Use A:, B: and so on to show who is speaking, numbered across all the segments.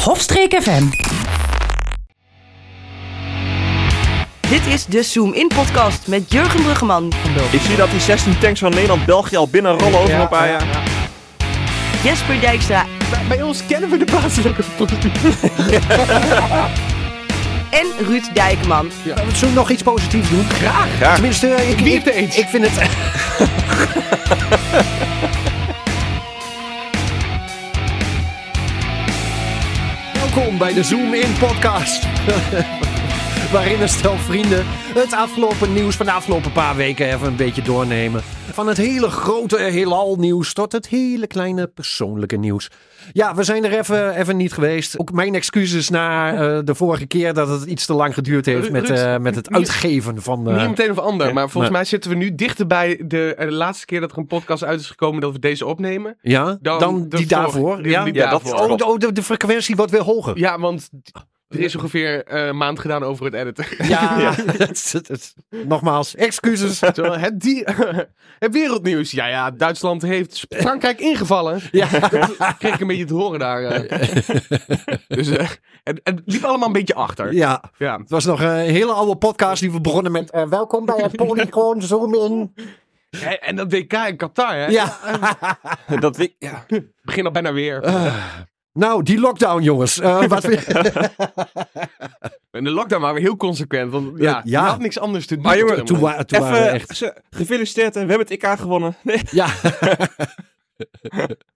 A: Hofstreek FM.
B: Dit is de Zoom In Podcast met Jurgen Bruggeman van Bulk,
C: Ik zie dat die 16 tanks van Nederland-België al binnen rollen over een paar jaar.
B: Jesper Dijkstra
D: Bij ons kennen we de plaatselijke politiek.
B: en Ruud Dijkman.
D: Zullen we nog iets positiefs doen? Graag.
C: Graag.
D: Tenminste, eh, ik, ik,
E: het eens.
D: ik vind het... Welkom bij de Zoom In podcast. Waarin een stel vrienden het afgelopen nieuws van de afgelopen paar weken even een beetje doornemen. Van het hele grote heelal nieuws tot het hele kleine persoonlijke nieuws. Ja, we zijn er even, even niet geweest. Ook mijn excuses na eh, de vorige keer dat het iets te lang geduurd heeft
E: Ru-
D: met,
E: Ruud,
D: eh, met het
E: niet-
D: uitgeven van... eh,
E: Niet meteen of ander, maar volgens
D: nee.
E: mij zitten we nu dichter bij de, eh, de laatste keer dat er een podcast uit is gekomen dat we deze opnemen.
D: ja, dan,
E: dan
D: die
E: de vorige-
D: daarvoor.
E: die-
D: ja,
E: die
C: Ja, dat
E: daarvoor.
D: Oh, de- oh, de, de frequentie wordt weer hoger.
E: Ja, want er is ongeveer eh, een maand gedaan over het editen.
D: Ja, het- het- het- nogmaals, excuses.
E: Terwijl het, die, het wereldnieuws. Ja, ja, Duitsland heeft Frankrijk ingevallen.
D: Ja.
E: Dat kreeg ik een beetje te horen daar. eh. Dus eh, het, het liep allemaal een beetje achter.
D: Ja,
E: Ja.
D: het was nog een hele oude podcast die we begonnen met. eh, welkom bij het Polygon Zoom in.
E: En, en dat WK in Qatar, hè?
D: Ja.
C: Dat ik, ja.
E: Begin al bijna weer.
D: Eh. Nou, die lockdown, jongens. Eh, wat we-
E: en de lockdown waren we heel consequent. Want ja,
D: Eh, Ja.
E: je had niks anders te doen.
C: Maar jongen,
E: op dit
D: toen
E: moment.
D: wa- toen waren we
C: Even
D: echt.
C: ze- gefeliciteerd en we hebben het EK gewonnen. Nee.
D: Ja,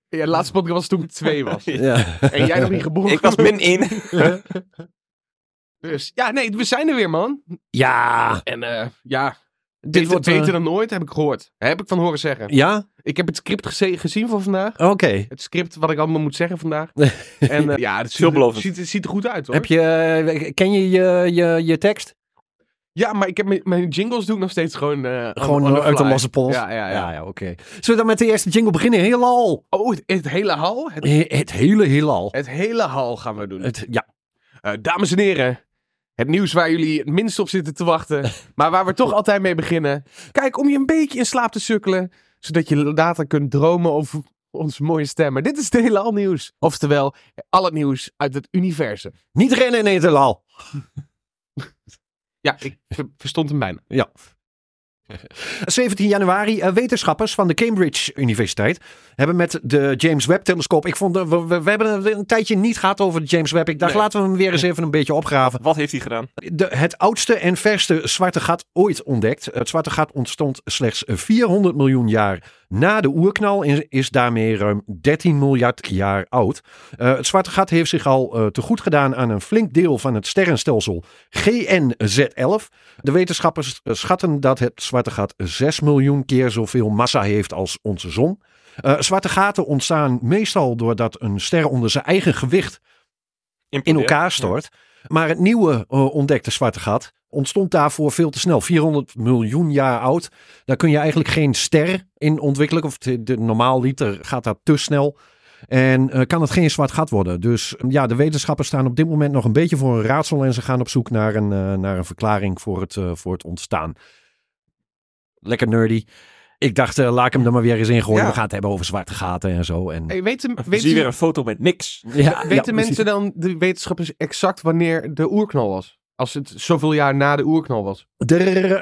E: Ja, de laatste podcast was toen ik twee was.
D: ja.
E: En jij nog niet geboren.
C: Ik was min 1.
E: Dus ja, nee, we zijn er weer, man.
D: ja.
E: En eh, ja,
D: Dit
E: dit wordt
D: wordt. eh,
E: beter dan ooit, heb ik gehoord. Heb ik van horen zeggen.
D: ja,
E: Ik heb het script geze- gezien voor vandaag.
D: oké.
E: Het script wat ik allemaal moet zeggen vandaag. En eh, ja, het ziet,
C: Veelbelovend.
E: ziet, het ziet er goed uit, hoor.
D: Heb je, eh, ken je je, je je tekst?
E: Ja, maar ik heb mijn, mijn jingles doe ik nog steeds gewoon... eh, on-
D: Gewoon
E: on the
D: uit de
E: fly.
D: losse pols.
E: Ja, ja, ja.
D: ja, oké. Zullen we dan met de eerste jingle beginnen? Heelal.
E: Oh, het, het hele hal? Het,
D: He- Het hele heelal.
E: het hele hal gaan we doen.
D: Het, ja.
E: Eh, dames en heren, het nieuws waar jullie het minst op zitten te wachten, maar waar we toch altijd mee beginnen. Kijk, om je een beetje in slaap te sukkelen, zodat je later kunt dromen over onze mooie stemmen. Dit is het hele al nieuws. Oftewel, al het nieuws uit het universum.
D: Niet rennen in het heelal.
E: Ja, ik ver- verstond hem bijna.
D: 17 januari. eh, wetenschappers van de Cambridge Universiteit hebben met de James Webb-telescoop. Ik vond, eh, we, we, we hebben een, een tijdje niet gehad over de James Webb. Ik dacht,
C: Nee.
D: laten we hem weer eens even een beetje opgraven.
C: Wat heeft hij gedaan?
D: De, het oudste en verste zwarte gat ooit ontdekt. Het zwarte gat ontstond slechts 400 miljoen jaar na de oerknal en is daarmee ruim 13 miljard jaar oud. Eh, het zwarte gat heeft zich al eh, te goed gedaan aan een flink deel van het sterrenstelsel GNZ11. De wetenschappers eh, schatten dat het zwarte gat 6 miljoen keer zoveel massa heeft als onze zon. Eh, zwarte gaten ontstaan meestal doordat een ster onder zijn eigen gewicht in
C: Implodeert.
D: elkaar stort. Maar het nieuwe eh, ontdekte zwarte gat ontstond daarvoor veel te snel. 400 miljoen jaar oud. Daar kun je eigenlijk geen ster in ontwikkelen. Of de, de- normaal liter gaat dat te snel. En eh, kan het geen zwart gat worden. Dus ja, de wetenschappers staan op dit moment nog een beetje voor een raadsel. En ze gaan op zoek naar een, eh, naar een verklaring voor het, eh, voor het ontstaan. Lekker nerdy. Ik dacht, eh, laat ik hem er maar weer eens in gooien.
E: Ja.
D: We gaan het hebben over zwarte gaten en zo. En,
E: Hey, weten
C: Ik zie
E: weten,
C: weer een foto met niks.
D: ja, ja,
E: weten
D: precies.
E: mensen dan, de wetenschappers, exact wanneer de oerknal was? Als het zoveel jaar na de oerknal was.
D: Er,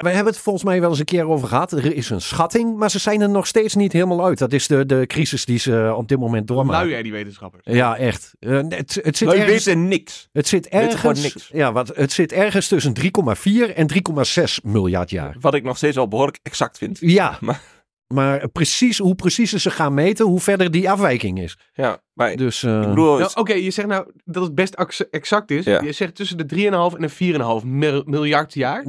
D: we hebben het volgens mij wel eens een keer over gehad. Er is een schatting, maar ze zijn er nog steeds niet helemaal uit. Dat is de, de crisis die ze eh, op dit moment
E: Lui
D: doormaken.
E: jij die wetenschappers?
D: Ja, echt. Eh, het, het zit
C: Wij
D: ergens,
C: weten niks.
D: het zit
C: weten gewoon
D: ergens,
C: niks.
D: ja, wat, het zit ergens tussen 3,4 en 3,6 miljard jaar.
C: Wat ik nog steeds wel behoorlijk exact vind.
D: Ja,
C: Maar-
D: maar precies hoe preciezer ze gaan meten, hoe verder die afwijking is.
C: Ja, maar ik
D: Dus eh,
C: bedoel,
E: Nou, Oké, je zegt nou dat het best ax- exact is.
C: Ja.
E: Je zegt tussen de 3,5 en de 4,5 mil- miljard jaar.
D: 13,4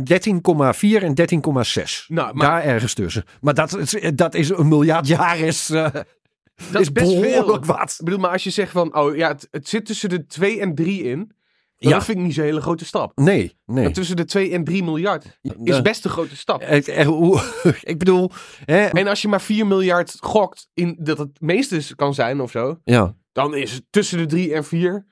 D: en 13,6.
E: Nou, maar
D: Daar ergens tussen. Maar dat, is- dat is een miljard jaar is, eh,
E: dat
D: is
E: is best veel.
D: behoorlijk wat.
E: Ik bedoel, maar als je zegt van, oh ja, het, het zit tussen de 2 en 3 in. dan
D: Ja.
E: Dat vind ik niet zo'n hele grote stap.
D: Nee, nee.
E: Maar tussen de 2 en 3 miljard is
D: Eh,
E: best een grote stap.
D: Het- eh, hoe- ik bedoel, hè?
E: En als je maar 4 miljard gokt in dat het meeste kan zijn of zo.
D: Ja.
E: Dan is het tussen de 3 en 4,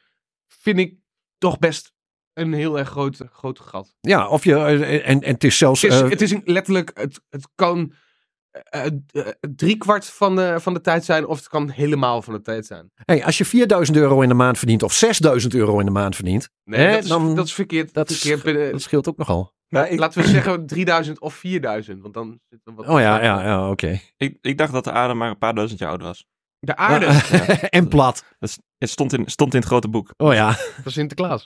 E: vind ik toch best een heel erg groot, groot gat.
D: ja, of je, eh, en, en het is zelfs,
E: Het is,
D: eh,
E: het is een, letterlijk, het, het kan eh, eh, driekwart van de, van de tijd zijn, of het kan helemaal van de tijd zijn.
D: Hey, als je 4000 euro in de maand verdient of 6000 euro in de maand verdient,
E: Nee,
D: Hè,
E: dat, is,
D: dan-
E: dat is verkeerd.
D: dat is-
E: verkeerd binnen-
D: Eh, dat scheelt ook nogal.
C: Nou, ik,
E: Laten we zeggen 3000 of 4000, want dan zit er wat.
D: Oh ja, ja, ja oké.
C: ik, ik dacht dat de aarde maar een paar duizend jaar oud was.
E: De aarde,
D: eh, en plat.
C: Dat is- het stond in, stond in het grote boek.
D: Oh ja.
E: dat is Sinterklaas.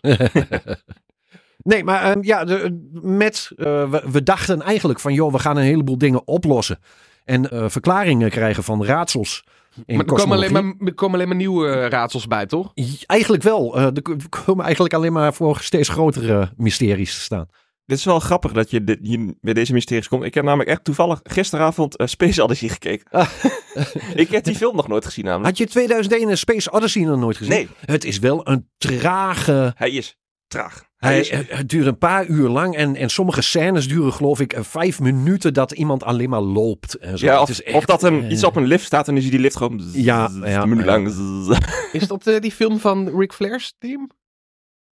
D: nee, maar ehm, ja, de- met, eh, we, we dachten eigenlijk van, joh, we gaan een heleboel dingen oplossen. En eh, verklaringen krijgen van raadsels. In
E: maar er komen, alleen
D: kosmologie.
E: maar, er komen alleen maar nieuwe eh, raadsels bij, toch?
D: Ja, Eigenlijk wel. Eh, er k- komen eigenlijk alleen maar voor steeds grotere eh, mysteries te staan.
C: Dit is wel grappig dat je, dit, je bij deze mysteries komt. Ik heb namelijk echt toevallig gisteravond eh, Space Odyssey gekeken. ik heb die film nog nooit gezien namelijk.
D: Had je 2001 een Space Odyssey nog nooit gezien?
C: Hm? Nee,
D: Het is wel een trage...
C: hij is traag. Hij,
D: Hij,
C: is,
D: het- het duurt een paar uur lang en, en sommige scènes duren geloof ik eh, vijf minuten dat iemand alleen maar loopt. En zo.
C: ja,
D: Het
C: of,
D: is
C: of
D: echt-
C: dat hem
D: eh,
C: iets op een lift staat en dan zie je die lift gewoon... zzz,
D: Ja,
C: zzz,
D: ja,
C: een minuut
D: ja.
C: lang. zzz.
E: Is dat eh, die film van Ric Flair's team?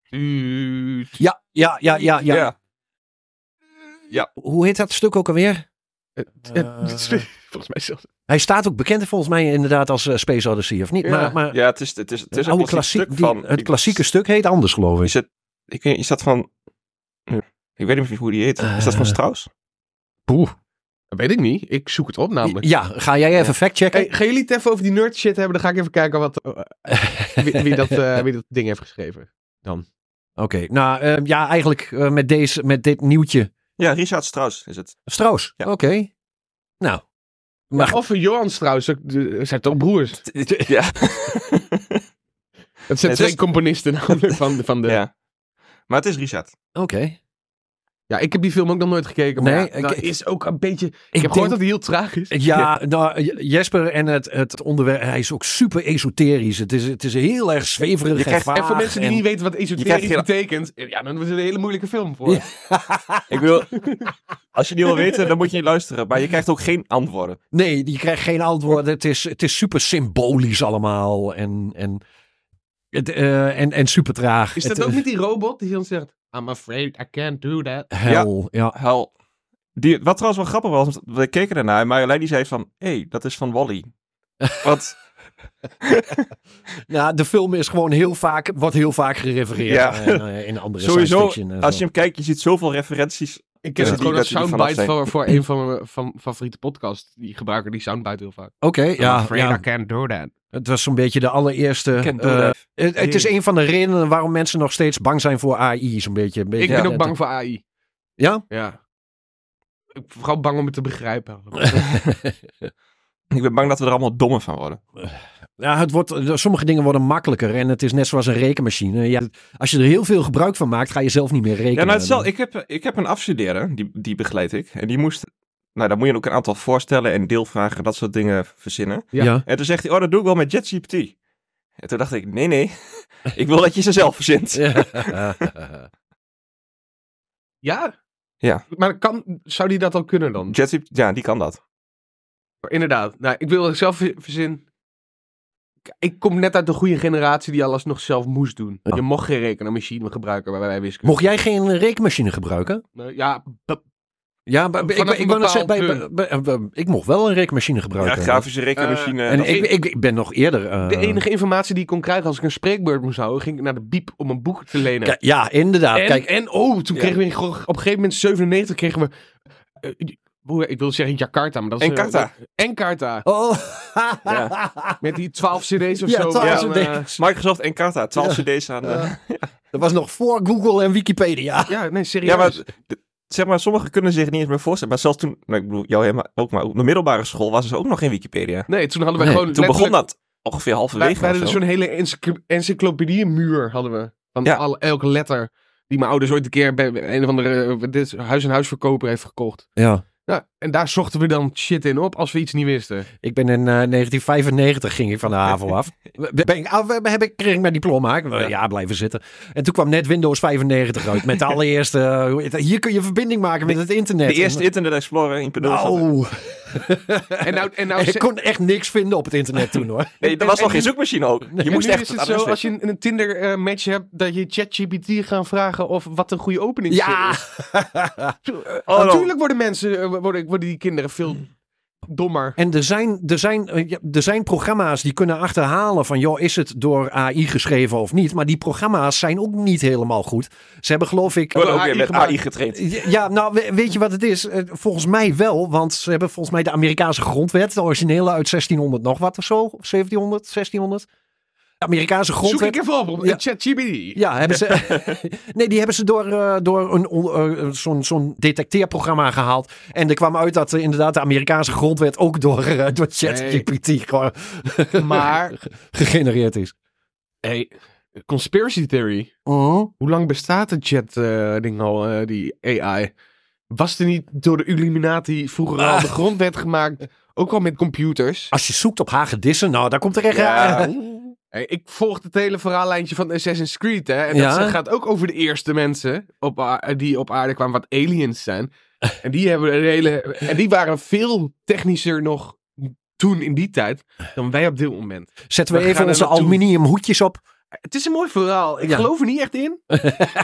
E: Eh,
D: Ja, ja, ja, ja, ja.
C: Ja.
D: Hoe heet dat stuk ook alweer?
E: eh, dat is- Volgens mij zelfs.
D: Hij staat ook bekend volgens mij inderdaad als eh, Space Odyssey, of niet?
E: Ja.
D: maar maar
C: Ja, het is, het is, het is
D: het
C: een
D: oude
C: klassiek
D: klassiek,
C: stuk
D: die-
C: van...
D: het
C: ik-
D: klassieke stuk heet anders geloof ik.
C: Is het... Ik weet, is dat van... Ik weet niet hoe die heet. Is dat van
D: Eh.
C: Strauss?
D: Poeh.
E: Dat weet ik niet. Ik zoek het op namelijk.
D: Ja, ga jij even factchecken?
E: Hey, gaan jullie het even over die nerd shit hebben? Dan ga ik even kijken wat, eh, wie, wie dat, eh, wie dat ding heeft geschreven.
D: Oké, nou eh, ja, eigenlijk eh, met, deze, met dit nieuwtje.
C: Ja, Richard Strauss is het.
D: Strauss,
C: Ja.
D: oké. Nou, maar
E: Of een Johans trouwens. ook, de- Ze zijn toch broers?
C: Ja.
E: Het zijn
C: Het
E: twee
C: is-
E: componisten namelijk van, van de... Ja.
C: ja. Maar het is Richard.
D: oké.
E: ik heb die film ook nog nooit gekeken. Maar
D: Nee,
E: ja, dat
D: ik-
E: is ook een beetje... Ik, heb
D: denk-
E: gehoord dat hij heel traag is.
D: Ja, nou, J- Jesper en het, het onderwerp, hij is ook super esoterisch. Het is, het is heel erg zweverig
C: Je krijgt-
D: en
E: en voor
D: vaag
E: mensen die
D: en-
E: niet weten wat
C: krijgt
E: esoterisch
C: geen-
E: betekent... eh, Ja, dan is het een hele moeilijke film voor.
D: Ja.
C: Ik wil... Als je niet wil weten, dan moet je niet luisteren. Maar je krijgt ook geen antwoorden.
D: Nee, je krijgt geen antwoord. Het is, het is super symbolisch allemaal en, en, het, eh, en, en super traag.
E: Is
D: Het,
E: dat ook
D: eh,
E: niet die robot die dan zegt... I'm afraid I can't do that.
D: Hel, ja.
C: Hel. Die, wat trouwens wel grappig was, want we keken ernaar en Marjolein die zei van... Hé, hey, dat is van Wally. Want
D: Nou, de film is gewoon heel vaak, wordt heel vaak gerefereerd
C: Ja.
D: aan, eh, in andere
C: sowieso,
D: science fiction en
C: als je
D: zo.
C: hem kijkt, je ziet zoveel referenties.
E: Ik ken
C: Ja.
E: het gewoon als
C: Die- dat die er
E: soundbite
C: vanaf
E: voor, voor een van mijn van, favoriete podcasts. Die gebruiken die soundbite heel vaak.
D: Oké,
E: I'm
D: ja,
E: afraid I
D: ja.
E: can't do that.
D: Het was zo'n beetje de allereerste...
C: Kent door
D: eh,
C: dat.
D: Het, het is een van de redenen waarom mensen nog steeds bang zijn voor AI. Zo'n beetje, een beetje
E: Ik ben ook bang voor AI.
D: Ja?
E: Ja. Ik ben vooral bang om het te begrijpen.
C: Eh, Ik ben bang dat we er allemaal dommer van worden.
D: Ja, het wordt, sommige dingen worden makkelijker en het is net zoals een rekenmachine. Ja, als je er heel veel gebruik van maakt, ga je zelf niet meer rekenen.
C: Ja, nou, het is wel- ik, heb, ik heb een afstuderen, die, die begeleid ik. En die moest... Nou, dan moet je ook een aantal voorstellen en deelvragen, dat soort dingen verzinnen.
D: ja.
E: Ja.
C: En toen zegt hij, oh, dat doe ik wel met JetGPT. En toen dacht ik, nee, nee. ik wil dat je ze zelf verzint.
E: Ja?
C: Ja.
E: Maar kan, zou die dat al kunnen dan?
C: JetGPT, ja, die kan dat.
E: Inderdaad. Nou, ik wil het zelf ver- verzinnen. K- Ik kom net uit de goede generatie die alles nog zelf moest doen.
D: Ja.
E: Je mocht geen rekenmachine gebruiken bij wij wiskunde.
D: Mocht jij geen rekenmachine gebruiken?
E: Nou, Ja, b-
D: Ja, maar ik, ik,
E: Vanaf een
D: ik wou net zeggen, bij,
E: bepaald
D: bij- bij- bij- ik mocht wel een rekenmachine
C: Ja,
D: gebruiken. Eh,
C: grafische rekenmachine.
D: en
C: dat-
D: ik, ik, ik ben nog eerder... eh,
E: de enige informatie die ik kon krijgen als ik een spreekbeurt moest houden, ging ik naar de biep om een boek te lenen.
D: K- Ja, inderdaad.
E: en,
D: Kijk,
E: en oh, toen
C: Ja.
E: kregen we op een gegeven moment 97 kregen we. eh, die- hoe- ik wil zeggen Jakarta, maar dat is.
C: Encarta.
E: eh, Encarta.
D: oh.
E: Met die 12 CD's of
D: Ja,
E: zo.
D: 12
E: Dan, eh,
D: CD's.
C: Microsoft en Carta, 12 cd's aan. eh.
D: Dat was nog voor Google en Wikipedia.
E: ja, nee, serieus.
C: ja, maar d- zeg maar, sommigen kunnen zich niet eens meer voorstellen. Maar zelfs toen, nou, ik bedoel, jou helemaal ook, maar op de middelbare school was er ook nog geen Wikipedia.
E: Nee, toen hadden we
D: Nee,
E: gewoon.
C: Toen begon
E: letterlijk-
C: dat ongeveer halverwege.
E: Wij, wij
C: of
E: hadden
C: zo.
E: zo'n hele encycl- encyclopediemuur hadden we. Van
C: Ja.
E: alle, elke letter die mijn ouders ooit een keer bij een of andere eh, dit is huis- en huisverkoper heeft gekocht.
D: Ja.
E: Nou, en daar zochten we dan shit in op als we iets niet wisten.
D: Ik ben in eh, 1995 ging ik van de HAVO af. Ben ik, af- heb ik, kreeg ik mijn diploma.
C: Oh
D: Ik ben een jaar blijven zitten. En toen kwam net Windows 95 uit. Met de allereerste... eh, hoe heet dat? Hier kun je verbinding maken met het internet.
C: de eerste
D: En-
C: Internet Explorer in Pinot.
D: Nou,
E: En nou, en nou
D: ik kon echt niks vinden op het internet toen hoor.
C: Nee, er
E: en-
C: was
E: en
C: nog geen
E: nu-
C: zoekmachine ook. Je
E: En
C: moest
E: nu
C: echt
E: is
C: het
E: het
C: adres
E: zo, als je
C: weten.
E: een, een Tinder-match hebt, dat je ChatGPT gaan vragen of wat een goede opening
D: Ja!
E: is.
C: Oh, Hmm. no.
E: eh, Natuurlijk worden mensen, eh, worden, worden die kinderen veel dommer.
D: En er zijn, er, zijn, eh, ja, er zijn programma's die kunnen achterhalen van, joh, is het door AI geschreven of niet? Maar die programma's zijn ook niet helemaal goed. Ze hebben geloof ik...
C: Worden ook
E: AI
C: weer met
E: gemaakt.
C: AI getraind.
D: Ja, nou, we- weet je wat het is? Eh, Volgens mij wel, want ze hebben volgens mij de Amerikaanse grondwet, de originele uit 1600 nog wat of zo, of 1700, 1600. De Amerikaanse
E: Zoek ik
D: grondwet.
E: even op op
D: Ja.
E: ChatGPT.
D: Ja, hebben ze. nee, die hebben ze door, eh, door een, on- eh, zo'n, zo'n detecteerprogramma gehaald. En er kwam uit dat eh, inderdaad de Amerikaanse grondwet ook door, eh, door ChatGPT gewoon
E: Maar,
D: gegenereerd is.
E: hey, conspiracy theory. Hoe lang bestaat de chat-ding al, eh, die AI? Was er niet door de Illuminati vroeger al de grondwet gemaakt? Ook al met computers.
D: Als je zoekt op hagedissen, nou, daar komt er echt...
E: Ja. Hey, ik volg het hele verhaallijntje van Assassin's Creed, hè. En dat
D: Ja.
E: gaat ook over de eerste mensen op aar- die op aarde kwamen, wat aliens zijn. En die, hebben een hele, en die waren veel technischer nog toen in die tijd dan wij op dit moment.
D: Zetten we,
E: We gaan
D: even
E: er
D: onze
E: naartoe.
D: aluminium hoedjes op.
E: Het is een mooi verhaal. Ik
D: Ja.
E: geloof er niet echt in.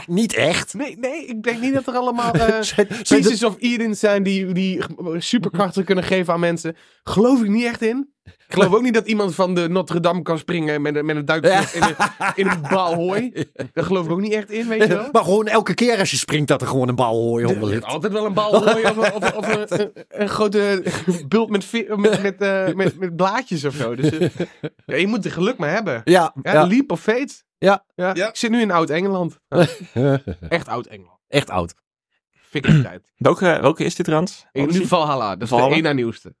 D: Niet echt.
E: Nee, nee ik denk niet dat er allemaal eh
D: Zijn- zijn dat-
E: pieces of Eden zijn die, die superkrachten kunnen geven aan mensen. Geloof ik niet echt in. Ik geloof ook niet dat iemand van de Notre Dame kan springen met, een- met een duikvlucht in, een- in een bal hooi. Daar geloof ik ook niet echt in, weet je wel.
D: Maar gewoon elke keer als je springt dat er gewoon een bal hooi onder
E: Er zit
D: ligt.
E: altijd wel een bal hooi of, een- of, of een, een- een grote bult met, vi- met, met, eh, met, met blaadjes of zo. Dus, eh, ja, je moet er geluk mee hebben.
D: Ja,
E: Ja,
D: ja.
E: Leap of fate.
D: Ja.
E: Ja. Ik zit nu in Oud-Engeland. Echt Oud-Engeland.
D: echt oud.
E: Vikingtijd.
C: Welke, welke is dit trouwens?
E: In ieder geval Valhalla. Dat is de
C: Valhalla?
E: één na nieuwste.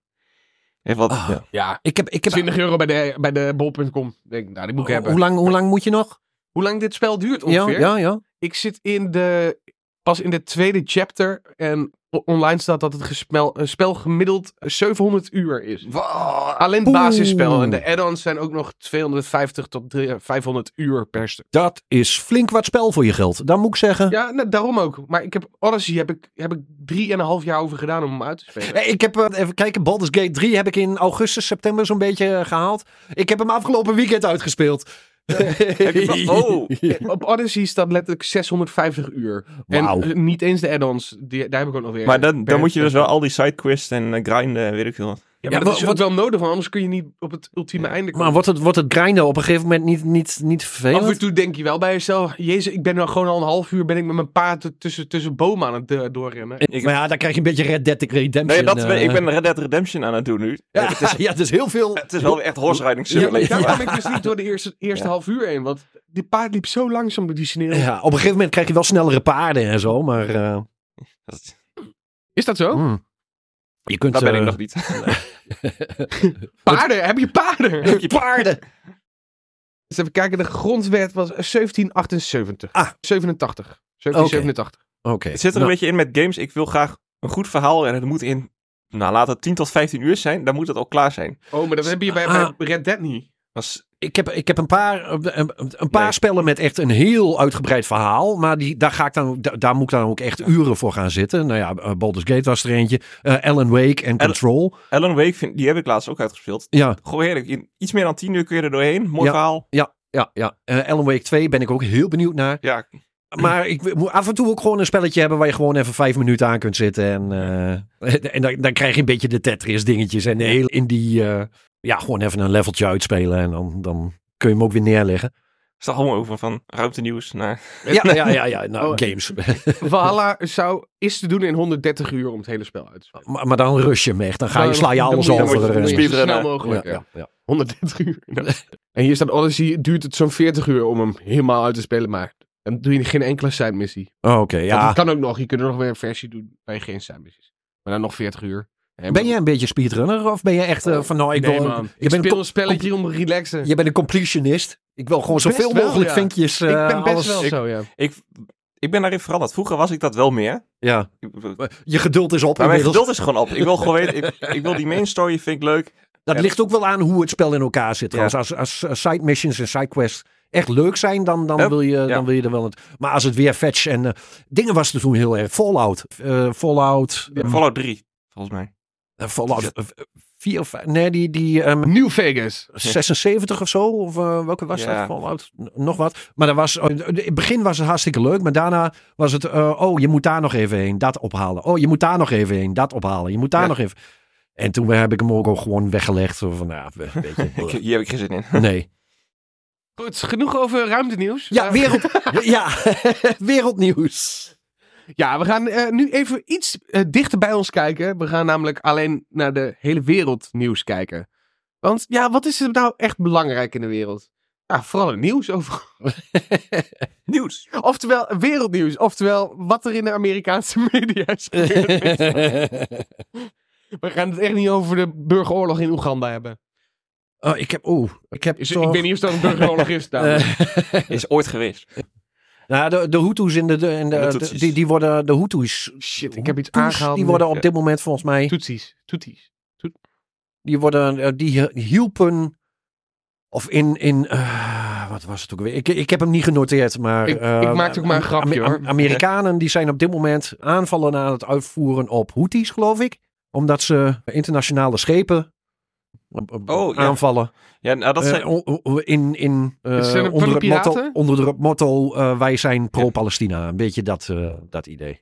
C: Even wat,
D: Ah.
C: ja.
E: Ja.
D: Ik heb, ik heb
E: 20 euro bij de, bij de bol.com. Denk, ik, nou, die moet ik hebben.
D: Hoe lang, hoe lang moet je nog?
E: Hoe lang dit spel duurt
D: Ja,
E: ongeveer?
D: ja, ja.
E: Ik zit in de, pas in de tweede chapter. En o- online staat dat het gespel, een spel gemiddeld 700 uur is. Alleen het
D: Poeh.
E: basisspel. En de add-ons zijn ook nog 250 tot 300 500 uur per stuk.
D: Dat is flink wat spel voor je geld. Dan moet ik zeggen.
E: Ja, nou, daarom ook. Maar ik heb Odyssey heb ik, heb ik drieënhalf jaar over gedaan om hem uit te spelen.
D: Hey, Ik heb, eh, even kijken, Baldur's Gate 3 heb ik in augustus, september zo'n beetje eh, gehaald. Ik heb hem afgelopen weekend uitgespeeld.
C: Oh,
E: Op Odyssey staat letterlijk 650 uur.
D: Wauw.
E: En eh, niet eens de add-ons. Die, daar heb ik ook nog weer.
C: maar dan, dan
E: per-
C: moet je dus wel al die sidequests en eh, grinden en weet ik veel wat.
E: Ja, maar
D: Ja,
E: dat is
D: wa-
E: ook wel nodig, want anders kun je niet op het ultieme einde komen.
D: Maar wordt het, wordt het grinden op een gegeven moment niet, niet, niet vervelend?
E: Af en toe denk je wel bij jezelf, jezus, ik ben nou gewoon al een half uur ben ik met mijn paard t- tussen, tussen bomen aan het eh, doorrennen.
D: Ik- maar ja, dan krijg je een beetje Red Dead Redemption.
E: Dus
C: Nee, dat,
D: eh.
C: ik ben Red Dead Redemption aan het doen nu.
D: Ja, ja, het is heel veel...
C: Het is wel weer echt horse riding
E: Ja, maar
C: simulator.
E: daar kwam ik dus niet door de eerste, eerste half uur heen, want die paard liep zo langzaam door die sneeuw.
D: Ja, op een gegeven moment krijg je wel snellere paarden en zo, maar... eh,
C: Dat is-
E: Is dat zo?
D: mm. Je kunt...
C: Daar Oh. ben ik
D: eh,
C: nog niet.
E: Paarden, heb je paarden?
D: Heb je paarden?
E: Eens even kijken, de grondwet was eh, 1778.
D: Ah.
E: 87. 1787.
D: Oké.
C: Het zit er een
D: Nou,
C: beetje in met games. Ik wil graag een goed verhaal en het moet in, nou laat het 10 tot 15 uur zijn. Dan moet het al klaar zijn.
E: Oh, maar dat heb je bij,
D: Ah.
E: bij Red Dead niet.
C: Dat is-
D: ik, heb, ik heb een paar, eh, een, een paar
C: Nee.
D: spellen met echt een heel uitgebreid verhaal. Maar die, daar, ga ik dan, da- daar moet ik dan ook echt uren voor gaan zitten. Nou ja, eh, Baldur's Gate was er eentje. eh Alan Wake en Control.
C: Alan Wake, vind- die heb ik laatst ook uitgespeeld.
D: Ja,
C: Gewoon heerlijk. In iets meer dan 10 uur kun je er doorheen. Mooi
D: Ja.
C: verhaal.
D: ja, ja. ja. Eh, Alan Wake 2 ben ik ook heel benieuwd naar.
C: Ja,
D: Maar ik moet af en toe ook gewoon een spelletje hebben... waar je gewoon even vijf minuten aan kunt zitten. En, eh, en dan, dan krijg je een beetje de Tetris dingetjes. En heel in die... eh, ja, gewoon even een leveltje uitspelen. En dan, dan kun je hem ook weer neerleggen.
C: is dat allemaal over van ruimte nieuws naar...
D: Ja, ja, ja. ja nou,
E: Oh.
D: games.
E: Valhalla zou, is te doen in 130 uur om het hele spel uit te spelen.
D: Maar, maar dan rush je hem echt. Dan ga je,
E: Dan-
D: sla je
E: dan
D: alles
E: moet je-
C: dan
D: over.
C: moet je-
D: eh,
C: dan moet
E: Zo
C: je-
E: snel
C: speedrunnen.
E: mogelijk.
D: ja,
E: ja.
D: ja, ja.
E: 130 uur. En hier staat oh, Odyssey, duurt het zo'n 40 uur om hem helemaal uit te spelen, maar dan doe je geen enkele side missie.
D: Oh, Oké,
E: Ja.
D: ja.
E: Dat kan ook nog, je kunt er nog weer een versie doen waar je geen side missies. Maar dan nog 40 uur. En
D: Ben jij een beetje speedrunner? Of ben je echt eh, van nou, ik
E: nee,
D: wil...
E: man.
D: Je
E: Ik
D: bent, een
E: speel
D: co-
E: een spelletje om te relaxen.
D: je bent een completionist. Ik wil gewoon
E: Best
D: zoveel
E: wel,
D: mogelijk
E: ja.
D: vinkjes... eh,
E: ik ben best
D: alles-
E: wel zo, ja.
C: Ik, ik ben daarin veranderd. Vroeger was ik dat wel meer.
D: Ja.
C: Ik-
D: Je geduld is op
C: Maar mijn
D: inmiddels.
C: geduld is gewoon op. Ik wil gewoon weten, ik, ik wil die main story, vind ik leuk.
D: Dat
C: Ja.
D: ligt ook wel aan hoe het spel in elkaar zit. trouwens. Als, als eh, side missions en side quests echt leuk zijn, dan, dan,
C: Hup,
D: wil, je, dan wil je er wel een. Maar als het weer fetch en eh, dingen was er toen heel erg. Fallout. eh, Fallout. eh,
C: Fallout 3, volgens mij.
D: Fallout. 4 of 5. Nee, die, die ehm,
E: New Vegas.
D: 76 of zo. Of eh, welke was
C: Ja.
D: dat? Fallout. N- Nog wat. Maar dat was, eh, in het begin was het hartstikke leuk. Maar daarna was het. eh, oh, je moet daar nog even heen. Dat ophalen. Oh, je moet daar nog even heen. Dat ophalen. Je moet daar
E: Ja.
D: nog even. En toen heb ik hem ook al gewoon weggelegd. Zo van, nou, een beetje...
C: Ik- Hier heb ik geen zin in.
D: Nee.
E: Goed, genoeg over ruimtenieuws.
D: Ja,
E: Eh,
D: wereld, ja, wereldnieuws.
E: ja we gaan eh, nu even iets eh, dichter bij ons kijken. We gaan namelijk alleen naar de hele wereldnieuws kijken. Want ja, wat is er nou echt belangrijk in de wereld? Ja, vooral het nieuws over.
C: Nieuws.
E: Oftewel, wereldnieuws. Oftewel, wat er in de Amerikaanse media is gebeurd. We gaan het echt niet over de burgeroorlog in Oeganda hebben.
D: Oh, ik heb... Oeh, ik heb
E: Is,
D: toch...
E: Ik weet niet of dat een burgeroorlog is. daar.
D: eh,
C: Is ooit geweest.
D: Nou, de, de Hutus in de, de- in de,
C: De
D: de-
C: Tutsis.
D: die, die worden de Hutus.
E: Shit, ik heb iets
D: Hutus,
E: aangehaald.
D: Die
E: nu.
D: worden op dit moment volgens mij.
E: Toetsies. Toetsies.
D: Die worden eh, die hielpen. Of in. in eh, wat was het ook weer? Ik, ik heb hem niet genoteerd, maar.
E: Ik- ik
D: eh,
E: maak ook maar een grapje, hoor.
D: Amerikanen die zijn op dit moment aanvallen aan het uitvoeren op Houthis, geloof ik. Omdat ze internationale schepen. op- op-
C: Oh, ja.
D: aanvallen.
C: Ja, nou, dat
D: Eh,
C: zijn...
D: o- o- in, in, eh,
E: Is het een-
D: onder,
E: van
D: het
E: de
D: motto,
E: piraten?
D: onder het motto eh, wij zijn pro-Palestina. Een beetje dat, eh, dat idee.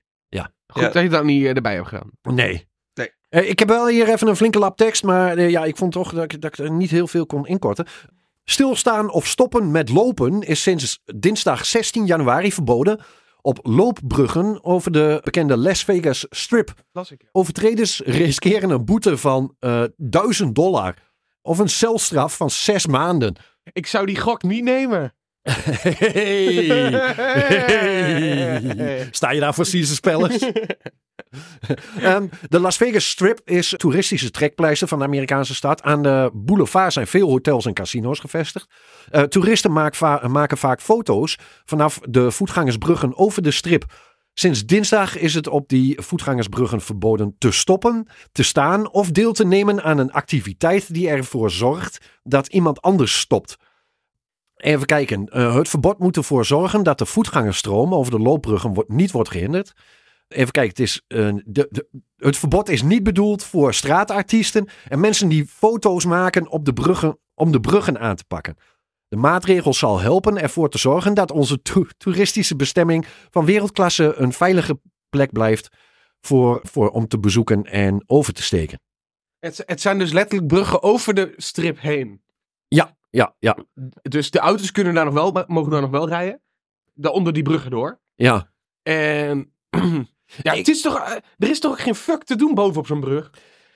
E: Goed
C: Ja.
E: dat je dat niet eh, erbij hebt gedaan.
D: Nee.
E: Nee.
D: Eh, ik heb wel hier even een flinke lap tekst, maar eh, ja, ik vond toch dat ik, dat ik er niet heel veel kon inkorten. Stilstaan of stoppen met lopen is sinds dinsdag 16 januari verboden op loopbruggen over de bekende Las Vegas Strip.
E: Las ik.
D: Overtreders riskeren een boete van eh 1000 dollar of een celstraf van zes maanden.
E: Ik zou die gok niet nemen.
D: Hey. Hey. Sta je daar voor Caesar Palace? Ehm, de Las Vegas Strip is een toeristische trekpleister van de Amerikaanse stad. Aan de boulevard zijn veel hotels en casino's gevestigd. Eh, toeristen maak va- maken vaak foto's vanaf de voetgangersbruggen over de strip. Sinds dinsdag is het op die voetgangersbruggen verboden te stoppen, te staan of deel te nemen aan een activiteit die ervoor zorgt dat iemand anders stopt. Even kijken. Eh, het verbod moet ervoor zorgen dat de voetgangerstroom over de loopbruggen wordt, niet wordt gehinderd. Even kijken, het, is, eh, de, de- het verbod is niet bedoeld voor straatartiesten en mensen die foto's maken op de bruggen, om de bruggen aan te pakken. De maatregel zal helpen ervoor te zorgen dat onze to- toeristische bestemming van wereldklasse een veilige plek blijft voor, voor, om te bezoeken en over te steken.
E: Het, het zijn dus letterlijk bruggen over de strip heen.
D: Ja, ja, ja,
E: Dus de auto's kunnen daar nog wel, mogen daar nog wel rijden. Daar onder die bruggen door.
D: ja.
E: En... Ja, het is toch, eh, er is toch ook geen fuck te doen bovenop zo'n brug?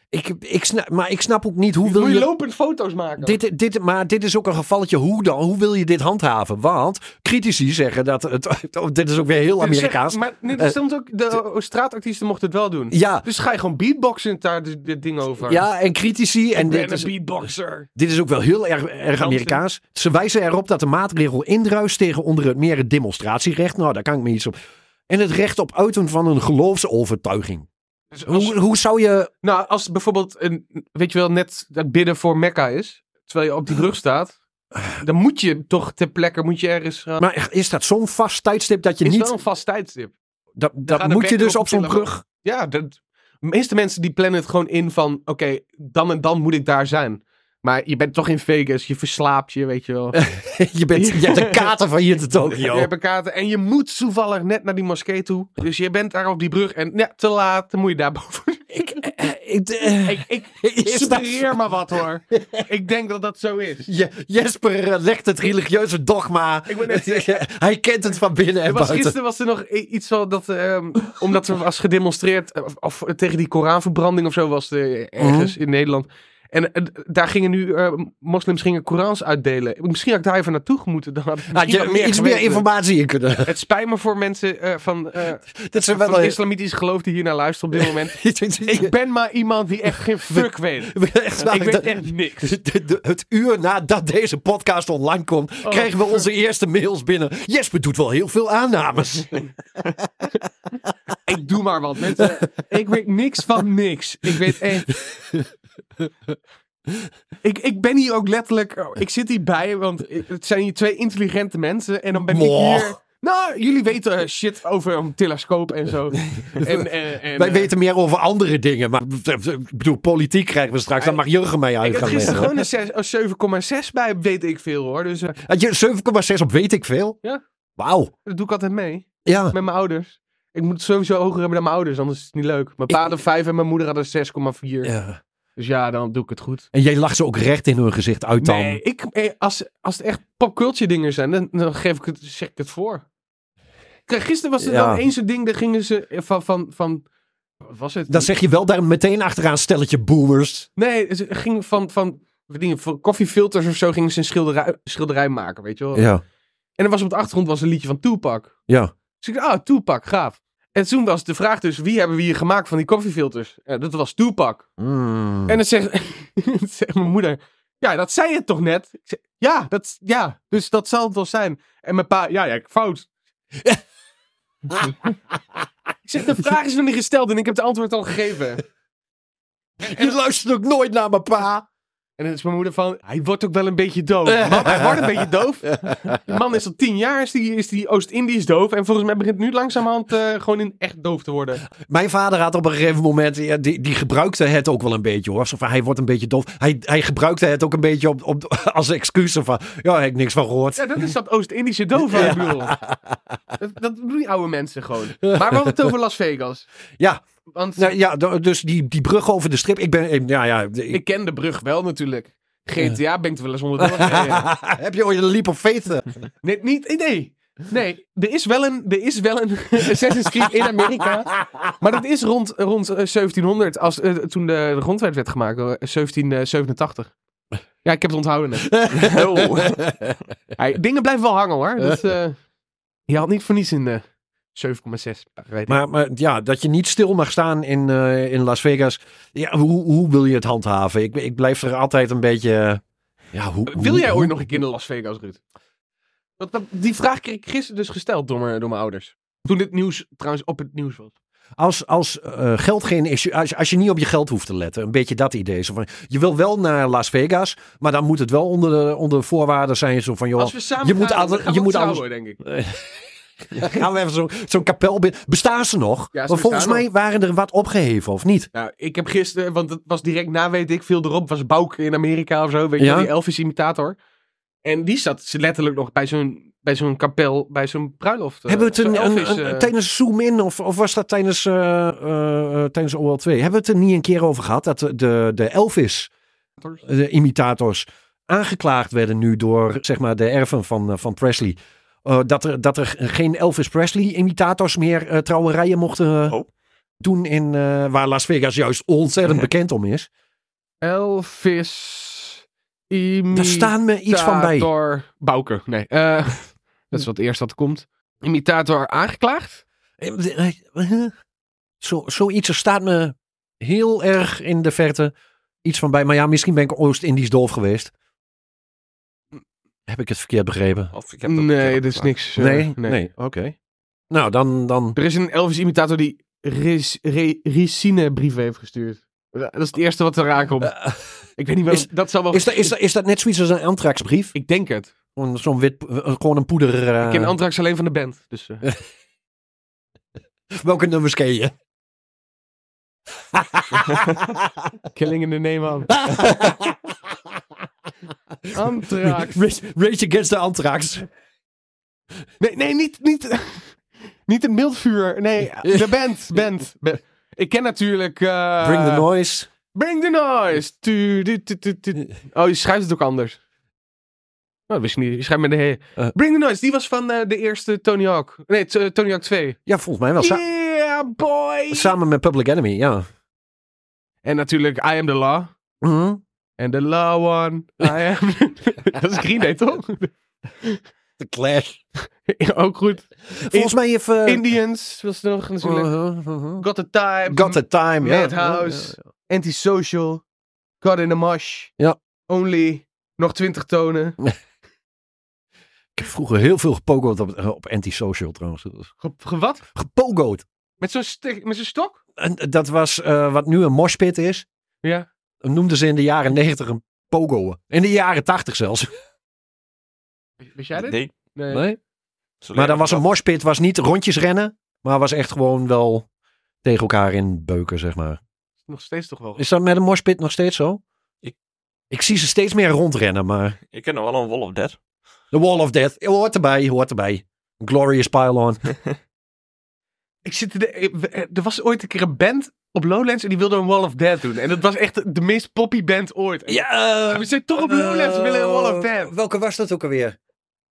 D: Ik, ik snap, maar ik snap ook niet hoe
E: Wil
D: wil
E: je
D: je...
E: lopend foto's maken?
D: Dit, dit, maar dit is ook een gevalletje. Hoe dan? Hoe wil je dit handhaven? Want critici zeggen dat het. oh, dit is ook weer heel
E: Dus zeg-
D: Amerikaans.
E: Maar nee, er
D: Eh,
E: stond ook, de straatartiesten mochten het wel doen.
D: Ja,
E: Dus ga je gewoon beatboxen daar dit, dit ding over.
D: ja, en critici. En
E: en
D: dit
E: een
D: is,
E: beatboxer.
D: dit is ook wel heel erg, erg Amerikaans. Ze wijzen erop dat de maatregel indruist tegen onder het meer het demonstratierecht. Nou, daar kan ik me iets op. En het recht op uiten van een geloofsovertuiging.
E: Dus als-
D: Hoe, hoe zou je.
E: nou, als het bijvoorbeeld, een, weet je wel, net dat bidden voor Mekka is, terwijl je op die brug staat, dan moet je toch ter plekke, moet je ergens... gaan.
D: Maar is dat zo'n vast tijdstip dat je
E: is
D: niet.
E: wel een vast tijdstip.
D: dat dat
E: gaan de
D: moet je
E: wekker
D: dus
E: op
D: op zo'n
E: de telefoon.
D: brug.
E: Ja, dat, de meeste mensen die plannen het gewoon in van, oké, dan en dan moet ik daar zijn. Maar je bent toch in Vegas, je verslaapt je, weet je wel.
D: je, bent, je hebt de kater van hier te Tokio.
E: Je hebt een kaarten en je moet toevallig net naar die moskee toe. Dus je bent daar op die brug en ja, te laat, dan moet je daar boven.
D: Ik, eh, ik, eh,
E: Ik, ik
D: Is dat-
E: suggereer maar wat hoor. ik denk dat dat zo is.
D: Je- Jesper eh, legt het religieuze dogma.
E: Ik ben net-
D: Hij kent het van binnen en
E: Er was,
D: buiten.
E: gisteren was er nog i- iets van dat, ehm, omdat er was gedemonstreerd, eh, of, of tegen die Koranverbranding of zo was er ergens
D: Mhm.
E: in Nederland. En eh, daar gingen nu, eh, moslims gingen Korans uitdelen. Misschien had ik daar even naartoe moeten. Dan had ik
D: Had je
E: misschien wat
D: iets meer
E: geweten.
D: informatie in kunnen.
E: Het spijt me voor mensen eh, van, eh
D: Dat ze
E: van
D: wel
E: islamitisch geloof die hier naar luisteren op dit moment. Ik ben maar iemand die echt geen fuck weet.
D: Echt waar,
E: Ik weet
D: dat-
E: echt niks.
D: de- de- de- het uur nadat deze podcast online komt,
E: Oh.
D: kregen we onze eerste mails binnen. Jesper doet wel heel veel aannames.
E: Ik doe maar wat. Mensen, ik weet niks van niks. Ik weet echt. Ik, ik ben hier ook letterlijk. oh, Ik zit hierbij, want het zijn hier twee intelligente mensen. En dan ben ik
D: Mwah.
E: hier. Nou, jullie weten eh, shit over een telescoop en zo. En, eh, en,
D: Wij
E: eh,
D: weten meer over andere dingen. Maar ik bedoel, politiek krijgen we straks. Dan mag Jurgen mij
E: Ik
D: uit
E: had
D: gaan
E: gisteren
D: leggen.
E: gewoon een, zes- een 7,6 bij, weet ik veel hoor. Dus eh,
D: Had je 7,6 op weet ik veel?
E: Ja.
D: Wauw.
E: dat doe ik altijd mee.
D: Ja.
E: Met mijn ouders. Ik moet het sowieso hoger hebben dan mijn ouders, anders is het niet leuk. Mijn pa had een 5 en mijn moeder had een 6,4.
D: ja.
E: Dus ja, dan doe ik het goed.
D: En jij lacht ze ook recht in hun gezicht uit dan.
E: Nee, ik, eh, als, als het echt popcultje dingen zijn, dan, dan geef ik het, zeg ik het voor. Kijk, gisteren was er
D: Ja.
E: dan eens een ding, daar gingen ze eh, van, van, van wat was het?
D: Dan zeg je wel daar meteen achteraan stelletje boomers.
E: Nee, ze gingen van, van, van dingen, van koffiefilters of zo, gingen ze een schilderij, schilderij maken, weet je wel.
D: Ja,
E: En er was op de achtergrond was een liedje van Tupac.
D: ja.
E: Dus ik dacht, ah, Tupac, gaaf. En toen was de vraag dus, wie hebben we hier gemaakt van die koffiefilters? Ja, dat was Tupac. En dan zegt, dan zegt mijn moeder, ja, dat zei je toch net? Ik zeg, ja, dat, ja, dus dat zal het wel zijn. En mijn pa, ja, ja, ik- fout. ik zeg, de vraag is nog niet gesteld en ik heb het antwoord al gegeven.
D: je luistert ook nooit naar mijn pa.
E: En dan is mijn moeder van, hij wordt ook wel een beetje doof. Mam, hij wordt een beetje doof. Die man is al tien jaar, is die, is die Oost-Indisch doof. En volgens mij begint nu langzamerhand eh, gewoon in echt doof te worden.
D: Mijn vader had op een gegeven moment, ja, die, die gebruikte het ook wel een beetje hoor. Zo van, hij wordt een beetje doof. Hij, hij gebruikte het ook een beetje op, op, als excuus van, ja, heb ik niks van gehoord.
E: Ja, dat is dat Oost-Indische doof, hè, ik bedoel. Dat, dat doen die oude mensen gewoon. Maar we hadden het over Las Vegas.
D: Ja,
E: Want
D: nou, ja d- dus die, die brug over de strip. Ik ben, ik- ja, ja. ik-
E: ik ken de brug wel natuurlijk. GTA ben ik er wel eens onderdoor gereden.
D: heb je ooit een leap of faith?
E: Nee, niet, nee. Nee, er is wel een, er is wel een Assassin's Creed in Amerika. Maar dat is rond, rond eh, 1700, als, eh, toen de, de grondwet werd gemaakt, eh, 1787. Ja, ik heb het onthouden net. Oh. Hey, dingen blijven wel hangen hoor. Dat, eh, je had niet voor niets in de 7,6. weet ik.
D: Maar, maar ja, dat je niet stil mag staan in, eh, in Las Vegas. Ja, hoe, hoe wil je het handhaven? Ik, ik blijf er altijd een beetje... eh, Ja, hoe,
E: Wil jij
D: hoe-
E: ooit nog een keer naar Las Vegas, Ruud? Want dat- die vraag kreeg ik gisteren dus gesteld door mijn, door mijn ouders. Toen dit nieuws trouwens op het nieuws was.
D: Als, als eh, geld geen issue, als, als je niet op je geld hoeft te letten, een beetje dat idee. Zo van, je wil wel naar Las Vegas, maar dan moet het wel onder de, onder de voorwaarden zijn. Zo van, joh,
E: Als we samen
D: je
E: gaan,
D: moet
E: dan
D: alle-
E: gaan
D: je
E: we
D: moet
E: trouwen,
D: alles-
E: denk ik.
D: gaan we even zo- zo'n kapel binnen. Bestaan ze nog?
E: Ja, ze
D: Want volgens
E: bestaan
D: mij waren er wat opgeheven, of niet?
E: Nou, ik heb gisteren, want het was direct na, weet ik veel erop, was Bouk in Amerika of zo, weet je,
D: Ja.
E: wel, die Elvis-imitator. En die zat letterlijk nog bij zo'n, bij zo'n kapel, bij zo'n bruiloft. eh,
D: hebben we het
E: zo'n
D: een, een-
E: Elvis,
D: een-
E: eh,
D: tijdens Zoom In, of, of was dat tijdens, eh eh, eh, tijdens OL2? Hebben we het er niet een keer over gehad dat de- de, de Elvis, de imitators, aangeklaagd werden nu door zeg maar, de erven van, eh, van Presley? Eh, dat, er, dat er geen Elvis Presley-imitators meer eh, trouwerijen mochten eh,
C: Oh.
D: doen in eh, waar Las Vegas juist ontzettend bekend om is.
E: Elvis.
D: Daar staan me iets van bij.
E: Imitator Bouke, nee. eh, dat is wat eerst dat komt. Imitator aangeklaagd?
D: Eh, eh, eh, Zo, zoiets er staat me heel erg in de verte iets van bij. Maar ja, misschien ben ik Oost-Indisch doof geweest. Heb ik het verkeerd begrepen?
C: Of ik heb dat een keer
E: Nee, dat is
C: opgevraagd.
E: niks. eh,
D: nee, nee. Oké. Nou, dan, dan.
E: Er is een Elvis-imitator die Ris- Re- Ricine brieven heeft gestuurd. Dat is het eerste wat eraan komt. ik weet niet wel.
D: Eh, is-
E: dat zal wel.
D: Is, dat, is, dat, is dat net zoiets als een antraxbrief?
E: Ik denk het.
D: Gewoon Zo'n wit, eh, gewoon een poeder. eh,
E: Ik ken Antrax alleen van de band. Dus, eh.
D: Welke nummers ken je?
E: Killing in the name of. Antrax.
D: Rage, Rage Against the Anthrax.
E: Nee, nee, niet, niet, niet het mildvuur. Nee, de band. band. Ba- Ik ken natuurlijk. eh,
D: Bring the Noise.
E: Bring the noise. Tu, tu, tu, tu, tu. Oh, je schrijft het ook anders. Oh, dat wist ik niet. Je schrijft met de he.
D: Eh.
E: Bring the noise. Die was van eh, de eerste Tony Hawk. Nee, t- eh, Tony Hawk 2.
D: Ja, volgens mij wel. Nou, Sa-
E: yeah, boy.
D: Samen met Public Enemy, ja.
E: en natuurlijk I am the law.
D: Mhm.
E: En the law one. I am. dat is Green Day, toch?
D: The Clash.
E: Ja, ook goed.
D: Volgens mij heeft... eh,
E: Indians was er nog natuurlijk.
D: Uh-huh, uh-huh.
E: Got the time.
D: Got the time, ja.
E: Madhouse. Antisocial. God in the mush.
D: Ja.
E: Only. Nog 20 tonen.
D: Ik heb vroeger heel veel gepogoed op, eh, op antisocial trouwens. Dat was-
E: Ge- ge- wat?
D: Gepogoed.
E: Met zo'n stik- met zo'n stok?
D: En dat was eh, wat nu een moshpit is.
E: Ja.
D: Noemden ze in de jaren negentig een pogo. In de jaren tachtig zelfs.
E: Wist jij dit?
C: Nee.
E: Nee.
C: Zo
D: Maar
C: leer
D: dan
C: ik
D: was een
C: dat.
D: moshpit was niet rondjes rennen. Maar was echt gewoon wel tegen elkaar in beuken, zeg maar.
E: Nog steeds toch wel.
D: Is dat met een moshpit nog steeds zo?
C: Ik-
D: Ik zie ze steeds meer rondrennen, maar...
C: Ik ken nog wel een Wall of Dead.
D: The Wall of Death. Hoort erbij, hoort erbij. Glorious Pylon.
E: eh, Ik zit er, er was ooit een keer een band op Lowlands en die wilden een Wall of Death doen. En dat was echt de meest poppy band ooit. En
A: Ja,
E: We zijn toch op Lowlands, we willen een Wall of
A: Eh,
E: Death.
A: Welke was dat ook alweer?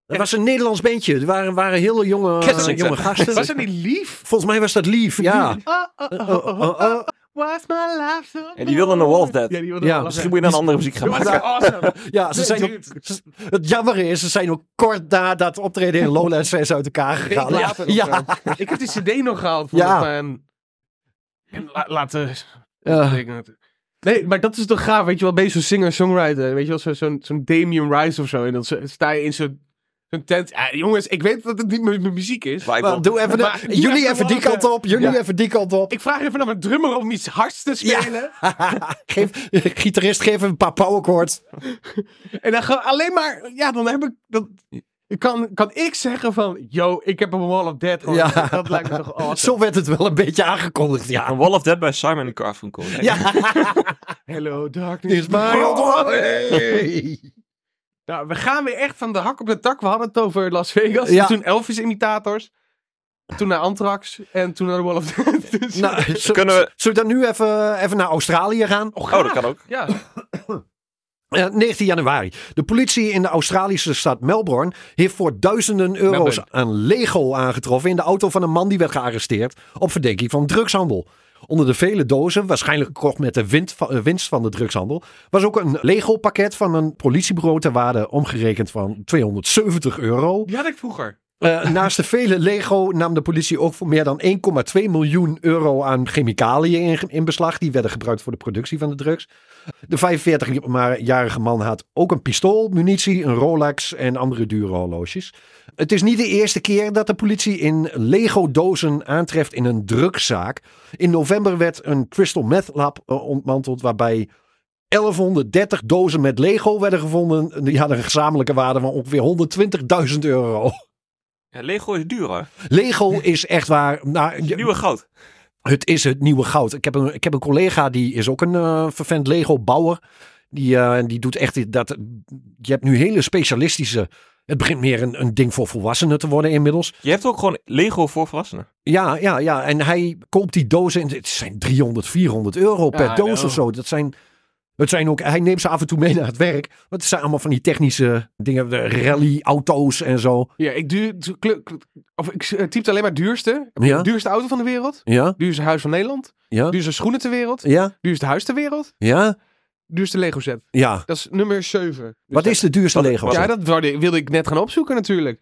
D: Dat was een Nederlands bandje. Er waren, waren hele jonge,
C: Kensington.
D: jonge gasten.
E: Was dat niet lief?
D: Volgens mij was dat lief, ja.
E: Oh, oh, oh, oh, oh, oh. Was my life so
C: En die wilden een Wall of Death.
E: Ja, die wilden
D: Ja,
E: een Wall of
C: Misschien
E: Death.
C: moet je dan een andere muziek gaan
E: Dat was
C: maken.
E: awesome.
D: Ja, ze
E: Nee,
D: zijn ook,
E: dude.
D: ze- het jammer is, ze zijn ook kort na dat optreden in Lowlands zijn ze uit elkaar gegaan.
E: Week
D: Ja,
E: later of
D: ja.
E: zo. Ik heb die cd nog gehaald voor
D: Ja.
E: dat, ehm, en la- laten...
D: Ja.
E: Nee, maar dat is toch gaaf, weet je wel, ben je zo'n singer-songwriter, weet je wel, zo- zo'n zo'n Damien Rice of zo, en dan zo- sta je in zo'n zo'n tent. Ja, jongens, ik weet dat het niet mijn mijn muziek is.
C: Waar ik
D: Maar
C: wel-
D: doe even, de-
E: Maar-
D: jullie even die kant op, jullie
E: Ja.
D: even die kant op.
E: Ik vraag even naar mijn drummer om iets hards te spelen.
D: Geef, gitarist, geef een paar powerchords.
E: En dan gewoon alleen maar, ja, dan heb ik, dat, kan, kan ik zeggen van, yo, ik heb een Wall of Death. hoor.
D: Ja.
E: Dat lijkt me toch awesome.
D: Zo werd het wel een beetje aangekondigd, ja.
C: Een Wall of Death bij Simon Garfunkel.
D: Ja,
E: Hello darkness.
D: is maar...
E: Nou, we gaan weer echt van de hak op de tak. We hadden het over Las Vegas.
D: Ja.
E: Toen Elvis-imitators. Toen naar Anthrax. En toen naar de Wall of Death. Dus-
D: Nou, z-
C: Kunnen we-
D: z- Zullen we dan nu even, even naar Australië gaan?
C: Oh, dat kan ook.
E: Ja,
D: Eh, 19 januari. De politie in de Australische stad Melbourne heeft voor duizenden euro's
E: Melbourne.
D: aan Lego aangetroffen in de auto van een man die werd gearresteerd op verdenking van drugshandel. Onder de vele dozen, waarschijnlijk gekocht met de wind van- eh, winst van de drugshandel, was ook een Lego-pakket van een politiebureau ter waarde omgerekend van 270 euro.
E: die had ik vroeger.
D: Eh, naast de vele Lego nam de politie ook voor meer dan 1,2 miljoen euro aan chemicaliën in, in beslag. Die werden gebruikt voor de productie van de drugs. De 45-jarige man had ook een pistool, munitie, een Rolex en andere dure horloges. Het is niet de eerste keer dat de politie in Lego-dozen aantreft in een drugszaak. In november werd een crystal meth lab eh, ontmanteld waarbij 1130 dozen met Lego werden gevonden. Die hadden een gezamenlijke waarde van ongeveer 120.000 euro.
C: Ja, Lego is duur hoor.
D: Lego is echt waar. Nou, je-
C: Nieuwe goud.
D: het is het nieuwe goud. Ik heb een, ik heb een collega die is ook een eh vervent Lego-bouwer. Die, eh, die doet echt dat. Je hebt nu hele specialistische. Het begint meer een, een ding voor volwassenen te worden inmiddels.
C: Je hebt ook gewoon Lego voor volwassenen.
D: Ja, ja, ja. En hij koopt die dozen. En het zijn 300, 400 euro per
E: Ja, I
D: doos
E: know.
D: of zo. Dat zijn. Het zijn ook, hij neemt ze af en toe mee naar het werk. Want het zijn allemaal van die technische dingen. de Rally-auto's en zo.
E: Ja, ik, duur, tu- kle- kle- of ik eh, typte alleen maar duurste.
D: Ja.
E: Duurste auto van de wereld.
D: Ja,
E: Duurste huis van Nederland.
D: ja,
E: Duurste schoenen ter wereld.
D: ja,
E: Duurste huis ter wereld.
D: ja.
E: Duurste Lego set.
D: ja.
E: Dat is nummer 7.
D: Wat is de duurste
C: Wat-
D: Lego?
C: wat-
E: Ja, dat wilde, wilde ik net gaan opzoeken natuurlijk.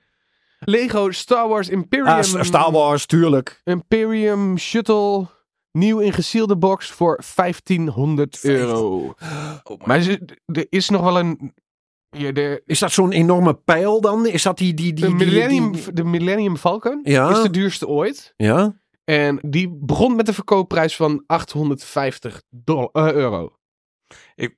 E: Lego Star Wars Imperium.
D: Ah, S- Star Wars, tuurlijk.
E: Imperium Shuttle. Nieuw in gezielde box voor 1500 euro.
C: Oh,
E: maar ze- er is nog wel een. Ja, de,
D: Is dat zo'n enorme pijl dan? Is dat die... die, die,
E: de,
D: die-
E: Millennium,
D: die-
E: de Millennium Falcon
D: Ja.
E: is de duurste ooit.
D: Ja?
E: En die begon met een verkoopprijs van 850 dollar, eh, euro.
D: Ja,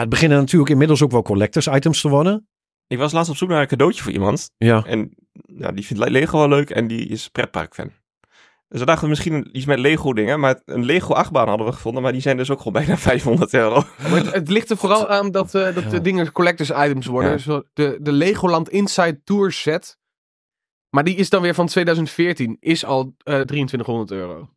D: Het beginnen natuurlijk inmiddels ook wel collectors items te worden.
C: Ik was laatst op zoek naar een cadeautje voor iemand.
D: Ja.
C: En ja, die vindt Le- Lego wel leuk en die is pretparkfan. Dus we dachten misschien iets met Lego dingen. Maar een Lego achtbaan hadden we gevonden. Maar die zijn dus ook gewoon bijna 500 euro.
E: Maar het, het ligt er vooral aan dat, eh, dat de dingen collectors items worden.
C: Ja.
E: Zo de, de Legoland Inside Tour set. Maar die is dan weer van 2014. Is al eh, 2300 euro.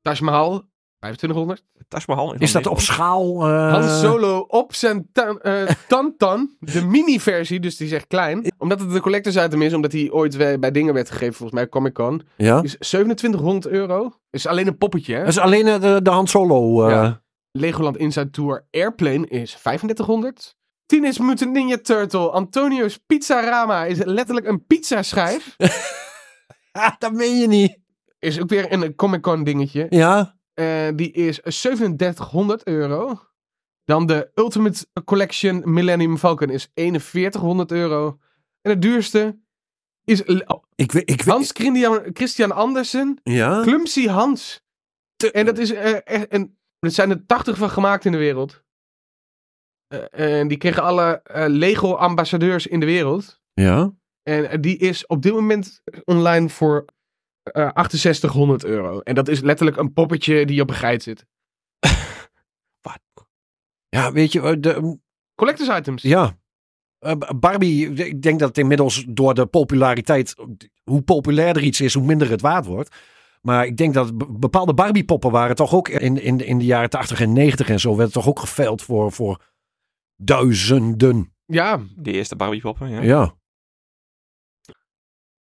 E: Taj Mahal, 2500.
C: Taj Mahal.
D: Is dat op schaal? eh,
E: Han Solo op zijn tan- eh, tantan. de mini-versie, dus die zegt klein. Omdat het een collectors item is, omdat die ooit we- bij dingen werd gegeven, volgens mij Comic Con.
D: Ja.
E: Is 2700 euro. Is alleen een poppetje. Hè?
D: Dat is alleen eh, de, de Han Solo. eh.
E: Ja. Legoland Inside Tour Airplane is 3500. Tien is Mutant Ninja Turtle. Antonio's Pizzarama is letterlijk een pizzaschijf.
D: Ah, dat meen je niet.
E: Is ook weer een Comic Con dingetje.
D: Ja.
E: Eh, die is 3700 euro. Dan de Ultimate Collection Millennium Falcon is 4100 euro. En het duurste is L-
D: Ik weet... Ik weet
E: Hans Christian, Christian Andersen.
D: ja.
E: Clumsy Hans. En dat is eh, echt. En er zijn er 80 van gemaakt in de wereld. Eh, en die kregen alle eh, Lego-ambassadeurs in de wereld.
D: Ja.
E: En eh, die is op dit moment online voor eh 6800 euro. En dat is letterlijk een poppetje die op een geit zit.
D: Ja, weet je... eh, De,
E: Collectors items.
D: ja. Eh, B- Barbie, ik denk dat het inmiddels door de populariteit... Hoe populairder iets is, hoe minder het waard wordt. Maar ik denk dat be- bepaalde Barbie-poppen waren toch ook in, in, in de jaren 80 en 90 en zo. werd toch ook geveild voor, voor duizenden.
E: Ja,
C: De eerste Barbie-poppen, ja.
D: Ja.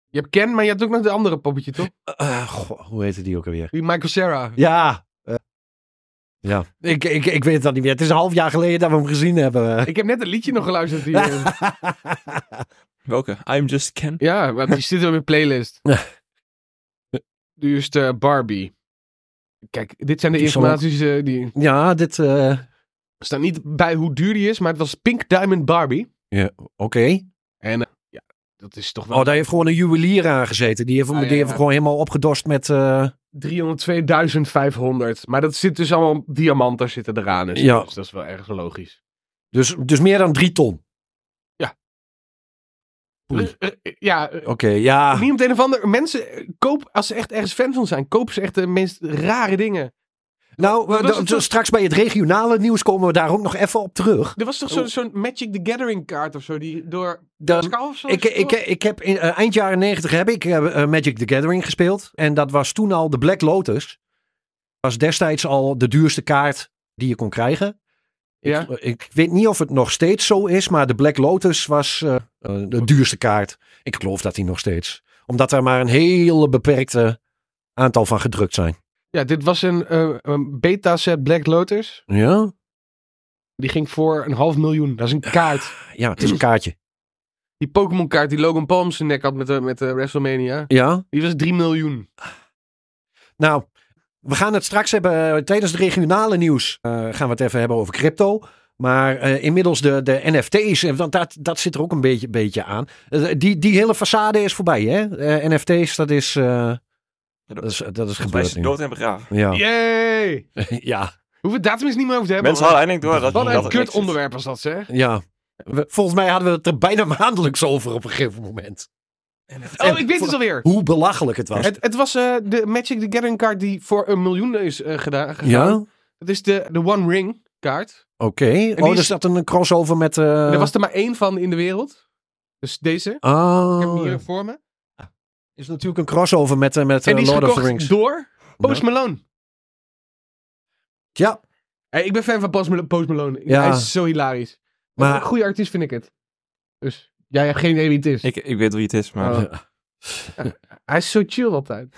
E: je hebt Ken, maar je hebt ook nog de andere poppetje, toch?
D: Eh, goh, hoe heette die ook alweer?
E: Die Michael Sarah.
D: Ja. eh, ja. Ik, ik, ik weet het dan niet meer. Het is een half jaar geleden dat we hem gezien hebben.
E: Ik heb net een liedje nog geluisterd
D: eh,
E: hier.
C: Welke? I'm Just Ken.
E: ja, maar die zit in mijn playlist. Nu is de Barbie. Kijk, dit zijn de
D: Die zal ook-
E: informaties eh, die...
D: ja, dit. eh,
E: Er staat niet bij hoe duur die is, maar het was Pink Diamond Barbie.
D: Oké.
E: En eh, ja, dat is toch wel
D: Oh, daar heeft gewoon een juwelier aan gezeten. Die heeft, hem-
E: Ah, ja,
D: die heeft
E: ja.
D: hem gewoon helemaal opgedost met. eh,
E: 302.500. Maar dat zit dus allemaal diamanten zitten eraan. Dus,
D: Ja.
E: dus dat is wel ergens wel logisch.
D: dus, dus meer dan drie ton.
E: Ja.
D: Oei,
E: Eh, eh, ja, eh,
D: Oké, ja.
E: niet om het een of ander. Mensen, eh, koop, als ze echt ergens fan van zijn, kopen ze echt de meest rare dingen.
D: Nou, eh,
E: was
D: d-
E: het
D: d-
E: toch?
D: straks bij het regionale nieuws komen we daar ook nog even op terug.
E: Er was toch zo- zo'n Magic the Gathering kaart of zo, die door
D: Dan,
E: Pascal of zo?
D: Ehm, ik, ik, ik heb in, eh, eind jaren 90 heb ik eh, eh, Magic the Gathering gespeeld. En dat was toen al de Black Lotus. Was destijds al de duurste kaart die je kon krijgen.
E: ja.
D: Ik, eh, ik weet niet of het nog steeds zo is, maar de Black Lotus was eh, eh, de duurste kaart. Ik geloof dat die nog steeds. Omdat er maar een hele beperkte aantal van gedrukt zijn.
E: ja, dit was een, eh, een beta set Black Lotus.
D: Ja?
E: Die ging voor een half miljoen. Dat is een kaart.
D: Ja, het is een kaartje.
E: Die Pokémon kaart die Logan Paul om zijn nek had met de, met de WrestleMania.
D: Ja?
E: Die was 3 miljoen.
D: Nou, we gaan het straks hebben eh, tijdens het regionale nieuws. eh, gaan we het even hebben over crypto. Maar eh, inmiddels de, de NFT's, eh, want dat, dat zit er ook een beetje, beetje aan. Eh, die, die hele façade is voorbij, hè? Eh, NFT's, dat is, eh, dat is, dat is
C: Volgens mij is
D: gebeurd
C: het
D: nu.
C: dood en begraven.
D: Ja.
E: Yay!
D: ja,
E: Hoeven datum is niet meer over te hebben.
C: Mensen
E: hoor.
C: hadden eindelijk door dat
E: Wat
C: dat
E: een
C: het
E: kut
C: niks is.
E: onderwerp was dat, zeg.
D: ja. We- volgens mij hadden we het er bijna maandelijks over op een gegeven moment.
E: Oh, ik weet het alweer.
D: Hoe belachelijk het was.
E: Het, het was eh, de Magic the Gathering kaart die voor een miljoen is eh, gedaan. gegaan.
D: ja,
E: Dat is de, de One Ring kaart.
D: oké.
E: die
D: Oh,
E: is-
D: er zat een crossover met... eh
E: Er was er maar één van in de wereld. Dus deze. Ik heb hem
D: Ah,
E: hier voor me.
D: is natuurlijk een crossover met, eh, met
E: En
D: eh,
E: die is
D: Lord of the
E: gekocht
D: Rings.
E: door Post Malone.
D: Ja,
E: Hey, ik ben fan van Post Malone. Post Malone.
D: Ja.
E: Hij is zo hilarisch. Maar...
D: maar...
E: Een goede artiest vind ik het. Dus jij hebt geen idee wie het is.
C: Ik, ik weet wie het is, maar...
E: Oh. Hij is zo chill altijd.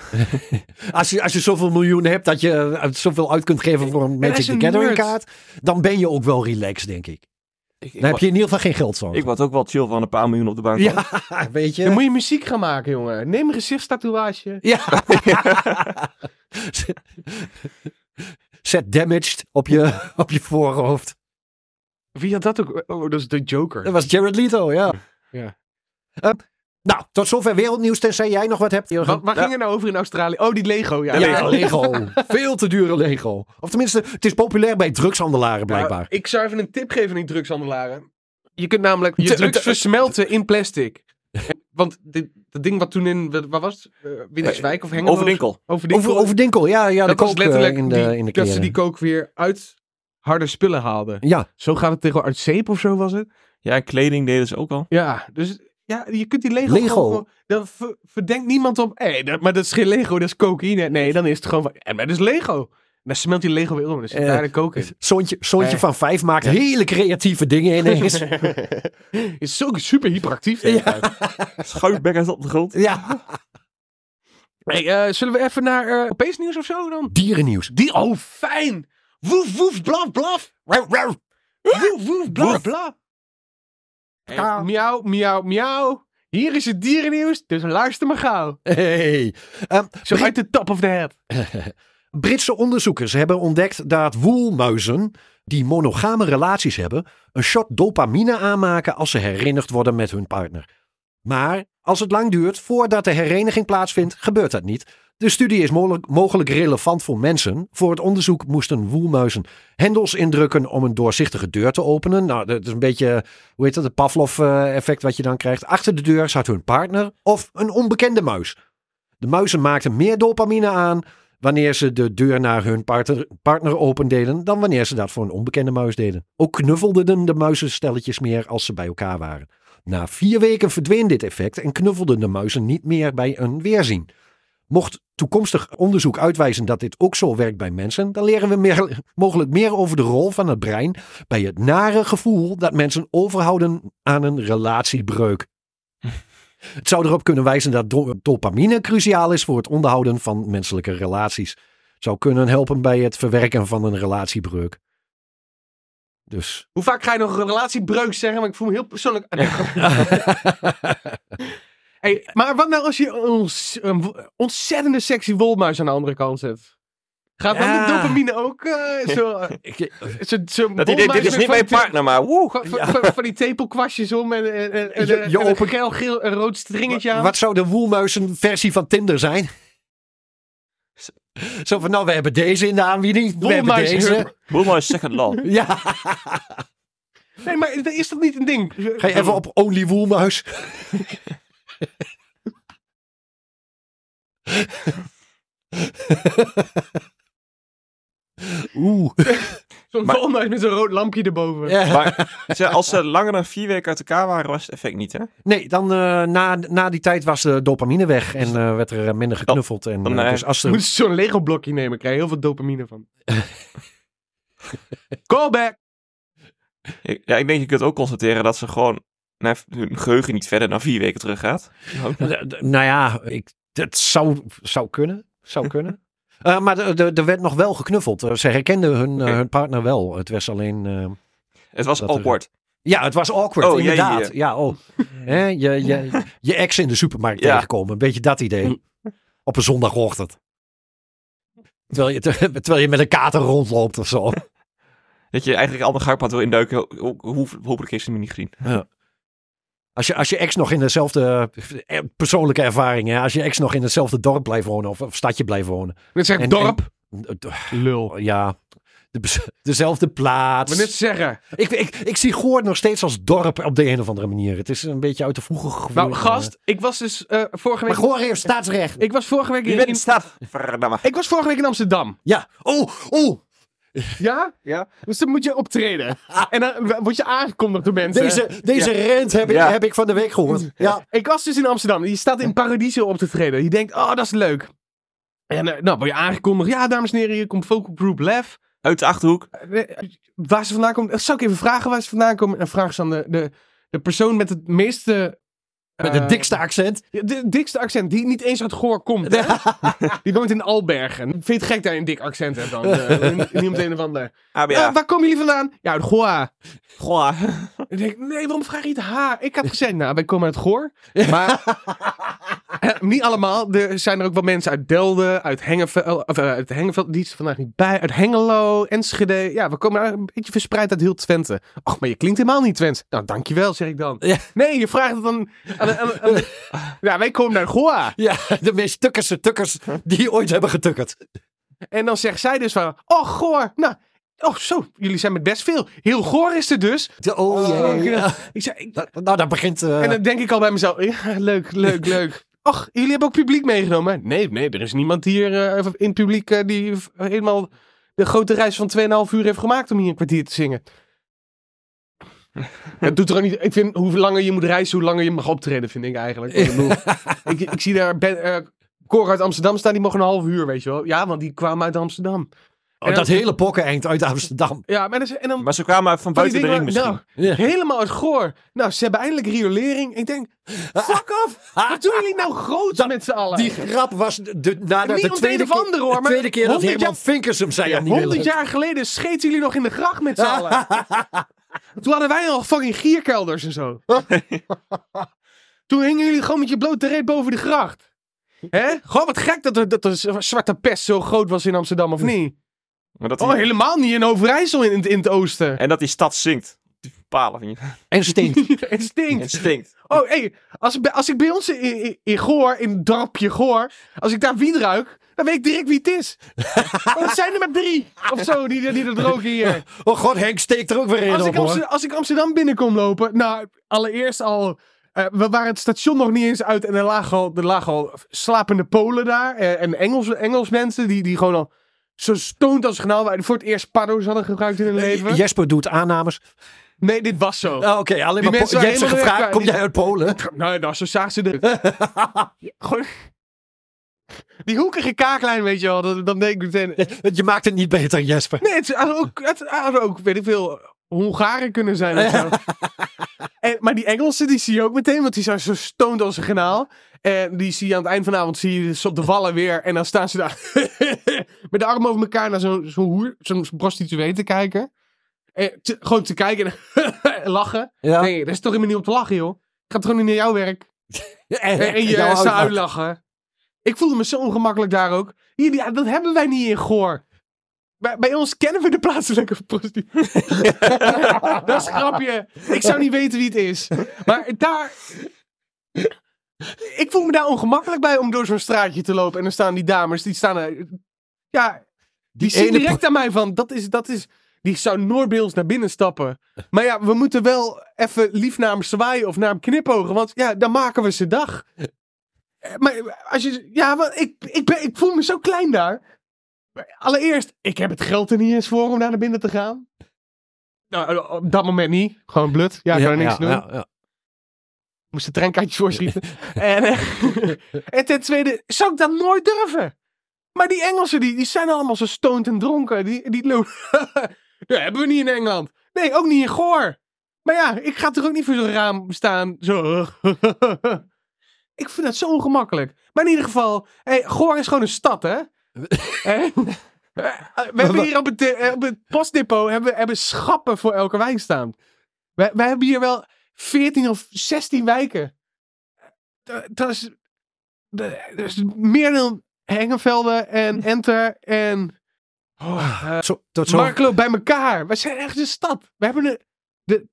D: Als je, als je zoveel miljoen hebt dat je eh, zoveel uit kunt geven voor een
E: hij
D: Magic
E: is
D: the
E: een
D: Gathering
E: nerd.
D: kaart, dan ben je ook wel relaxed, denk ik.
C: Ik, ik,
D: Dan heb
C: wa-
D: je in ieder geval geen geld zo.
C: ik was ook wel chill van een paar miljoen op de bank.
D: Ja, weet
E: Dan
D: je.
E: moet je muziek gaan maken, jongen. Neem een gezichtstatoeage.
D: Ja. Zet damaged op je, op je voorhoofd.
E: Wie had dat ook? Oh, dat is de Joker.
D: Dat was Jared Leto, ja.
E: Ja.
D: Eh, nou, tot zover wereldnieuws, tenzij jij nog wat hebt.
E: Wat, waar ging er nou over in Australië? Oh, die Lego, ja.
D: ja, Lego. Veel te dure Lego. Of tenminste, het is populair bij drugshandelaren blijkbaar.
E: ik zou even een tip geven aan die drugshandelaren. Je kunt namelijk je
D: Te-
E: drugs
D: te-
E: versmelten in plastic. Want dit, dat ding wat toen in, wat wat was het? Eh, Winterswijk of Hengelo?
C: Overdinkel.
E: Overdinkel.
D: Over, over Dinkel, ja. ja
E: dat
D: de
E: was
D: kook, eh,
E: letterlijk
D: in de,
E: die-
D: in de
E: dat ze die
D: kleren.
E: kook weer uit harde spullen haalden.
D: Ja,
E: Zo gaat het tegen uit zeep of zo was het.
C: Ja, en kleding deden ze ook al.
E: Ja, dus ja, je kunt die Lego.
D: Lego.
E: gewoon- gewoon- dan ver- verdenkt niemand op. Hé, dat- maar dat is geen Lego, dat is cocaïne. Nee, dan is het gewoon van. En maar dat is Lego. En dan smelt die Lego weer om. Dus
D: Eh,
E: daar de coke in.
D: Sontje, Sontje
E: Nee.
D: van Vijf maakt hele creatieve dingen ineens.
E: is zo super hyperactief. de hele tijd.
C: Schuifbekkers op de grond.
D: ja.
E: Hey, eh, zullen we even naar eh Europees nieuws of zo dan?
D: Dierennieuws.
E: Die, oh, fijn. Woef, woef, blaf, blaf.
D: Rauw, rauw.
E: Woef, woef, blaf,
C: Woef.
E: blaf. Hey,
D: Kauw.
E: Eh, miauw, miauw, miauw. Hier is het dierennieuws, dus luister maar gauw.
D: Hey. Ehm,
E: Zo
D: Brit-
E: uit de top of the head.
D: Britse onderzoekers hebben ontdekt dat woelmuizen die monogame relaties hebben, een shot dopamine aanmaken als ze herenigd worden met hun partner. Maar als het lang duurt voordat de hereniging plaatsvindt, gebeurt dat niet. De studie is mogelijk, mogelijk relevant voor mensen. Voor het onderzoek moesten woelmuizen hendels indrukken om een doorzichtige deur te openen. Nou, dat is een beetje, hoe heet dat, het Pavlov-effect wat je dan krijgt. Achter de deur zat hun partner of een onbekende muis. De muizen maakten meer dopamine aan wanneer ze de deur naar hun partner, partner opendeden dan wanneer ze dat voor een onbekende muis deden. Ook knuffelden de muizen stelletjes meer als ze bij elkaar waren. Na vier weken verdween dit effect en knuffelden de muizen niet meer bij een weerzien. Mocht toekomstig onderzoek uitwijzen dat dit ook zo werkt bij mensen, dan leren we meer, mogelijk meer over de rol van het brein bij het nare gevoel dat mensen overhouden aan een relatiebreuk. Het zou erop kunnen wijzen dat do- dopamine cruciaal is voor het onderhouden van menselijke relaties. Het zou kunnen helpen bij het verwerken van een relatiebreuk. Dus
E: Hoe vaak ga je nog een relatiebreuk zeggen? Want ik voel me heel persoonlijk. Ah, hey, maar wat nou als je een ons- een w- ontzettende sexy wolmuis aan de andere kant zet? Gaat dan
D: Ja.
E: de dopamine ook eh, zo... eh, zo, zo
C: Dat idee,
E: wolmuis
C: dit is niet
E: met van
C: mijn
E: die te-
C: partner, maar woe.
E: Van, van- van- van die tepelkwastjes om en, en, en, en,
D: Je-
E: en
D: je
E: een
D: open-
E: geel, geel, een rood stringetje aan.
D: Wat zou de woelmuizenversie van Tinder zijn? Zo van, nou, we hebben deze in de aanbieding. We hebben
E: Wolmuis-
D: deze.
C: Boel maar second love.
D: Ja,
E: Nee, maar is dat niet een ding?
D: ga je even op Only Woelmuis. Oeh.
E: Zo'n
C: Maar-
E: walmuis met zo'n rood lampje erboven.
D: Ja.
C: Maar ze- als ze langer dan vier weken uit elkaar waren, was het effect niet, hè?
D: Nee, dan eh, na, na die tijd was de dopamine weg en eh, werd er eh, minder geknuffeld. En,
C: Dus- Dan,
D: eh,
C: eh,
D: dus als
E: Je
D: er-
E: moet zo'n Lego blokje nemen, krijg je heel veel dopamine van. Callback!
C: Ik- Ja, ik denk je kunt ook constateren dat ze gewoon nou, hun geheugen niet verder dan vier weken teruggaat.
D: D- d- nou ja, ik, dat zou, zou kunnen. Zou kunnen. Eh, maar de- de- er werd nog wel geknuffeld. Eh, ze herkenden hun, eh,
C: Oké.
D: hun partner wel. Het was alleen... eh,
C: Het was
D: Dat er-
C: awkward.
D: ja, het was awkward,
C: Oh, ja, ja, ja.
D: inderdaad. Ja, oh. Hè, je, je, je ex in de supermarkt
C: Ja. Mm.
D: tegenkomen. Een beetje dat idee. Op een zondagochtend. Terwijl je, terwijl je met een kater rondloopt of zo.
C: Dat je eigenlijk al de gangpad wil induiken. ho- ho- hoe- hopelijk heeft ze hem niet gezien.
D: Als je, als je ex nog in dezelfde eh, persoonlijke ervaring, hè, als je ex nog in hetzelfde dorp blijft wonen of, of stadje blijft wonen.
E: Dit zegt
D: En-
E: dorp.
D: Eh,
E: Lul.
D: Ja, de, bes- dezelfde
E: Maar
D: plaats.
E: net zeggen. nou,
D: Ik, ik, ik zie Goord nog steeds als dorp op de een of andere manier. Het is een beetje uit de vroege gevoel.
E: Nou, gast, ik was dus eh, vorige
D: Maar
E: week...
D: Goord heeft staatsrecht.
E: Ik was vorige week
C: Je
E: in...
C: bent in staat. Verdamme.
E: Ik was vorige week in Amsterdam.
D: Ja. Oh, oh.
E: Ja? Ja. Dus dan moet je optreden. En dan word je aangekondigd door mensen.
D: Deze, deze rent heb ik,
C: Ja.
D: heb ik van de week gehoord. Ja.
E: Ik was dus in Amsterdam. Je staat in Paradiso op te treden. Je denkt, oh, dat is leuk. En eh, nou, word je aangekondigd. Ja, dames en heren, hier komt Vocal Group Lef.
C: Uit de Achterhoek.
E: Eh, Waar ze vandaan komen. eh, Zou ik even vragen waar ze vandaan komen? En vraag ze aan de, de, de persoon met het meeste...
D: Met de
E: eh,
D: dikste accent.
E: De dikste accent, die niet eens uit Goor komt. hè? Die woont in Albergen. Vind je het gek dat je een dik accent hebt dan? Eh, Niemand een of ander.
C: ABA.
E: Eh, waar komen jullie vandaan? Ja, uit Goa.
C: Goh.
E: Ik denk, nee, waarom vraag je het haar? Ik had gezegd, nou, wij komen uit Goor. Maar eh, niet allemaal. Er zijn er ook wel mensen uit Delden, uit Hengeveld. Of, eh, uit Hengeveld, die is er vandaag niet bij. Uit Hengelo, Enschede. Ja, we komen eigenlijk een beetje verspreid uit heel Twente. Ach, maar je klinkt helemaal niet Twents. Nou, dankjewel, zeg ik dan.
D: Ja.
E: Nee, je vraagt het dan aan... aan, aan- ja, wij komen uit Goa.
D: Ja, de meest tukkerse tukkers die ooit hebben getukkerd.
E: En dan zegt zij dus van, oh, Goor. Nou, oh, zo, jullie zijn met best veel. Heel Goor is er dus.
D: De- Oh, jee.
E: ja. Ik zei, ik-
D: Dat- Nou, dat begint... eh,
E: En dan denk ik al bij mezelf, ja, leuk, leuk, leuk. Och, jullie hebben ook publiek meegenomen. Nee, nee, er is niemand hier eh, in het publiek eh, die v- helemaal de grote reis van 2,5 uur heeft gemaakt om hier een kwartier te zingen. Het doet er ook niet. Ik vind hoe langer je moet reizen, hoe langer je mag optreden, vind ik eigenlijk. Ik, bedoel, ik, ik zie daar ben, eh, Cor uit Amsterdam staan, die mogen een half uur, weet je wel. Ja, want die kwamen uit Amsterdam.
D: Oh, dat hele pokkeneind uit Amsterdam.
E: Ja, maar dat is- en dan
C: Maar ze kwamen van
E: van die
C: buiten de ring
E: dingen
C: misschien.
E: waar- Nou, helemaal uit goor. Nou, ze hebben eindelijk riolering. Ik denk, fuck off. Wat doen jullie nou groot met z'n allen?
D: Die grap was de, de- nadat
E: Niet
D: de
E: om
D: tweede
E: het een of
D: keer,
E: ander, hoor,
D: de
E: maar
D: tweede keer dat
E: 100
D: Herman
E: jaar-
D: Vinkers hem zei. Ja, niet willen.
E: 100 jaar geleden scheten jullie nog in de gracht met z'n allen. Toen hadden wij al fucking gierkelders en zo. Toen hingen jullie gewoon met je blote reet boven de gracht. Hè? Gewoon wat gek dat de, dat de zwarte pest zo groot was in Amsterdam, of niet?
C: Maar dat die-
E: Oh, helemaal niet in Overijssel in, in, in het oosten.
C: En dat die stad zinkt. Die palen van je.
D: En stinkt.
E: Het stinkt.
C: Het stinkt.
E: Oh, hé, als, ik bij- als ik bij ons in, in, in Goor, in het dorpje Goor, als ik daar wiet ruik, dan weet ik direct wie het is. Want het zijn er maar drie of zo die, die dat roken hier.
D: Oh god, Henk steekt er ook weer in
E: Als
D: op,
E: ik,
D: hoor.
E: Amster- als ik Amsterdam binnenkom lopen, nou, allereerst al, eh, we waren het station nog niet eens uit en er lagen al, er lagen al slapende Polen daar eh, en Engels, Engels mensen die, die gewoon al zo stoned als genaal waren. Voor het eerst paddo's hadden gebruikt in hun leven.
D: Jesper doet aannames.
E: Eh, Nee, dit was zo.
D: Ah, Oké, alleen
E: Die
D: maar...
E: mensen
D: Po- je hebt
E: waren
D: ze
E: helemaal
D: gevraagd,
E: weg,
D: kom
E: die-
D: jij uit Polen?
E: Nou, nou, zo zagen ze er. Ja, Gewoon. Die hoekige kaaklijn, weet je wel. Dat, dan denk ik meteen...
D: Je maakt het niet beter, Jesper.
E: Nee, het zou ook, het zou ook weet ik veel, Hongaren kunnen zijn of zo. en, maar die Engelsen, die zie je ook meteen, want die zijn zo stoned als een granaal. En die zie je aan het eind van de avond, zie je ze op de wallen weer. En dan staan ze daar met de armen over elkaar naar zo'n zo'n hoer, zo'n prostituee te kijken. En te- gewoon te kijken en lachen.
A: Ja.
E: Nee, dat is toch helemaal niet om te lachen, joh. Ik ga toch niet naar jouw werk.
A: En,
E: En, en je
A: jouw
E: eh, ze
A: ouders-
E: uitlachen. Ik voelde me zo ongemakkelijk daar ook. Hier, die- dat hebben wij niet in Goor. Bij, bij ons kennen we de plaatselijke prostitutie. dat is een grapje. Ik zou niet weten wie het is. Maar daar... Ik voel me daar ongemakkelijk bij om door zo'n straatje te lopen. En dan staan die dames, die staan... er- Ja, die, zien
A: ene
E: direct aan mij van... Dat is, dat is, die zou noordbeels naar binnen stappen. Maar ja, we moeten wel even lief naar hem zwaaien of naar hem knipogen. Want ja, dan maken we ze dag. Eh, Maar als je. Ja, want ik, ik, ben, ik voel me zo klein daar. Maar Allereerst, ik heb het geld er niet eens voor om daar naar binnen te gaan. Nou, op dat moment niet. Gewoon blut. Ja, ik kan er niks doen.
A: ja, ja.
E: Moest de treinkaartjes voorschieten. en, eh, en ten tweede, zou ik dat nooit durven? Maar die Engelsen, die, die zijn allemaal zo stoned en dronken. Die, die lopen... dat hebben we niet in Engeland. Nee, ook niet in Goor. Maar ja, ik ga er ook niet voor zo'n raam staan. Zo. ik vind dat zo ongemakkelijk. Maar in ieder geval, hey, Goor is gewoon een stad, hè? Hè? we hebben hier op het, eh, op het postdepot hebben, we- hebben schappen voor elke wijk staan. Wij, wij hebben hier wel 14 of 16 wijken. Dat, dat is, dat, dat is meer dan Hengenvelde en Enter en eh,
D: Zo, tot zo.
E: Marklo bij elkaar. Wij zijn echt een stad. We hebben de, de,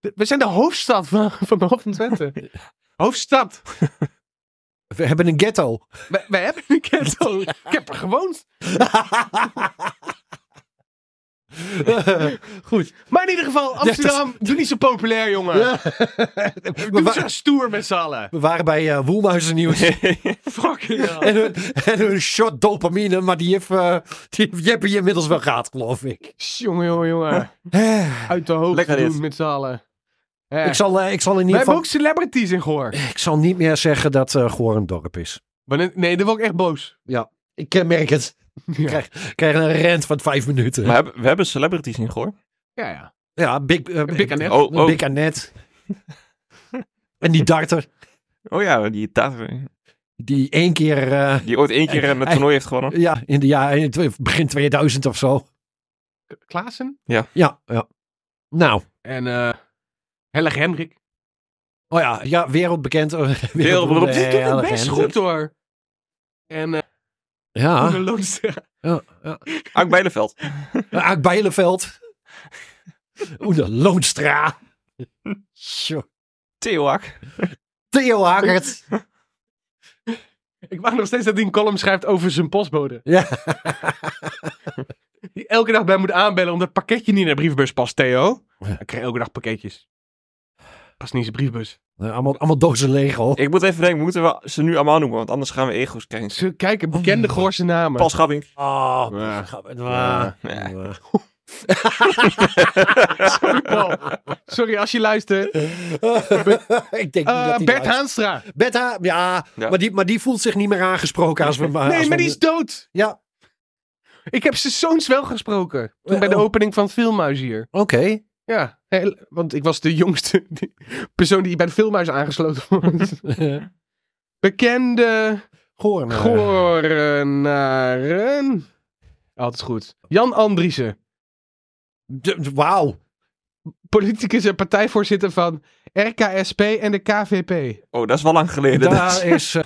E: de- we zijn de hoofdstad van, van de Hof van Twente. hoofdstad.
D: We hebben een ghetto.
E: Wij, wij hebben een ghetto. Ik heb er gewoond.
D: Goed.
E: Maar in ieder geval, Amsterdam, doe niet zo populair, jongen.
D: Ja.
E: Doe niet zo stoer met z'n allen.
D: We waren bij eh Woelmuizen nieuws.
E: Fucking hell.
D: en, een, en een shot dopamine, maar die heeft, eh, die heeft Jeppe inmiddels wel gehad, geloof ik.
E: Jongen, jongen, jongen. Uit de hoogte
C: Lekker
E: doen
C: dit.
E: met z'n allen. Eh.
D: Ik zal, eh, ik zal in
E: Wij
D: ieder
E: hebben
D: geval...
E: ook celebrities in Goor.
D: Ik zal niet meer zeggen dat eh Goor een dorp is.
E: Wanneer- Nee, daar word ik echt boos.
D: Ik eh, merk het. Ik krijg, ik krijg een rent van vijf minuten.
C: Maar hebben- we hebben celebrities in Goor.
E: Ja, ja.
D: ja, Big, eh,
E: Big Annette.
C: Oh, oh.
D: Big Annette. en die darter,
C: oh ja, die, Tater,
D: die één keer... eh,
C: die ooit één keer een
D: Hey.
C: toernooi heeft gewonnen.
D: ja, in de jaren... Begin 2000 of zo.
E: Klaassen.
D: Ja, ja. Nou,
E: En eh Hellig Hendrik.
D: oh ja, ja wereldbekend. eh,
C: Wereldberoemd.
E: Die doet het
D: eh,
E: best
D: legende.
E: goed hoor. En eh
D: Ja.
E: Koen Loonstra.
D: ja, ja.
C: Ook Bijleveld.
D: Aak Bijleveld. Oede Loonstra. Tjo.
C: Theo Ak.
D: Theo Hakert.
E: Ik wacht nog steeds dat hij een column schrijft over zijn postbode.
D: Ja.
E: Die elke dag bij moet aanbellen omdat het pakketje niet naar de brievenbus past, Theo. Hij kreeg elke dag pakketjes. Past niet in zijn briefbus.
D: Eh, Allemaal, allemaal dozen Lego.
C: Ik moet even denken, moeten we ze nu allemaal noemen? Want anders gaan we ego's krijgen.
E: Ze kijken bekende Goorse namen.
C: Paul Schabbing.
D: Oh,
E: Oh Ja.
D: ja.
C: Ja.
E: Sorry, Paul. Sorry als je luistert.
D: Ah. ik denk
E: Eh,
D: niet dat die
E: Bert
D: luistert. Ah,
E: Haanstra.
D: Bert Haan, ja,
C: Ja.
D: Maar, die, maar die voelt zich niet meer aangesproken als we... als
E: Nee,
D: we-
E: maar die is dood.
D: Ja,
E: Ik heb zijn zoons wel gesproken. Toen bij de
D: Oh.
E: opening van het filmhuis hier.
D: oké.
E: Ja, heel- want ik was de jongste die- persoon die bij het filmhuis aangesloten wordt. Bekende
D: Goor. eh,
E: Gorenaren. Altijd goed. Jan Andriessen.
D: d- d- Wauw.
E: Politicus en partijvoorzitter van RKSP en de KVP.
C: Oh, dat is wel lang geleden.
D: Daar is... eh,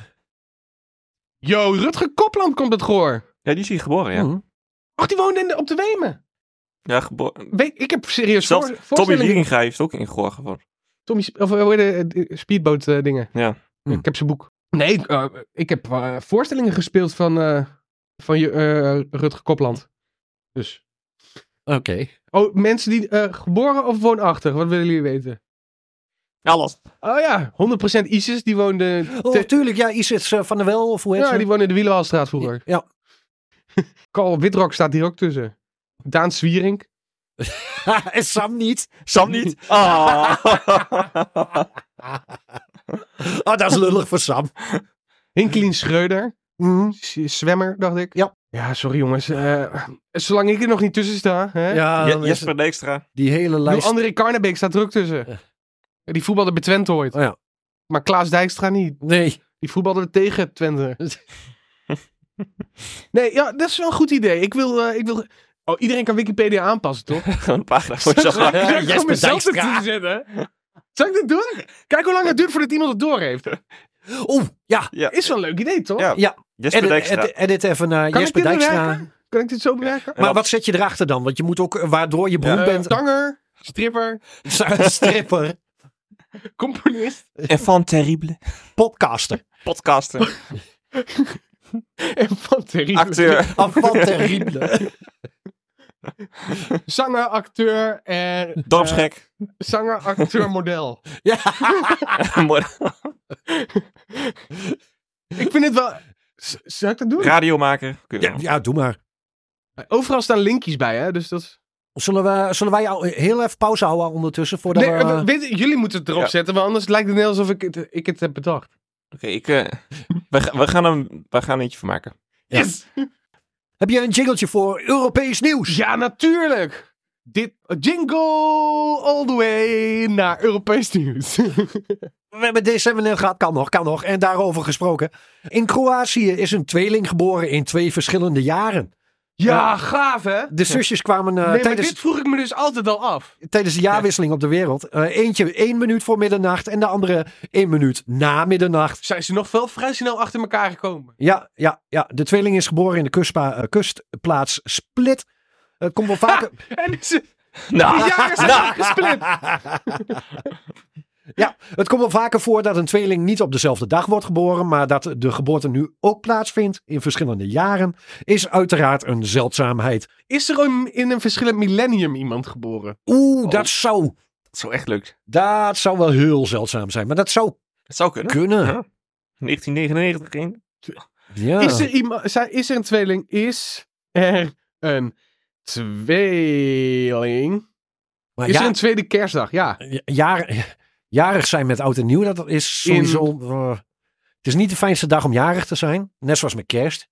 E: Yo, Rutger Kopland komt uit Goor.
C: Ja, die is hier geboren, ja.
D: hm.
E: Och, die woonde in de- op de Wemen.
C: Ja, geboren.
E: We- ik heb serieus
C: Zelfs
E: voor,
C: Tommy
E: voorstellingen-
C: Wieringa heeft ook in Goor gewoond.
E: Tommy, Sp- of eh, hoe heet de, eh, speedboot eh, dingen.
C: Ja.
D: Hm.
E: Ik heb zijn boek. Nee, ik, eh, ik heb eh, voorstellingen gespeeld van, eh, van je, eh, Rutger Kopland. Dus.
D: Oké.
E: Oh, mensen die eh, geboren of woonachtig, wat willen jullie weten?
C: Alles.
E: Oh ja, 100% ISIS, die woonde,
D: Oh,
E: Te-
D: tuurlijk. Ja, Isis eh, van der Wel of hoe heet
E: ja,
D: ze?
E: die woonde in de Wielenwaalstraat vroeger.
D: Ja.
E: Carl Witrok staat hier ook tussen. Daan Zwierink.
D: en Sam niet.
C: Sam niet. Ah.
D: Oh, dat is lullig voor Sam.
E: Hinkelien Schreuder.
D: Mhm.
E: Z- Zwemmer, dacht ik.
D: Ja.
E: Ja, sorry jongens. eh, zolang ik er nog niet tussen sta. Hè?
D: Ja,
C: Je-
D: dan is
C: Jesper Dijkstra.
D: die hele
E: Ik bedoel,
D: lijst.
E: André Karnebeek staat druk tussen.
D: Ja.
E: Die voetbalde bij Twente ooit.
D: Oh ja.
E: Maar Klaas Dijkstra niet.
D: Nee.
E: Die voetbalde tegen Twente. nee, ja, dat is wel een goed idee. Ik wil... eh, ik wil... Oh, iedereen kan Wikipedia aanpassen, toch?
C: Gewoon een pagina voor jezelf.
E: Zal ik
C: maken.
E: gewoon
D: Jesper
E: mezelf
D: Dijkstra.
E: ertussen zetten? Zal ik dit doen? Kijk hoe lang het duurt voordat iemand het doorheeft.
D: Oeh, ja.
E: Is wel een leuk idee, toch?
C: Ja.
D: Ja.
C: Jesper
D: Edit,
C: Dijkstra.
D: edit, edit even naar
E: Kan
D: Jesper
E: ik dit
D: Dijkstra.
E: bewerken? Kan ik dit zo bewerken?
D: Maar wat zet je erachter dan? Want je moet ook, eh, waardoor je beroemd
E: Eh,
D: bent,
E: zanger, stripper,
D: stripper,
E: componist
C: En van terrible.
D: podcaster,
C: Podcaster.
E: en van Terry.
C: Acteur.
D: avant terrible.
E: Zanger, acteur en...
C: Dorpsgek.
E: eh, zanger, acteur, model.
D: Ja.
E: Ik vind het wel... Z- Zal ik dat doen?
C: Radiomaker. Kun je
D: Ja,
C: wel.
D: ja, doe maar.
E: Overal staan linkjes bij, hè? Dus dat... is-
D: Zullen, we, zullen wij jou heel even pauze houden ondertussen? Voordat
E: Nee,
D: we,
E: eh, weet je, jullie moeten het erop
C: Ja.
E: zetten, want anders lijkt het net alsof ik het, ik het heb bedacht.
C: Oké, ik, eh, we, ga- we gaan hem- we gaan er eentje van maken.
D: Ja.
E: Yes!
D: Heb je een jingletje voor Europees nieuws?
E: Ja, natuurlijk! Dit jingle all the way naar Europees nieuws.
D: We hebben december net gehad, kan nog, kan nog. En daarover gesproken. In Kroatië is een tweeling geboren in twee verschillende jaren.
E: ja, gaaf hè?
D: De zusjes kwamen eh,
E: nee, maar
D: tijdens,
E: dit vroeg ik me dus altijd al af.
D: tijdens de jaarwisseling op de wereld. Eh, eentje één minuut voor middernacht en de andere één minuut na middernacht.
E: Zijn ze nog wel vrij snel achter elkaar gekomen?
D: Ja, ja, ja. De tweeling is geboren in de kustpa- eh, kustplaats Split. Het komt wel vaker.
E: En ze,
C: Nou,
E: die jaren zijn gesplit.
D: ja, het komt wel vaker voor dat een tweeling niet op dezelfde dag wordt geboren, maar dat de geboorte nu ook plaatsvindt in verschillende jaren, is uiteraard een zeldzaamheid.
E: Is er een- in een verschillend millennium iemand geboren?
D: Oeh,
C: Oh.
D: dat zou,
C: dat zou echt leuk.
D: dat zou wel heel zeldzaam zijn, maar dat zou
C: Dat zou kunnen.
D: kunnen.
C: Ja. 1999 in.
D: Ja.
E: Is, er iemand, zijn, is er een tweeling? Is er een tweeling?
D: maar
E: Is
D: Ah, ja,
E: er een tweede kerstdag? Ja.
D: jaar- jarig zijn met oud en nieuw, dat is sowieso... eh, het is niet de fijnste dag om jarig te zijn, net zoals met kerst.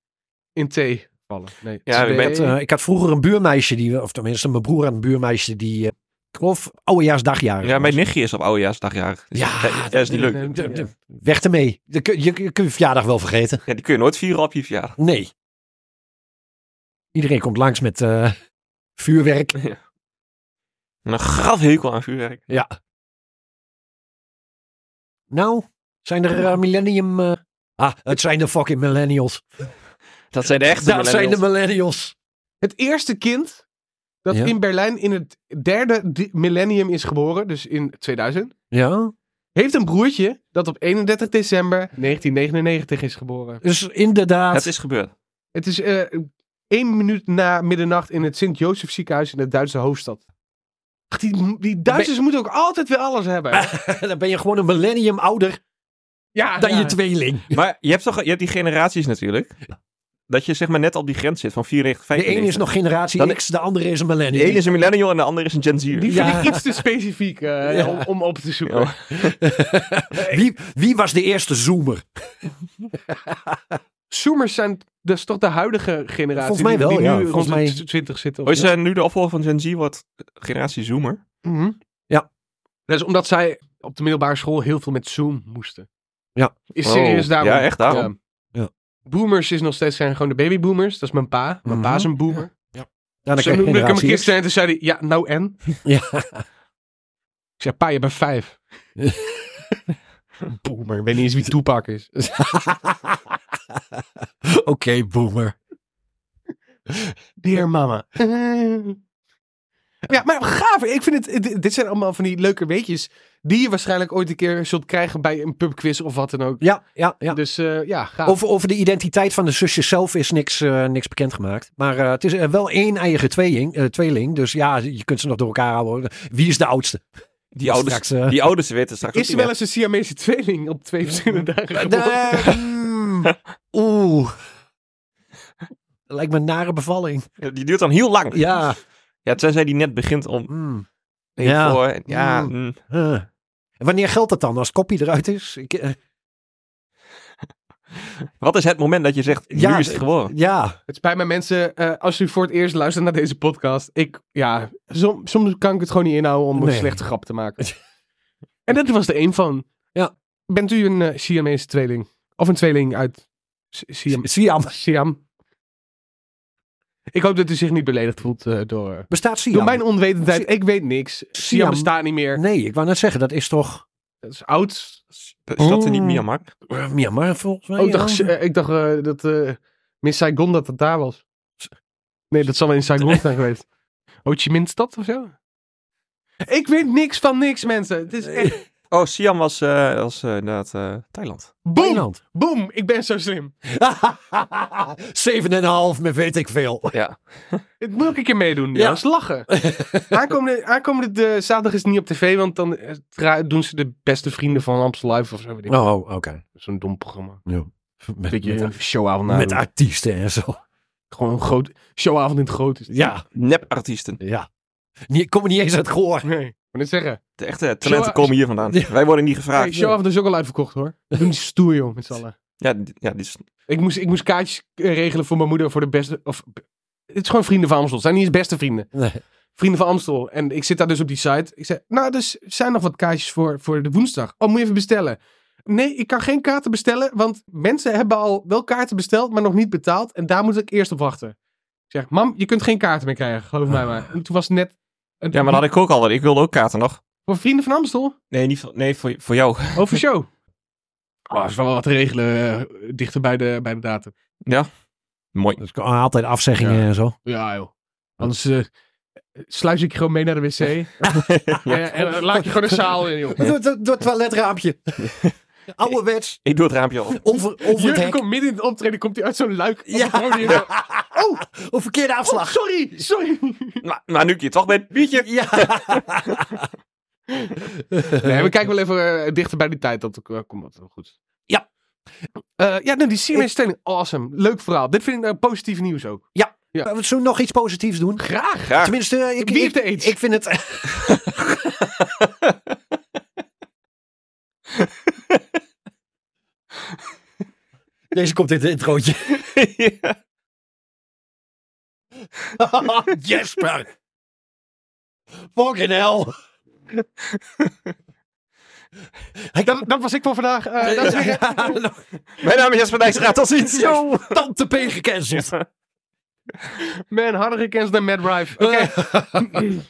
E: In thee vallen. Nee.
C: Ja,
E: Twee-
C: ik ben-
D: had, eh, ik had vroeger een buurmeisje, die, of tenminste mijn broer had een buurmeisje die, eh, ik geloof, oudejaarsdagjarig
C: Ja,
D: was.
C: mijn nichtje is op oudejaarsdagjaar. Dus
D: Ja,
C: dat- dat is niet
E: nee,
C: leuk.
E: nee,
D: De-
E: nee.
D: de- weg ermee. Je, kun- je, je kunt je verjaardag wel vergeten.
C: Ja, die kun je nooit vieren op je verjaardag.
D: Nee. Iedereen komt langs met eh, vuurwerk.
C: En Een graf hekel aan vuurwerk.
D: Ja. Nou, zijn er eh, millennium... eh, ah, het zijn de fucking millennials.
C: Dat zijn de echte
D: dat zijn de millennials.
E: Het eerste kind dat
D: Ja.
E: in Berlijn in het derde di- millennium is geboren, dus in 2000,
D: Ja.
E: heeft een broertje dat op 31 december 1999 is geboren.
D: Dus inderdaad...
C: Het is gebeurd.
E: Het is eh één minuut na middernacht in het Sint-Jozef ziekenhuis in de Duitse hoofdstad. Ach, Die, die Duitsers moeten ook altijd weer alles hebben.
D: dan ben je gewoon een millennium ouder
E: ja,
D: dan
E: ja.
D: je tweeling.
C: Maar je hebt toch je hebt die generaties natuurlijk. Dat je zeg maar net op die grens zit van 94,
D: De
C: 95.
D: ene is nog generatie
C: Dan-
D: X, de andere is een millennium.
C: De ene is een millennial en de andere is een Gen Z'er.
E: Die
D: Ja.
E: vind ik iets te specifiek eh,
D: Ja.
E: om, om op te zoeken.
C: Ja.
D: Wie, wie was de eerste zoomer?
E: Zoomers zijn dus toch de huidige generatie.
D: Volgens mij
E: die-
D: wel,
E: die
D: ja.
E: nu
D: Volgens
E: rond de
D: mij-
E: 20 zitten.
C: Oh,
E: of
C: is eh, nu de opvolger van Gen Z wordt eh, generatie Zoomer?
E: Mhm.
D: Ja.
E: Dat is omdat zij op de middelbare school heel veel met Zoom moesten.
D: Ja.
E: Is
C: Oh,
E: serieus daarom.
C: ja, echt daarom.
E: Ja.
D: Ja.
E: Boomers is nog steeds zijn gewoon de babyboomers. Dat is mijn pa. Mijn pa is een boomer.
D: Mhm. Ja, dan
E: Zo
D: krijg je
E: noemde ik hem
D: generatie X.
E: gisteren en toen zei hij, ja, nou en?
D: Ja.
E: Ik zei, pa, je bent vijf. boomer, ik weet niet eens wie Toepak is.
D: Oké, boomer.
E: Dear mama. Ja, maar gaaf. Ik vind het, dit- dit zijn allemaal van die leuke weetjes die je waarschijnlijk ooit een keer zult krijgen bij een pubquiz of wat dan ook.
D: Ja, ja, ja.
E: Dus eh, ja, gaaf.
D: Over, over de identiteit van de zusjes zelf is niks, eh, niks bekendgemaakt. Maar eh, het is eh, wel één eigen tweeling, eh, tweeling. Dus ja, je kunt ze nog door elkaar houden. Wie is de oudste?
C: Die ouders,
D: Straks, eh,
C: die ouders weten straks
E: Is
C: ook
E: er
C: niet
E: wel eens een Siamese tweeling op twee verschillende dagen geboren?
D: Daar- mm, Oeh. Lijkt me een nare bevalling.
C: meer. Die duurt dan heel lang.
D: Ja.
C: Ja, tenzij die net begint om
D: mm,
C: ja.
D: Ja.
C: voor. Ja,
D: Mm.
C: mm.
D: huh. En wanneer geldt dat dan? Als het kopje eruit is? Ik, eh,
C: Wat is het moment dat je zegt, nu
D: Ja, eh,
C: is het geboren?
D: Ja,
E: Het spijt me mensen, eh, als u voor het eerst luistert naar deze podcast. Ik, ja, som- soms kan ik het gewoon niet inhouden om
D: Nee.
E: een slechte grap te maken. en dat was er één van.
D: Ja.
E: Bent u een eh, Siamese tweeling? Of een tweeling uit Si- Siam?
D: Siam.
E: Siam? Ik hoop dat u zich niet beledigd voelt eh, door,
D: Bestaat Siam?
E: door mijn onwetendheid. ik weet niks. Siam,
D: Siam.
E: bestaat niet meer.
D: Nee, ik wou net zeggen, dat is toch
E: Dat is oud.
C: Is dat er niet
D: Oh.
C: Myanmar?
D: eh, Myanmar volgens mij.
E: Oh, ik
D: ja.
E: dacht, eh, ik dacht eh, dat eh, Miss Saigon dat het daar was. Nee, dat zal wel in Saigon zijn geweest. Ho Chi Minh stad of zo? Ik weet niks van niks, mensen. Het is echt...
C: Oh, Siam was, eh, was eh, inderdaad eh, Thailand.
E: Boom!
D: Thailand.
E: Boom! Ik ben zo slim.
D: Zeven en een half, met weet ik veel.
C: Ja.
E: Het moet ik een keer meedoen.
D: Ja.
E: Ja, dat is lachen. Aankomende, aankomende eh, zaterdag is het niet op tv, want dan eh, dra- doen ze de beste vrienden van Amstel Live of zo. Weet ik.
D: Oh, oké.
E: Zo'n dom programma.
D: Ja. Met,
E: Beetje
D: met,
E: een showavond
D: met
E: nadoen.
D: artiesten en zo.
E: Gewoon een groot, showavond in het groot. Is het.
D: Ja,
C: Nepartiesten.
D: ja. Nie- Ik kom niet eens uit Goor.
E: Nee, ik moet het zeggen.
C: De echte talenten
E: Zo-
C: komen hier vandaan.
D: Ja.
C: Wij worden niet
E: Hey,
C: gevraagd.
E: showavond is ook al uitverkocht hoor. We doen die stoer joh, met z'n allen.
C: Ja, dit- ja, dit is
E: Ik moest, ik moest kaartjes eh, regelen voor mijn moeder voor de beste. Of, het is gewoon vrienden van Amstel. Het zijn niet eens beste vrienden.
D: Nee.
E: Vrienden van Amstel. En ik zit daar dus op die site. Ik zei, nou, dus zijn nog wat kaartjes voor, voor de woensdag. Oh, moet je even bestellen. Nee, ik kan geen kaarten bestellen, want mensen hebben al wel kaarten besteld, maar nog niet betaald. En daar moet ik eerst op wachten. Ik zeg, mam, je kunt geen kaarten meer krijgen, geloof mij maar. En toen was het net... een-
C: Ja, maar dat had ik ook al. want Ik wilde ook kaarten nog.
E: Voor vrienden van Amstel?
C: Nee, niet voor, nee, voor, voor jou.
E: Over show. Oh, is wel wat te regelen eh, dichter bij de, bij de datum.
C: Mooi.
D: Dus altijd afzeggingen
E: Ja.
D: en zo.
E: Ja, joh. Anders eh, sluis ik je gewoon mee naar de wc. en, en dan laat je gewoon de zaal in, joh.
D: Door, door, door het toiletraampje. Ouderwets.
C: Ik doe het raampje al.
D: Over, over het
E: Jurgen
D: hek.
E: komt midden in het optreden, komt hij uit zo'n luik. op
D: Ja.
E: het podium. Oh,
D: Of verkeerde
E: oh,
D: afslag.
E: sorry, sorry.
C: Maar, maar nu ik je toch bent, biertje.
D: Ja.
E: Nee, we kijken wel even eh, dichter bij die tijd. Dat eh, komt dat wel goed.
D: Ja.
E: Eh, ja, nee, die Siamese stelling. Awesome. Leuk verhaal. Dit vind ik nou positief nieuws ook.
D: Zullen we nog iets positiefs doen?
E: Graag.
C: Ja.
D: Tenminste, eh, ik,
E: Wie heeft
D: ik,
E: er iets?
D: ik vind het... Deze komt in het introotje.
C: Ja.
D: Jesper! Fucking hell!
E: Dat, dat was ik voor vandaag. Eh, dat is weer-
C: Mijn naam is Jasper
D: Oh,
C: Dijkstra. Tot ziens.
D: Zo, tante P gecanceld.
E: Man, harder gekend dan Mad Rife. Oké.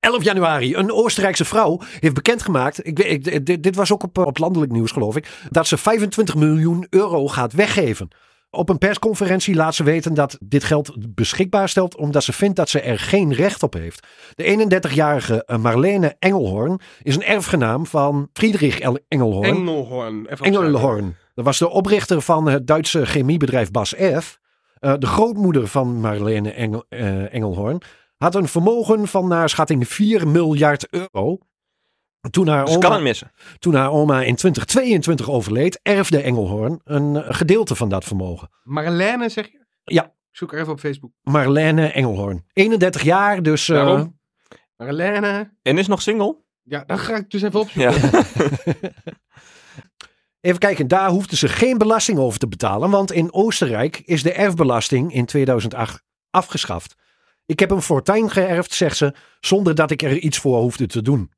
D: 11 januari, een Oostenrijkse vrouw heeft bekendgemaakt, ik, weet- ik, dit, dit was ook op, eh, op landelijk nieuws geloof ik, dat ze 25 miljoen euro gaat weggeven. Op een persconferentie laat ze weten dat dit geld beschikbaar stelt omdat ze vindt dat ze er geen recht op heeft. De 31-jarige eh, Marlene Engelhorn is een erfgenaam van Friedrich El- Engelhorn.
E: Engelhorn. Even opschrijven.
D: Engelhorn. Dat was de oprichter van het Duitse chemiebedrijf Bas F. Eh, de grootmoeder van Marlene Engel, eh, Engelhorn had een vermogen van naar schatting 4 miljard euro. Toen haar,
C: Dus kan het
D: oma,
C: missen.
D: toen haar oma in 2022 overleed, erfde Engelhorn een eh, gedeelte van dat vermogen.
E: Marlene, zeg je?
D: Ja.
E: Ik Zoek haar even op Facebook.
D: Marlene Engelhorn. 31 jaar, dus. eh,
E: Daarom. Marlene.
C: En is nog single?
E: Ja, dan ga ik dus even opzoeken.
C: Ja.
D: Even kijken, daar hoefden ze geen belasting over te betalen, want in Oostenrijk is de erfbelasting in 2008 afgeschaft. Ik heb een fortuin geërfd, zegt ze, zonder dat ik er iets voor hoefde te doen.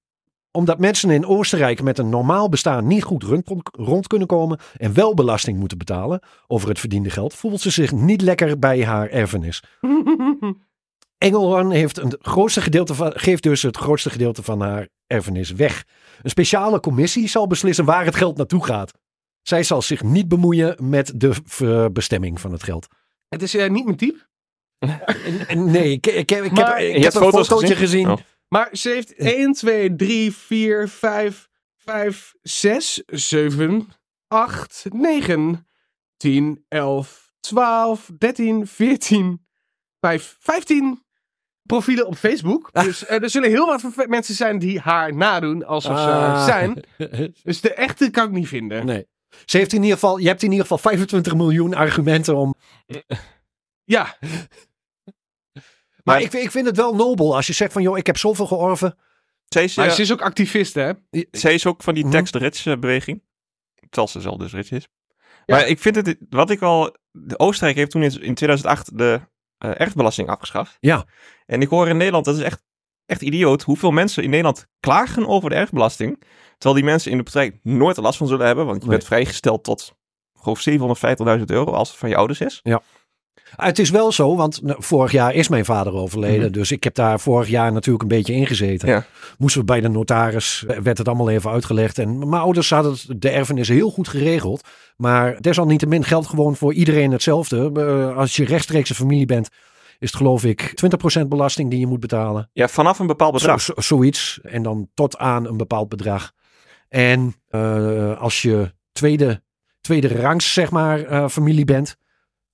D: Omdat mensen in Oostenrijk met een normaal bestaan niet goed rund- rond kunnen komen en wel belasting moeten betalen over het verdiende geld, voelt ze zich niet lekker bij haar erfenis. Engelhorn heeft een grootste gedeelte van, geeft dus het grootste gedeelte van haar erfenis weg. Een speciale commissie zal beslissen waar het geld naartoe gaat. Zij zal zich niet bemoeien met de eh, bestemming van het geld.
E: Het is eh, niet mijn type.
D: En- en Nee, ik, ik, heb- ik,
E: Maar-
D: heb,
C: Je
D: ik heb
C: hebt
D: een
C: foto's
D: fotootje gezien.
C: gezien? Oh.
E: Maar ze heeft 1, 2, 3, 4, 5, 5, 6, 7, 8, 9, 10, 11, 12, 13, 14, 5, 15 profielen op Facebook. Dus eh, er zullen heel wat verve- mensen zijn die haar nadoen
C: Oh.
E: alsof ze haar
D: Ah.
E: zijn. Dus de echte kan ik niet vinden.
D: Nee. Ze heeft in ieder geval, je hebt in ieder geval 25 miljoen argumenten om.
E: Ja,
D: Maar
C: Maar-
D: ik, ik vind het wel nobel als je zegt van joh, ik heb zoveel georven.
C: Zij is,
E: maar
C: eh,
E: ze is ook activist hè.
C: zij is ook van die
D: Mhm.
C: Text Rich eh, beweging. terwijl ze zelf dus rich is.
E: Ja.
C: Maar ik vind het, wat ik al, de Oostenrijk heeft toen in, in 2008 de eh, erfbelasting afgeschaft.
D: Ja.
C: En ik hoor in Nederland, dat is echt, echt idioot, hoeveel mensen in Nederland klagen over de erfbelasting. Terwijl die mensen in de praktijk nooit er last van zullen hebben, want je
D: Nee.
C: bent vrijgesteld tot geloof 750.000 euro als het van je ouders is.
D: Ah, Het is wel zo, want nou, vorig jaar is mijn vader overleden.
C: Mhm.
D: Dus ik heb daar vorig jaar natuurlijk een beetje in gezeten.
C: Ja.
D: Moesten we bij de notaris, eh, werd het allemaal even uitgelegd. En mijn ouders hadden het- de erfenis heel goed geregeld. Maar desalniettemin geldt gewoon voor iedereen hetzelfde. Eh, Als je rechtstreeks een familie bent, is het geloof ik 20% belasting die je moet betalen.
C: Ja, vanaf een bepaald bedrag.
D: Zo- zo- zoiets. En dan tot aan een bepaald bedrag. En eh, als je tweede, tweede rangs, zeg maar, eh, familie bent.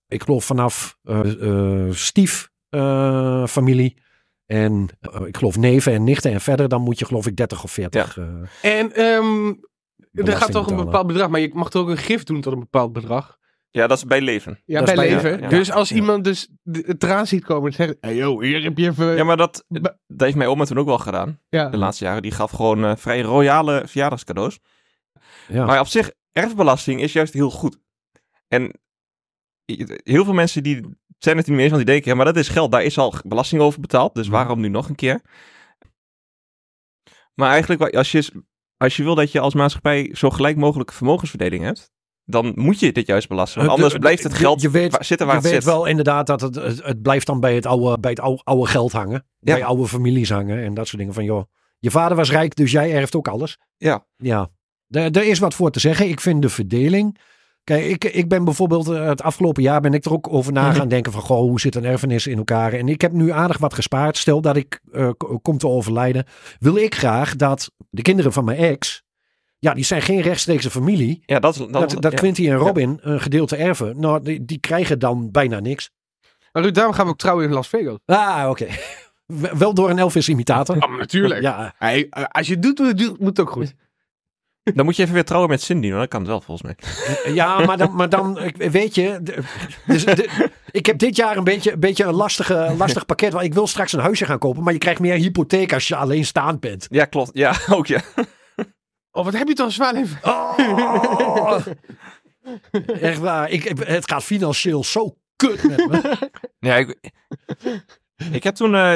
D: Ik geloof vanaf eh, eh, stief eh, familie. En eh, ik geloof neven en nichten en verder. Dan moet je geloof ik 30 of 40. eh,
E: En ehm er gaat
D: belasting
E: toch een
D: betalen.
E: bepaald bedrag, maar je mag toch ook een gif doen tot een bepaald bedrag?
C: Ja, dat is bij leven.
E: Ja,
D: Dat
E: bij
D: is bij-
E: leven.
C: ja, ja.
E: Dus als
D: Ja.
E: iemand dus de- het eraan ziet komen en zegt... Hey yo, hier heb je
D: Eh,
E: even...
C: Ja, maar dat,
E: Ba-
C: dat heeft mijn oma toen ook wel gedaan.
E: Ja.
D: Mhm.
C: de laatste jaren. Die gaf gewoon eh, vrij royale verjaardagscadeaus.
D: Ja.
C: Maar op zich, erfbelasting is juist heel goed. En i- heel veel mensen die zijn het er niet mee eens, want die denken, ja, maar dat is geld, daar is al g- belasting over betaald,
D: Mhm.
C: dus waarom nu nog een keer? Maar eigenlijk, wa- als je, s- als je wil dat je als maatschappij zo gelijk mogelijke vermogensverdeling hebt, dan moet je dit juist belasten. Want
D: Eh,
C: anders
D: de- de-
C: blijft het
D: je-
C: geld
D: je weet-
C: wa- zitten waar
D: Je
C: het
D: weet
C: zit.
D: wel inderdaad dat het, het, het blijft dan bij het oude, bij het oude, oude geld hangen.
C: Ja.
D: Bij oude families hangen en dat soort dingen. Van joh, je vader was rijk, dus jij erft ook alles.
C: Ja.
D: Ja, daar daar is wat voor te zeggen. Ik vind de verdeling... Kijk, ik, ik ben bijvoorbeeld eh, het afgelopen jaar ben ik er ook over
C: Mhm.
D: na gaan denken van... Goh, hoe zit een erfenis in elkaar? En ik heb nu aardig wat gespaard. Stel dat ik eh, k- kom te overlijden. Wil ik graag dat de kinderen van mijn ex... Ja, die zijn geen rechtstreekse familie.
C: Ja, dat, is- dat,
D: Dat, dat
C: ja.
D: Quinty en Robin een gedeelte erven. Nou, die, die krijgen dan bijna niks.
E: Maar Ruud, daarom gaan we ook trouwen in Las Vegas.
D: Ah, oké. W- Wel door een Elvis-imitator.
E: Ah, maar natuurlijk.
D: Ja,
E: Hey, eh, als je het doet, doe- doe- moet het ook goed.
C: Dan moet je even weer trouwen met Cindy, want dat kan wel volgens mij.
D: ja, maar dan, maar dan ik- weet je. de- dus de- ik heb dit jaar een beetje, een, beetje een lastige, lastig pakket. Want ik wil straks een huisje gaan kopen. Maar je krijgt meer hypotheek als je alleen staand bent.
C: Ja, klopt. Ja, ook ja.
E: Oh, wat heb je toch een zwaar leven?
D: Oh! Echt waar. Ik, het gaat financieel zo kut met me.
C: Ja, ik, ik heb toen, eh,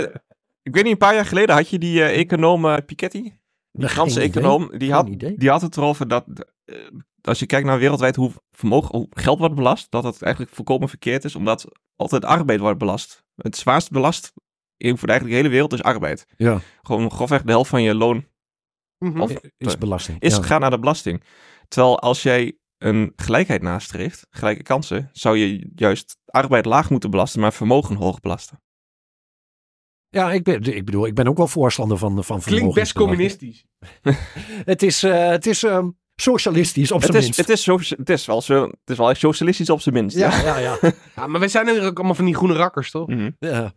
C: ik weet niet, een paar jaar geleden had je die eh, econoom eh, Piketty, die Franse
D: Geen idee.
C: econoom, die had,
D: Geen idee.
C: die had het erover dat eh, als je kijkt naar wereldwijd hoe, vermogen, hoe geld wordt belast, dat dat eigenlijk volkomen verkeerd is, omdat altijd arbeid wordt belast. Het zwaarst belast in, voor eigenlijk de hele wereld is arbeid.
D: Ja.
C: Gewoon grofweg de helft van je loon
E: Mhm.
D: Is belasting.
C: is,
D: ja.
C: gaat naar de belasting. Terwijl als jij een gelijkheid nastreeft, gelijke kansen, zou je juist arbeid laag moeten belasten, maar vermogen hoog belasten.
D: Ja, ik, ben, ik bedoel, ik ben ook wel voorstander van, van
E: Klinkt best
D: vermogensbelasting.
E: communistisch.
D: Het is, eh, het is ehm, socialistisch op
C: Het
D: zijn
C: is,
D: minst.
C: het, is zo, het, is wel zo, het is wel echt socialistisch op zijn minst. Ja.
D: ja, ja, ja.
E: Ja, maar wij zijn er ook allemaal van die groene rakkers, toch?
C: Mhm.
D: ja. Eh,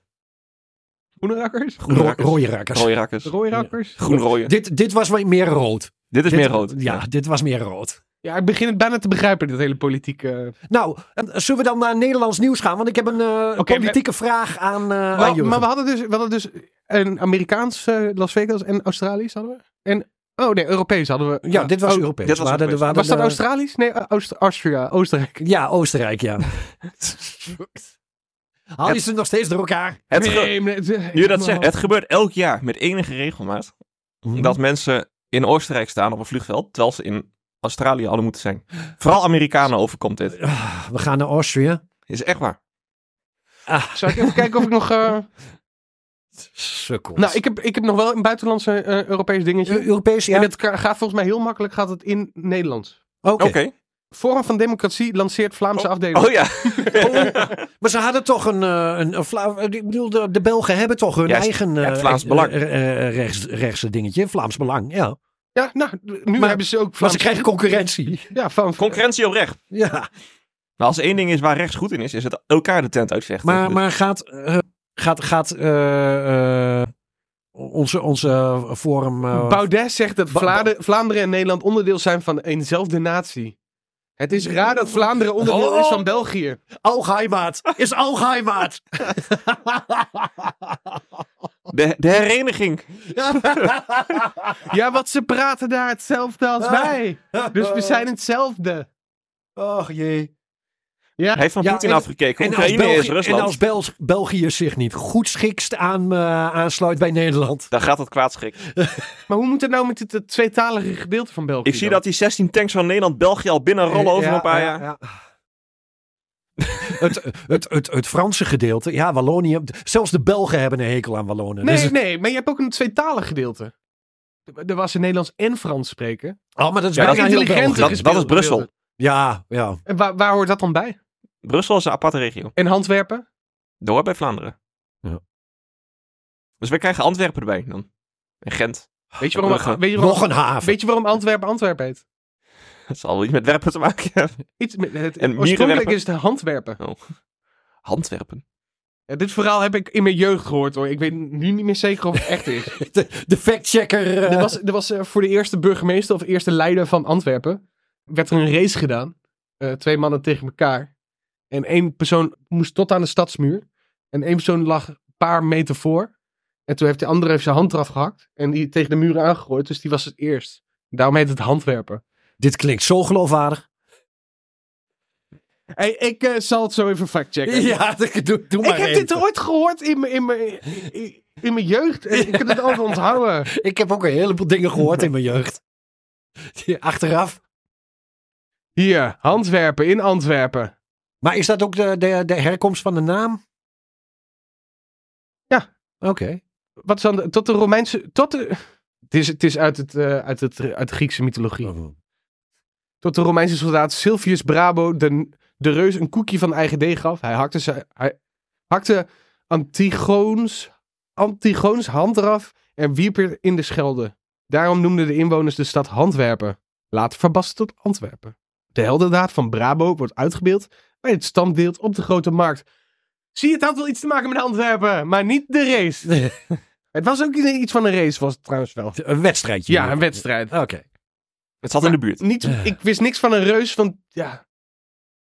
E: Groene rakkers?
C: Groene
D: Ro-
C: rakkers.
D: rode rakkers.
C: Rode rakkers.
E: Rode rakkers?
C: Groen rooien.
D: Dit, dit was wat meer rood.
C: Dit is
D: Dit-
C: meer rood.
D: Ja, dit was meer rood.
E: Ja, ik begin het bijna te begrijpen, dit hele politieke...
D: Nou, en zullen we dan naar Nederlands nieuws gaan? Want ik heb een eh,
E: Oké,
D: politieke vraag aan, eh aan
E: Wel,
D: Jurgen.
E: maar we hadden, dus, we hadden dus een Amerikaans eh, Las Vegas en Australisch hadden we. En, oh nee, Europees hadden we.
D: ja, dit was
E: Oh,
D: Europees.
C: dit was
D: We hadden-
C: Europees.
D: we hadden
E: Was dat
D: de-
E: Australisch? Nee, Oost Austria, Oostenrijk.
D: Ja, Oostenrijk, ja. Haal je ze nog steeds door elkaar?
C: Het ge-
E: nee, nee, het- eh,
C: nu je dat zegt, het gebeurt elk jaar met enige regelmaat
D: Mhm.
C: dat mensen in Oostenrijk staan op een vliegveld, terwijl ze in Australië hadden moeten zijn. Vooral Amerikanen overkomt dit.
D: Ah, We gaan naar Austria.
C: Is echt waar.
D: Ah,
E: Zal ik even kijken of ik nog... eh,
D: sukkels.
E: Nou, ik heb, ik heb nog wel een buitenlandse eh, Europees dingetje.
D: Eu- Europees, ja.
E: En het ka- gaat volgens mij heel makkelijk gaat het in Nederlands.
D: Oké.
C: Oké.
E: Vorm van democratie lanceert Vlaamse afdeling.
C: Oh ja.
D: Maar ze hadden toch een, eh, een, een Vla- eh, ik bedoel, de, de Belgen hebben toch hun
C: Ja,
D: eigen eh,
C: het Vlaams
D: eh,
C: Belang.
D: eh, eh, rechts, rechtse dingetje, Vlaams Belang. Ja,
E: Ja, nou, nu
D: Maar-
E: hebben ze ook
D: maar ze
E: Vlaamse...
D: krijgen concurrentie.
E: Ja, van,
C: Concurrentie op recht.
D: Ja,
C: Maar Nou, als er één ding is waar rechts goed in is, is het elkaar de tent uitvechten.
D: maar,
C: Dus-
D: maar gaat, eh, gaat, gaat eh, eh, onze, onze forum eh,
E: Baudet zegt dat
D: Ba-
E: Vlade- Vlaanderen en Nederland onderdeel zijn van eenzelfde natie. Het is raar dat Vlaanderen onderdeel
D: Oh.
E: is van België.
D: Algeheimaat is Algeheimaat.
C: De, de hereniging.
E: Ja, wat ze praten daar hetzelfde als wij. Dus we zijn hetzelfde.
D: Och jee.
C: Hij heeft van
D: Ja,
C: Poetin
D: en-
C: afgekeken.
D: En als,
C: Oekraïne is
D: België, en
C: Rusland.
D: als Bel- België zich niet goed schikt aan, eh, aansluit bij Nederland.
C: Daar gaat het kwaadschik.
E: Maar hoe moet het nou met het, het tweetalige gedeelte van België?
C: Ik zie
E: dan?
C: dat die 16 tanks van Nederland België al binnen rollen over
D: Eh, Ja,
C: een paar
D: ja,
C: jaar.
D: ja. het, het, het, het Franse gedeelte, ja, Wallonië. Zelfs de Belgen hebben een hekel aan Wallonen.
E: Nee,
D: Dus het-
E: nee, maar je hebt ook een tweetalig gedeelte. Er- Er was in Nederlands en Frans spreken.
D: oh, maar dat is
C: Ja, dat
D: bijna
E: is
D: heel
E: intelligenter.
D: België.
C: Dat, dat is
E: gespeeld,
C: Brussel.
E: gespeeld.
D: Ja, ja.
E: En waar, waar hoort dat dan bij?
C: Brussel is een aparte regio.
E: En Antwerpen?
C: Door bij Vlaanderen.
D: Ja.
C: Dus we krijgen Antwerpen erbij dan. En Gent.
E: Weet je waarom,
C: Brugge.
E: weet je waarom,
D: Nog een haven.
E: weet je waarom Antwerpen Antwerpen heet?
C: Dat zal wel iets met werpen te maken hebben.
E: Iets met het,
C: En
E: oorspronkelijk
C: mierenwerpen?
E: is het Handwerpen.
C: Handwerpen.
E: Ja, dit verhaal heb ik in mijn jeugd gehoord hoor. Ik weet nu niet meer zeker of het echt is.
D: De, de factchecker. eh,
E: Er was, er was eh, voor de eerste burgemeester of eerste leider van Antwerpen. werd er een race gedaan. Eh, twee mannen tegen elkaar. En één persoon moest tot aan de stadsmuur. En één persoon lag een paar meter voor. En toen heeft de andere heeft zijn hand eraf gehakt. En die tegen de muur aangegooid. Dus die was het eerst. Daarom heet het handwerpen.
D: Dit klinkt zo geloofwaardig.
E: Hey, ik eh, zal het zo even factchecken.
D: Ja, dat- doe, doe
E: Ik
D: maar
E: heb
D: even.
E: dit ooit gehoord in mijn- in mijn- in- in mijn jeugd. En ik heb het altijd onthouden.
D: Ik heb ook een heleboel dingen gehoord in mijn jeugd. Die Achteraf.
E: Hier, handwerpen in Antwerpen.
D: Maar is dat ook de, de, de herkomst van de naam?
E: Ja.
D: Oké.
E: wat is dan de- tot de Romeinse. Tot de, het is, het is uit, het, eh, uit, het, uit de Griekse mythologie. Tot de Romeinse soldaat Silvius Brabo de, de reus een koekje van eigen deeg gaf. Hij hakte, ze, hij hakte Antigoons, Antigoons hand eraf en wierp er in de Schelde. Daarom noemden de inwoners de stad Handwerpen. Later verbast tot Antwerpen. De heldendaad van Brabo wordt uitgebeeld bij het standbeeld op de Grote Markt. Zie je, het had wel iets te maken met Antwerpen, maar niet de race. Het was ook iets van een race, was het trouwens wel.
D: Een wedstrijdje.
E: Ja, een wedstrijd.
D: Oké.
C: Het zat in de buurt.
E: Niet, ik wist niks van een reus, want ja. er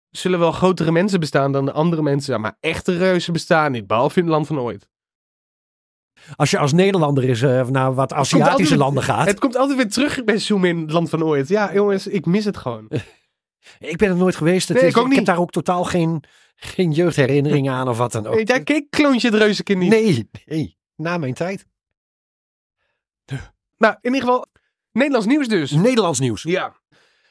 E: zullen wel grotere mensen bestaan dan de andere mensen. Ja, maar echte reuzen bestaan niet, behalve in het land van ooit.
D: Als je als Nederlander is, eh, naar wat Aziatische
E: altijd-
D: landen gaat.
E: Het komt altijd weer terug bij Zoom in het land van ooit. Ja, jongens, ik mis het gewoon.
D: Ik ben er nooit geweest. Het
E: Nee,
D: is-
E: ik ook
D: heb
E: niet.
D: daar ook totaal geen, geen jeugdherinneringen aan of wat dan ook.
E: Hey, Jij keek Kloontje het reuzenkind niet.
D: nee, nee. Na mijn tijd.
E: Nou, in ieder geval, Nederlands nieuws dus.
D: Nederlands nieuws.
E: Ja.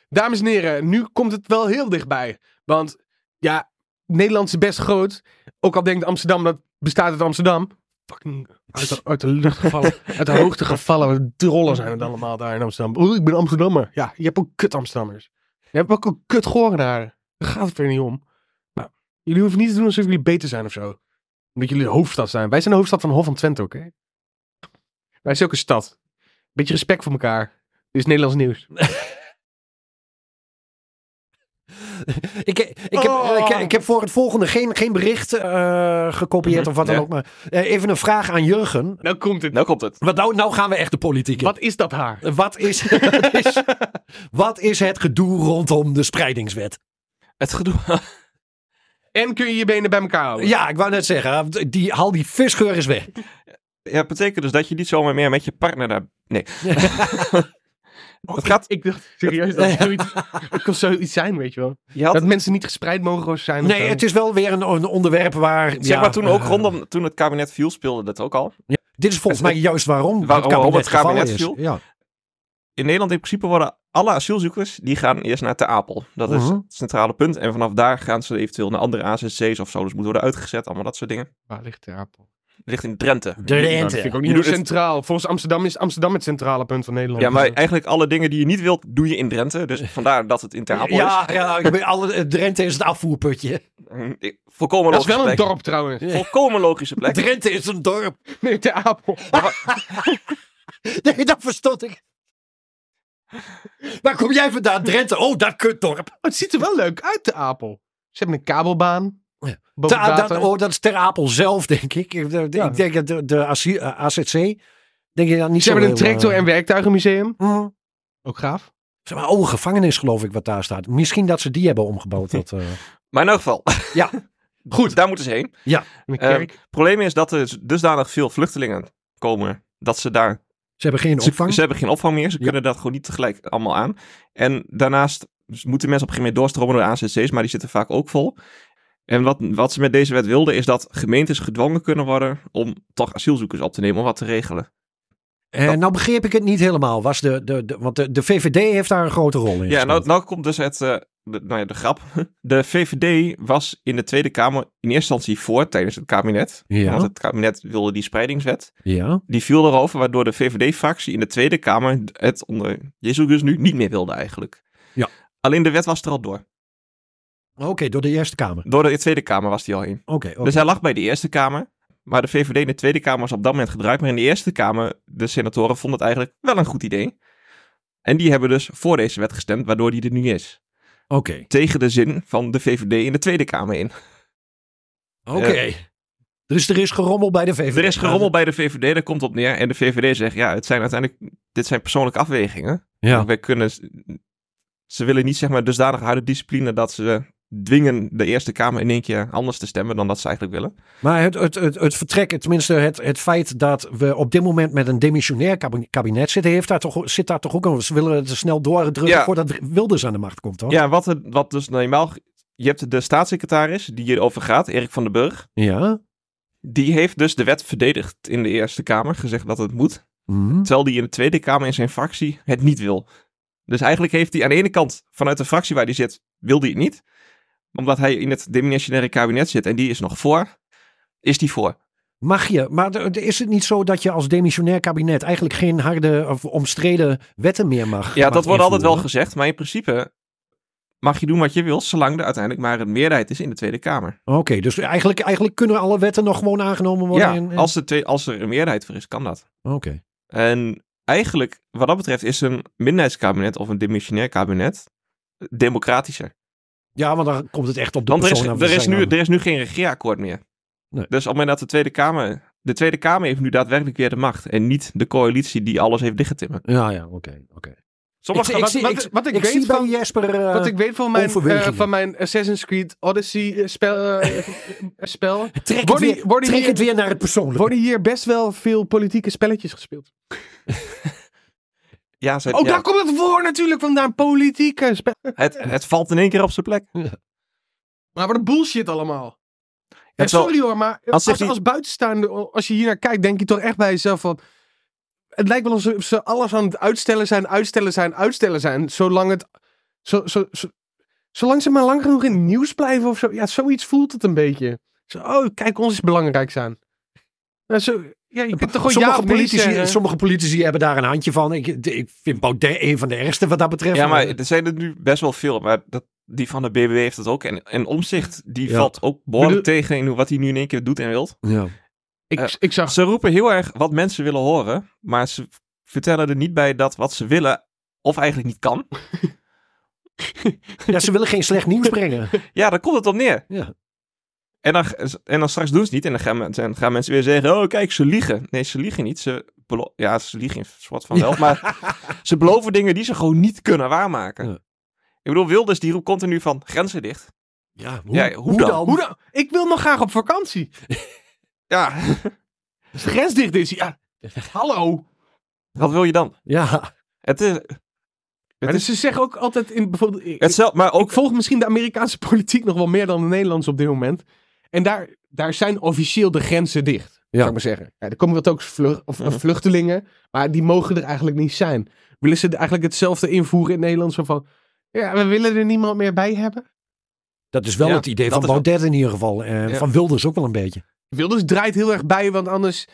E: Dames en heren, nu komt het wel heel dichtbij. Want ja, Nederland is best groot. Ook al denkt Amsterdam dat bestaat uit Amsterdam. Fucking uit de, uit de lucht gevallen. uit de hoogte gevallen. Wat Drollen zijn het allemaal daar in Amsterdam. Oeh, ik ben Amsterdammer. Ja, je hebt ook kut Amsterdammers. Je hebt ook een kut Gorenaar. Daar gaat het weer niet om. Maar jullie hoeven niet te doen alsof jullie beter zijn of zo. Omdat jullie de hoofdstad zijn. Wij zijn de hoofdstad van Hof van Twente, oké? Wij zijn ook een stad. Beetje respect voor elkaar. Dit is Nederlands nieuws.
D: Ik, ik, heb,
E: Oh.
D: ik, ik heb voor het volgende geen, geen bericht eh, gekopieerd
C: Mhm,
D: of wat dan
C: ja.
D: ook. Maar eh, even een vraag aan Jurgen.
E: Nou komt het.
C: Nou komt het.
D: Want nou, nou gaan we echt de politiek in.
E: Wat is dat haar?
D: Wat is, wat is, wat is het gedoe rondom de spreidingswet?
C: Het gedoe.
E: En kun je je benen bij elkaar houden?
D: Ja, ik wou net zeggen, die, haal die visgeur eens weg.
C: Ja, betekent dus dat je niet zomaar meer met je partner daar... Nee.
E: Oh,
C: Het
E: ik-
C: gaat-
E: Ik, dacht serieus dat het zoiets, het kon zoiets zijn, weet je wel.
C: Je had,
E: Dat mensen niet gespreid mogen zijn. of
D: Nee,
E: zo.
D: het is wel weer een, een onderwerp waar...
C: zeg
D: ja,
C: maar, toen ook
D: eh,
C: rondom... Toen het kabinet viel, speelde dat ook al.
D: Dit is volgens mij juist waarom,
C: Waarom
D: het kabinet,
C: het kabinet
D: gevallen
C: viel?
D: is. Ja.
C: In Nederland in principe worden alle asielzoekers... Die gaan eerst naar Ter Apel. Dat is
D: Mhm.
C: het centrale punt. En vanaf daar gaan ze eventueel naar andere AZC's of zo. Dus moeten worden uitgezet. Allemaal dat soort dingen.
E: Waar ligt de appel?
C: Ligt in Drenthe.
D: De
E: Dat
D: rente.
E: vind ik ook
C: Je
E: niet
C: doet
E: heel
C: het-
E: centraal. Volgens Amsterdam is Amsterdam het centrale punt van Nederland.
C: Ja, maar eigenlijk alle dingen die je niet wilt, doe je in Drenthe. Dus vandaar dat het in Ter Apel
D: Ja, ja ik ben alle, eh, Drenthe is het afvoerputje.
C: is. Hm, Ik- Volkomen
E: Dat is
C: logische
E: wel een
C: plek.
E: dorp trouwens.
C: Volkomen logische plek.
D: Drenthe is een dorp.
E: Nee, de Oh, appel.
D: Nee, dat verstond ik. Waar kom jij vandaan, Drenthe? Oh, dat kutdorp.
E: Oh, het ziet er wel leuk uit, de appel. Ze hebben een kabelbaan.
D: Ja.
E: Boven
D: Ta-
E: water.
D: dat, oh, dat is Ter Apel zelf, denk ik. Ik, de- de-
E: Ja.
D: ik denk dat de, de AC eh, AZC... Denk je dat niet
E: Ze
D: zo
E: hebben een
D: heel,
E: tractor-
D: eh,
E: en werktuigenmuseum.
D: mm.
E: Ook gaaf.
D: Zeg maar, oude gevangenis geloof ik wat daar staat. Misschien dat ze die hebben omgebouwd. Dat, eh.
C: Maar in elk geval.
D: Ja.
C: Goed, daar moeten ze heen.
E: Een
C: Ehm,
E: kerk.
C: Het probleem is dat er dus- dusdanig veel vluchtelingen komen dat ze daar
D: Ze hebben geen
C: Ze-
D: opvang.
C: Ze, hebben geen opvang meer. Ze
D: Ja.
C: kunnen dat gewoon niet tegelijk allemaal aan. En daarnaast dus moeten mensen op een gegeven moment doorstromen door de AZC's, maar die zitten vaak ook vol. En wat, wat ze met deze wet wilden, is dat gemeentes gedwongen kunnen worden om toch asielzoekers op te nemen om wat te regelen.
D: Eh, nou begreep ik het niet helemaal. Was de, de, de, want de, de VVD heeft daar een grote rol in
C: Ja,
D: gespeeld.
C: nou, nou komt dus het, eh, de, nou ja, de grap. De VVD was in de Tweede Kamer in eerste instantie voor tijdens het kabinet.
D: Ja.
C: Want het kabinet wilde die spreidingswet.
D: Ja,
C: Die viel erover, waardoor de VVD-fractie in de Tweede Kamer het onder Jezus nu niet meer wilde eigenlijk.
D: Ja.
C: Alleen de wet was er al door.
D: oké, door de Eerste Kamer.
C: Door de Tweede Kamer was hij al heen.
D: Oké, oké.
C: Dus hij lag bij de Eerste Kamer. Maar de VVD in de Tweede Kamer was op dat moment gebruikt. Maar in de Eerste Kamer, de senatoren vonden het eigenlijk wel een goed idee. En die hebben dus voor deze wet gestemd, waardoor die er nu is.
D: Oké.
C: Tegen de zin van de VVD in de Tweede Kamer in.
D: Oké. Dus er is gerommel bij de VVD.
C: Eh, Er is gerommel bij de VVD, daar komt op neer. En de VVD zegt, ja, het zijn uiteindelijk, dit zijn persoonlijke afwegingen.
D: Ja.
C: Wij kunnen, ze willen niet zeg maar dusdanig harde discipline dat ze dwingen de Eerste Kamer in één keer anders te stemmen dan dat ze eigenlijk willen.
D: Maar het, het, het, het vertrek, tenminste het, het feit dat we op dit moment met een demissionair kabi- kabinet zitten, heeft daar toch, zit daar toch ook een. Ze willen het snel doordrukken
C: Ja.
D: voordat Wilders aan de macht komt, toch?
C: Ja, wat, het- wat dus normaal. Je hebt de staatssecretaris die hierover gaat, Erik van den Burg.
D: Ja.
C: Die heeft dus de wet verdedigd in de Eerste Kamer, gezegd dat het moet.
D: Mhm.
C: Terwijl die in de Tweede Kamer in zijn fractie het niet wil. Dus eigenlijk heeft hij aan de ene kant, vanuit de fractie waar hij zit, wil hij het niet. Omdat hij in het demissionaire kabinet zit en die is nog voor, is die voor.
D: Mag je, maar d- d- is het niet zo dat je als demissionair kabinet eigenlijk geen harde of omstreden wetten meer mag?
C: Ja,
D: mag
C: dat wordt altijd wel
D: invoeren?
C: gezegd, maar in principe mag je doen wat je wil, zolang er uiteindelijk maar een meerderheid is in de Tweede Kamer.
D: Oké, dus eigenlijk, eigenlijk kunnen alle wetten nog gewoon aangenomen worden?
C: Ja,
D: en- en-
C: Als, de twee, als er een meerderheid voor is, kan dat.
D: Oké.
C: En eigenlijk, wat dat betreft, is een minderheidskabinet of een demissionair kabinet democratischer.
D: Ja, want dan komt het echt op de
C: Want er is,
D: persoon Dus aan wie
C: er, is
D: zij
C: nu,
D: aan-
C: er is nu geen regeerakkoord meer.
D: Nee.
C: Dus op het moment dat de Tweede Kamer... De Tweede Kamer heeft nu daadwerkelijk weer de macht. En niet de coalitie die alles heeft dichtgetimmen.
D: Ja, ja, oké. oké.
C: Sommige,
D: Ik- ik
E: wat-
D: zie-
E: wat-
D: ik-
E: wat ik
D: Ik
E: weet
D: zie bij
E: van-
D: Jesper... eh,
E: Wat ik weet van mijn,
D: overwegingen.
E: eh, van mijn Assassin's Creed Odyssey eh, spel, eh, spel
D: Trek, het
E: Worden-
D: weer,
E: worden
D: trek
E: hier-
D: het weer naar het persoonlijke.
E: worden hier best wel veel politieke spelletjes gespeeld.
C: ja, ze-
E: Oh,
C: ja,
E: daar komt het woord natuurlijk vandaan, politieke spel.
C: het, het valt in één keer op zijn plek.
E: Maar wat een bullshit allemaal. En
C: Het wel-
E: sorry hoor, maar
C: Als
E: als,
C: zich
E: als,
C: die-
E: buitenstaander, als je hier naar kijkt, denk je toch echt bij jezelf van... Het lijkt wel alsof ze alles aan het uitstellen zijn, uitstellen zijn, uitstellen zijn. Zolang het... Zo, zo, zo- zolang ze maar lang genoeg in het nieuws blijven of zo. Ja, zoiets voelt het een beetje. Zo, oh, kijk, ons is belangrijk zijn. Ja, zo, ja je kunt toch gewoon ja
D: Sommige
E: of nee
D: politici,
E: zeggen?
D: sommige politici hebben daar een handje van. Ik, ik vind Baudet een van de ergste wat dat betreft.
C: Ja, maar er zijn er nu best wel veel. Maar dat, die van de BBW heeft dat ook. En, en Omzicht, die
D: Ja.
C: valt ook behoorlijk
E: Bedoel-
C: tegen in hoe- wat hij nu in één keer doet en wilt.
D: Ja.
E: Ik,
C: eh,
E: ik zag...
C: Ze roepen heel erg wat mensen willen horen, maar ze vertellen er niet bij dat wat ze willen of eigenlijk niet kan.
D: Ja, ze willen geen slecht nieuws brengen.
C: Ja, daar komt het op neer.
D: Ja.
C: En dan, en dan straks doen ze het niet en dan gaan, men- dan gaan mensen weer zeggen, oh kijk, ze liegen. Nee, ze liegen niet. Ze belo- ja, ze liegen in een soort van wel, maar ze beloven dingen die ze gewoon niet kunnen waarmaken.
D: Ja.
C: Ik bedoel, Wilders die roept continu van grenzen dicht.
D: Ja, hoe,
C: Ja, hoe dan?
E: Hoe dan? Ik wil nog graag op vakantie.
C: Ja,
E: Als de grens dicht is, ja... Hallo.
C: wat wil je dan?
D: Ja.
C: Het is,
E: Maar dus ze zeggen ook altijd in bijvoorbeeld...
C: hetzelfde, maar ook
E: Ik volg misschien de Amerikaanse politiek nog wel meer dan de Nederlandse op dit moment. En daar, daar zijn officieel de grenzen dicht, zou ik maar zeggen. Ja, er komen wel telkens vlug- of,
C: Mhm.
E: vluchtelingen, maar die mogen er eigenlijk niet zijn. Willen ze eigenlijk hetzelfde invoeren in Nederland? Zo van, ja, we willen er niemand meer bij hebben.
D: Dat is wel
C: Ja,
D: het idee
C: dat
D: van
C: is wel-
D: Baudet in ieder geval. En
C: Ja.
D: van Wilders ook wel een beetje.
E: Wilders dus draait heel erg bij, want anders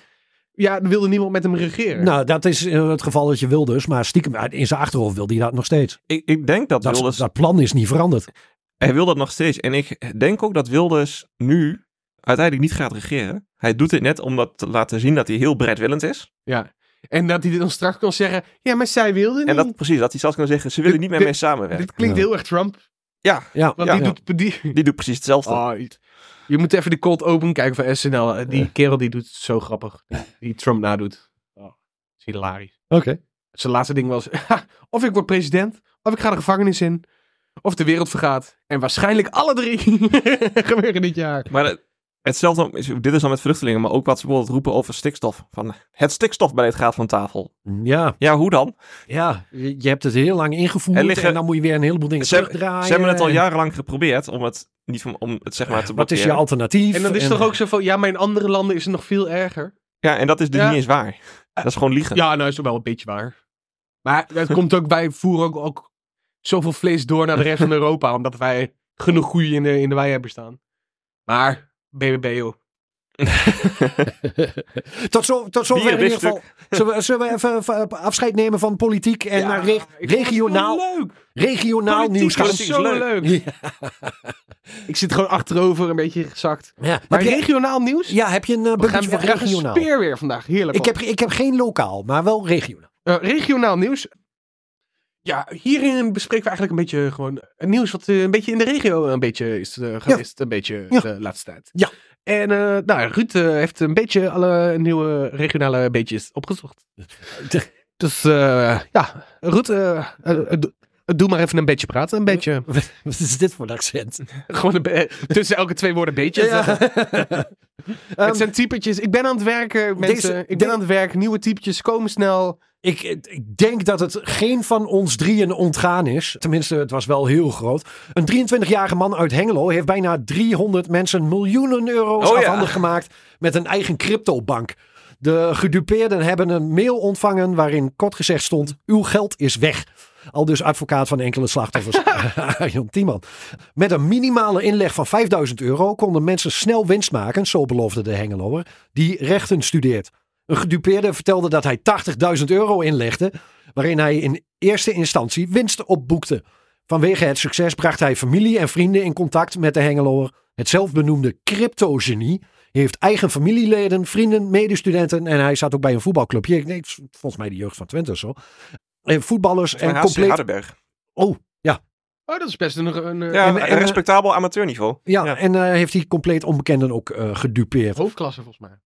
E: ja, er wilde niemand met hem regeren.
D: Nou, dat is eh, het geval dat je Wilders, maar stiekem uit- in zijn achterhoofd wil hij dat nog steeds.
C: ik, ik denk dat,
D: Dat,
C: Wilders
D: dat plan is niet veranderd.
C: Hij wil dat nog steeds. En ik denk ook dat Wilders nu uiteindelijk niet gaat regeren. Hij doet dit net om dat te laten zien dat hij heel bereidwillend is.
E: ja. En dat hij dan straks kan zeggen, ja, maar zij wilde niet.
C: En dat precies, dat hij zelfs kan zeggen, ze willen niet meer
E: Dit-
C: mee samenwerken.
E: Dit klinkt
D: Ja.
E: heel erg Trump,
D: Ja.
E: want
D: ja.
E: die doet... Die,
C: Die doet precies hetzelfde.
D: Ah.
E: Oh, je- je moet even de cold open kijken van SNL. Eh, Die kerel die doet het zo grappig. Die Trump nadoet. Oh, is hilarisch.
D: Oké.
E: Zijn laatste ding was... "Ha, of ik word president, of ik ga de gevangenis in. of de wereld vergaat. En waarschijnlijk alle drie gebeuren dit jaar.
C: Maar het- hetzelfde, is- dit is dan met vluchtelingen, maar ook wat ze bijvoorbeeld roepen over stikstof. Van het stikstofbeleid gaat van tafel.
D: Ja,
C: Ja, hoe dan?
D: ja, je je hebt het heel lang ingevoerd en,
C: Er liggen-
D: dan moet je weer een heleboel dingen
C: Ze, hebben-
D: terugdraaien.
C: ze hebben het al
D: en
C: jarenlang geprobeerd om het, niet van, om het zeg maar te
D: Wat is
C: blokkeren.
D: je alternatief?
E: En dan is het toch ook zo van, ja, maar in andere landen is het nog veel erger.
C: Ja, en dat is dus
E: Ja.
C: niet eens waar.
D: Eh,
C: Dat is gewoon liegen.
E: Ja, nou is toch wel een beetje waar. Maar dat komt ook, wij voeren ook, ook zoveel vlees door naar de rest van Europa, omdat wij genoeg koeien in de, in de wei hebben staan. Maar, BBB joh.
D: Tot, zo, tot zover
C: Bier,
D: in ieder geval.
C: biefstuk.
D: Zullen we, zullen we even even afscheid nemen van politiek en
E: Ja,
D: naar reg-
E: ik vond het zo
D: regionaal,
E: Leuk.
D: regionaal
E: Politiek
D: nieuws gaan?
E: is
C: Politiek is
E: zo
C: leuk.
E: leuk. Ik zit gewoon achterover, een beetje gezakt.
D: Ja,
E: Maar
D: maar heb, je,
E: regionaal nieuws?
D: ja, heb je een eh,
E: We gaan
D: bubbeltje van
E: weer echt een
D: regionaal?
E: speer weer vandaag. Heerlijk.
D: Ik heb, ik heb geen lokaal, maar wel regionaal.
E: Eh, regionaal nieuws. Ja, hierin bespreken we eigenlijk een beetje gewoon het nieuws wat eh, een beetje in de regio een beetje is eh, geweest. Een beetje
D: Ja.
E: de laatste tijd.
D: Ja.
E: En eh, nou, Ruud eh, heeft een beetje alle nieuwe regionale beetjes opgezocht. Dus eh, ja, Ruud, eh, eh, eh, doe- doe maar even een beetje praten. Een beetje.
D: Wat is dit voor een accent?
E: Gewoon een be- tussen elke twee woorden beetjes.
D: Ja. ehm,
E: het zijn typetjes. Ik ben aan het werken, mensen.
D: Deze-
E: ik ben
D: de-
E: aan het werk. Nieuwe typetjes komen snel.
D: Ik, ik denk dat het geen van ons drieën ontgaan is. Tenminste, het was wel heel groot. Een 23-jarige man uit Hengelo heeft bijna 300 mensen miljoenen euro's
C: Oh ja.
D: afhandig gemaakt met een eigen cryptobank. De gedupeerden hebben een mail ontvangen waarin kort gezegd stond: Uw geld is weg. Al dus advocaat van enkele slachtoffers, Arjan Tiemann. Met een minimale inleg van 5000 euro konden mensen snel winst maken, zo beloofde de Hengeloer, die rechten studeert. Een gedupeerde vertelde dat hij 80.000 euro inlegde, waarin hij in eerste instantie winst opboekte. Vanwege het succes bracht hij familie en vrienden in contact met de Hengeloer. Het zelfbenoemde cryptogenie heeft eigen familieleden, vrienden, medestudenten en hij zat ook bij een voetbalclubje. Ik denk, volgens mij de jeugd van Twente of zo. En voetballers en
C: en
D: compleet
C: Hardenberg.
D: Oh, ja.
E: Oh, dat is best een... een
C: Ja,
D: en- en-
C: respectabel amateurniveau.
D: Ja,
C: Ja.
D: en eh, heeft hij compleet onbekenden ook eh, gedupeerd.
E: Hoofdklasse volgens mij.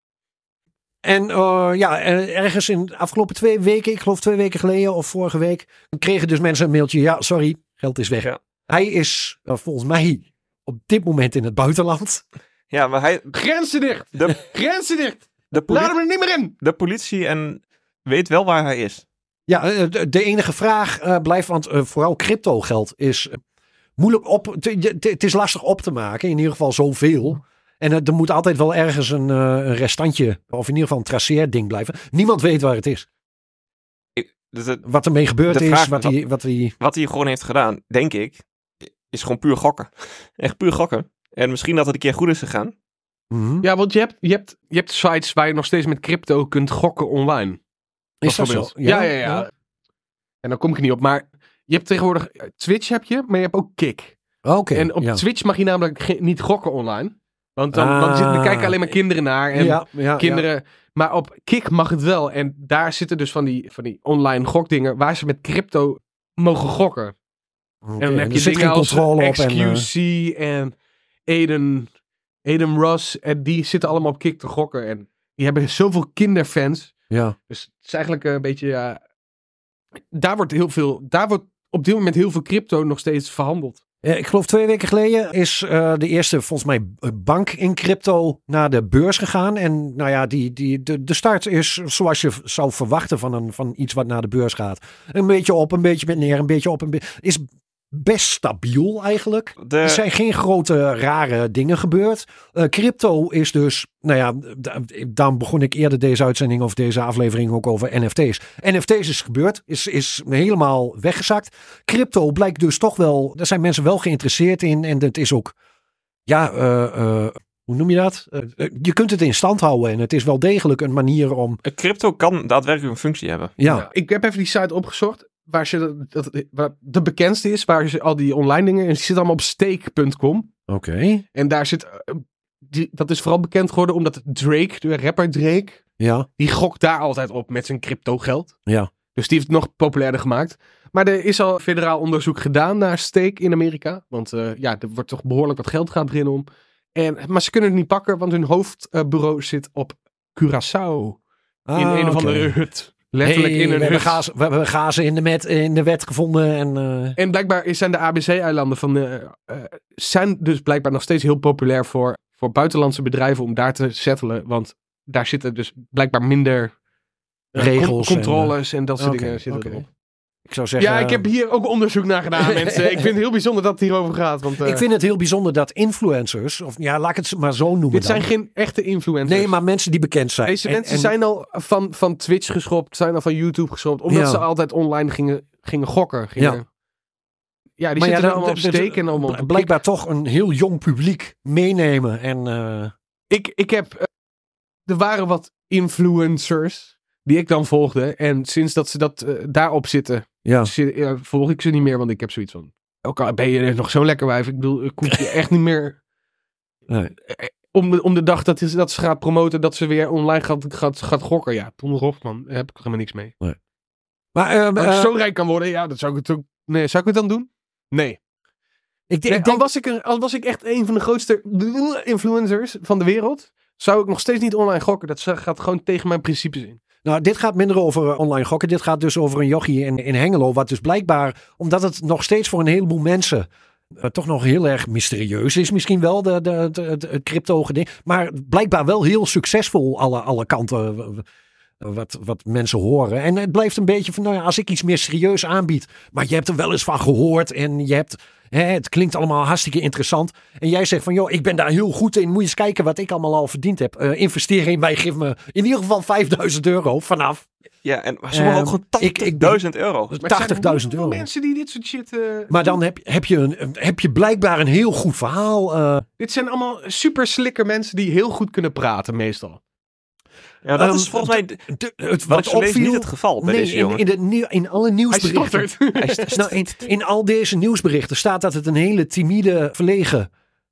D: En eh, ja, eh, ergens in de afgelopen twee weken, ik geloof twee weken geleden of vorige week, kregen dus mensen een mailtje. Ja, sorry, geld is weg.
C: Ja.
D: Hij is eh, volgens mij op dit moment in het buitenland.
C: Ja, maar hij,
E: Grenzen dicht!
C: de,
E: Grenzen dicht!
C: de,
E: Laat
C: politie,
E: hem er niet meer in!
C: de politie en weet wel waar hij is.
D: Ja, eh, de- de enige vraag eh, blijft, want eh, vooral crypto geld is eh, moeilijk op. te- je- te- Het is lastig op te maken, in ieder geval zoveel. En eh, er moet altijd wel ergens een, eh, een restantje, of in ieder geval een traceerding blijven. Niemand weet waar het is.
C: Dus het-
D: wat ermee gebeurd
C: De
D: is,
C: vraag-
D: wat die, wat die...
C: wat hij gewoon heeft gedaan, denk ik, is gewoon puur gokken. Echt puur gokken. En misschien dat het een keer goed is gegaan.
D: Mhm.
E: Ja, want je hebt, je, hebt, je hebt sites waar je nog steeds met crypto kunt gokken online.
D: is dat zo?
E: bijvoorbeeld. Ja, ja, ja, En dan kom ik er niet op, maar je hebt tegenwoordig... eh, Twitch heb je, maar je hebt ook Kik.
D: Oh, Oké.
E: En op
D: ja.
E: Twitch mag je namelijk ge- niet gokken online. Want dan,
D: Ah.
E: dan zitten, er kijken alleen maar kinderen naar. En
D: ja, ja,
E: kinderen. Maar op Kik mag het wel. En daar zitten dus van die, van die online gokdingen waar ze met crypto mogen gokken.
D: ja. Oké,
E: En dan
D: er
E: heb je
D: zit
E: dingen
D: geen
E: als
D: controle op. En, eh,
E: XQC en, Aiden, Aiden Ross. En die zitten allemaal op Kik te gokken. En die hebben zoveel kinderfans.
D: eh, ja.
E: Dus het is eigenlijk een beetje... ja, daar wordt heel veel... Daar wordt op dit moment heel veel crypto nog steeds verhandeld.
D: Ja, Eh, Ik geloof twee weken geleden is eh, de eerste, volgens mij, eh, bank in crypto naar de beurs gegaan. En nou ja, die, die, de, de start is zoals je v- zou verwachten van, een, van iets wat naar de beurs gaat. Een beetje op, een beetje met neer, een beetje op. Een be- is best stabiel eigenlijk.
E: Eh,
D: Er
C: De,
D: zijn geen grote rare dingen gebeurd. Eh, crypto is dus, nou ja, da- daarom begon ik eerder deze uitzending of deze aflevering ook over NFT's. NFT's is gebeurd, is, is helemaal weggezakt. Crypto blijkt dus toch wel, daar zijn mensen wel geïnteresseerd in en het is ook, ja, eh, eh, hoe noem je dat? Eh, eh, je kunt het in stand houden en het is wel degelijk een manier om,
C: crypto kan daadwerkelijk een functie hebben.
D: ja,
E: Ja, Ik heb even die site opgezocht. Waar ze dat, dat- waar de bekendste is, waar ze al die online dingen. En die zit allemaal op steek.com.
D: oké.
E: En daar zit. eh, Die, dat is vooral bekend geworden omdat Drake, de rapper Drake.
D: Ja,
E: Die gokt daar altijd op met zijn crypto geld.
D: Ja.
E: Dus die heeft het nog populairder gemaakt. Maar er is al federaal onderzoek gedaan naar steek in Amerika. Want eh, ja, er wordt toch behoorlijk wat geld gaat erin om. En, maar ze kunnen het niet pakken, want hun hoofdbureau zit op Curaçao. in
D: Ah,
E: een
D: oké.
E: of andere hut. Letterlijk
D: Hey,
E: in een
D: we, hebben
E: hut.
D: gazen, we hebben gazen in de, met, in de wet gevonden. En, eh,
E: En blijkbaar zijn de ABC-eilanden van de, eh, zijn dus blijkbaar nog steeds heel populair voor, voor buitenlandse bedrijven om daar te settelen. Want daar zitten dus blijkbaar minder eh,
D: Regels
E: con-
D: en,
E: controles en, dat soort
D: oké,
E: dingen zitten
D: oké.
E: erop.
D: ik zou zeggen,
E: Ja, ik heb hier ook onderzoek naar gedaan, mensen. Ik vind het heel bijzonder dat het hierover gaat. Want, eh,
D: ik vind het heel bijzonder dat influencers, of ja, laat ik het maar zo noemen.
E: dit
D: dan.
E: zijn geen echte influencers.
D: nee, maar mensen die bekend zijn.
E: Deze
D: En-
E: mensen
D: en-
E: zijn al van, van Twitch geschopt, zijn al van YouTube geschopt, omdat
D: Ja.
E: ze altijd online gingen, gingen gokken. Gingen, ja.
D: Ja.
E: die
D: Maar ja,
E: zitten
D: dat-
E: allemaal op
D: dat- dat-
E: steek en allemaal op
D: bl- blijkbaar toch een heel jong publiek meenemen. En eh,
E: ik, ik heb. eh, er waren wat influencers die ik dan volgde. En sinds dat ze dat, eh, daarop zitten,
D: ja.
E: zi- eh, volg ik ze niet meer. Want ik heb zoiets van. Ook al ben je nog zo'n lekker wijf. Ik bedoel, ik hoef je echt niet meer. eh,
D: Nee.
E: Om de, om de dag dat, is, dat ze gaat promoten, dat ze weer online gaat, gaat, gaat gokken. Ja, toen erop, man. Daar heb ik helemaal niks mee.
D: Maar eh,
E: Als
D: eh,
E: ik zo rijk kan worden, ja, dat zou ik het ook. Nee, zou ik het dan doen? Nee.
D: ik,
E: nee
D: ik
E: al,
D: denk
E: was ik een, al was ik echt een van de grootste influencers van de wereld, zou ik nog steeds niet online gokken. Dat gaat gewoon tegen mijn principes in.
D: Nou, dit gaat minder over eh, online gokken. Dit gaat dus over een jochie in, in Hengelo. Wat dus blijkbaar, omdat het nog steeds voor een heleboel mensen eh, toch nog heel erg mysterieus is. Misschien wel de, de, de, het- het crypto ding. Maar blijkbaar wel heel succesvol alle, alle kanten. w- w- Wat, wat mensen horen. En het blijft een beetje van, nou ja, als ik iets meer serieus aanbied. Maar je hebt er wel eens van gehoord. En je hebt, hè, het klinkt allemaal hartstikke interessant. En jij zegt van, joh, ik ben daar heel goed in. Moet je eens kijken wat ik allemaal al verdiend heb. Eh, investeer in mij, geef me in ieder geval 5000 euro vanaf.
C: Ja, en maar ze mogen
D: Ehm,
C: ook
D: ik- ik-
C: gewoon 80.000 euro.
D: Dus
E: Maar het zijn
D: 80.000
E: hoeveel
D: euro.
E: mensen die dit soort shit. eh,
D: Maar dan heb, heb, je een, heb je blijkbaar een heel goed verhaal. eh.
E: Dit zijn allemaal super slikker mensen die heel goed kunnen praten, meestal.
C: Ja, dat
D: Ehm,
C: is volgens mij d-
D: De- het,
C: wat ik
D: wat
C: zo lees
D: opviel.
C: niet het geval bij
D: nee,
C: deze
D: in,
C: jongen.
D: in, de, nieuw- in alle
E: Hij
D: nieuwsberichten.
E: stottert.
C: Hij is-
D: Nou, in, in al deze nieuwsberichten staat dat het een hele timide, verlegen.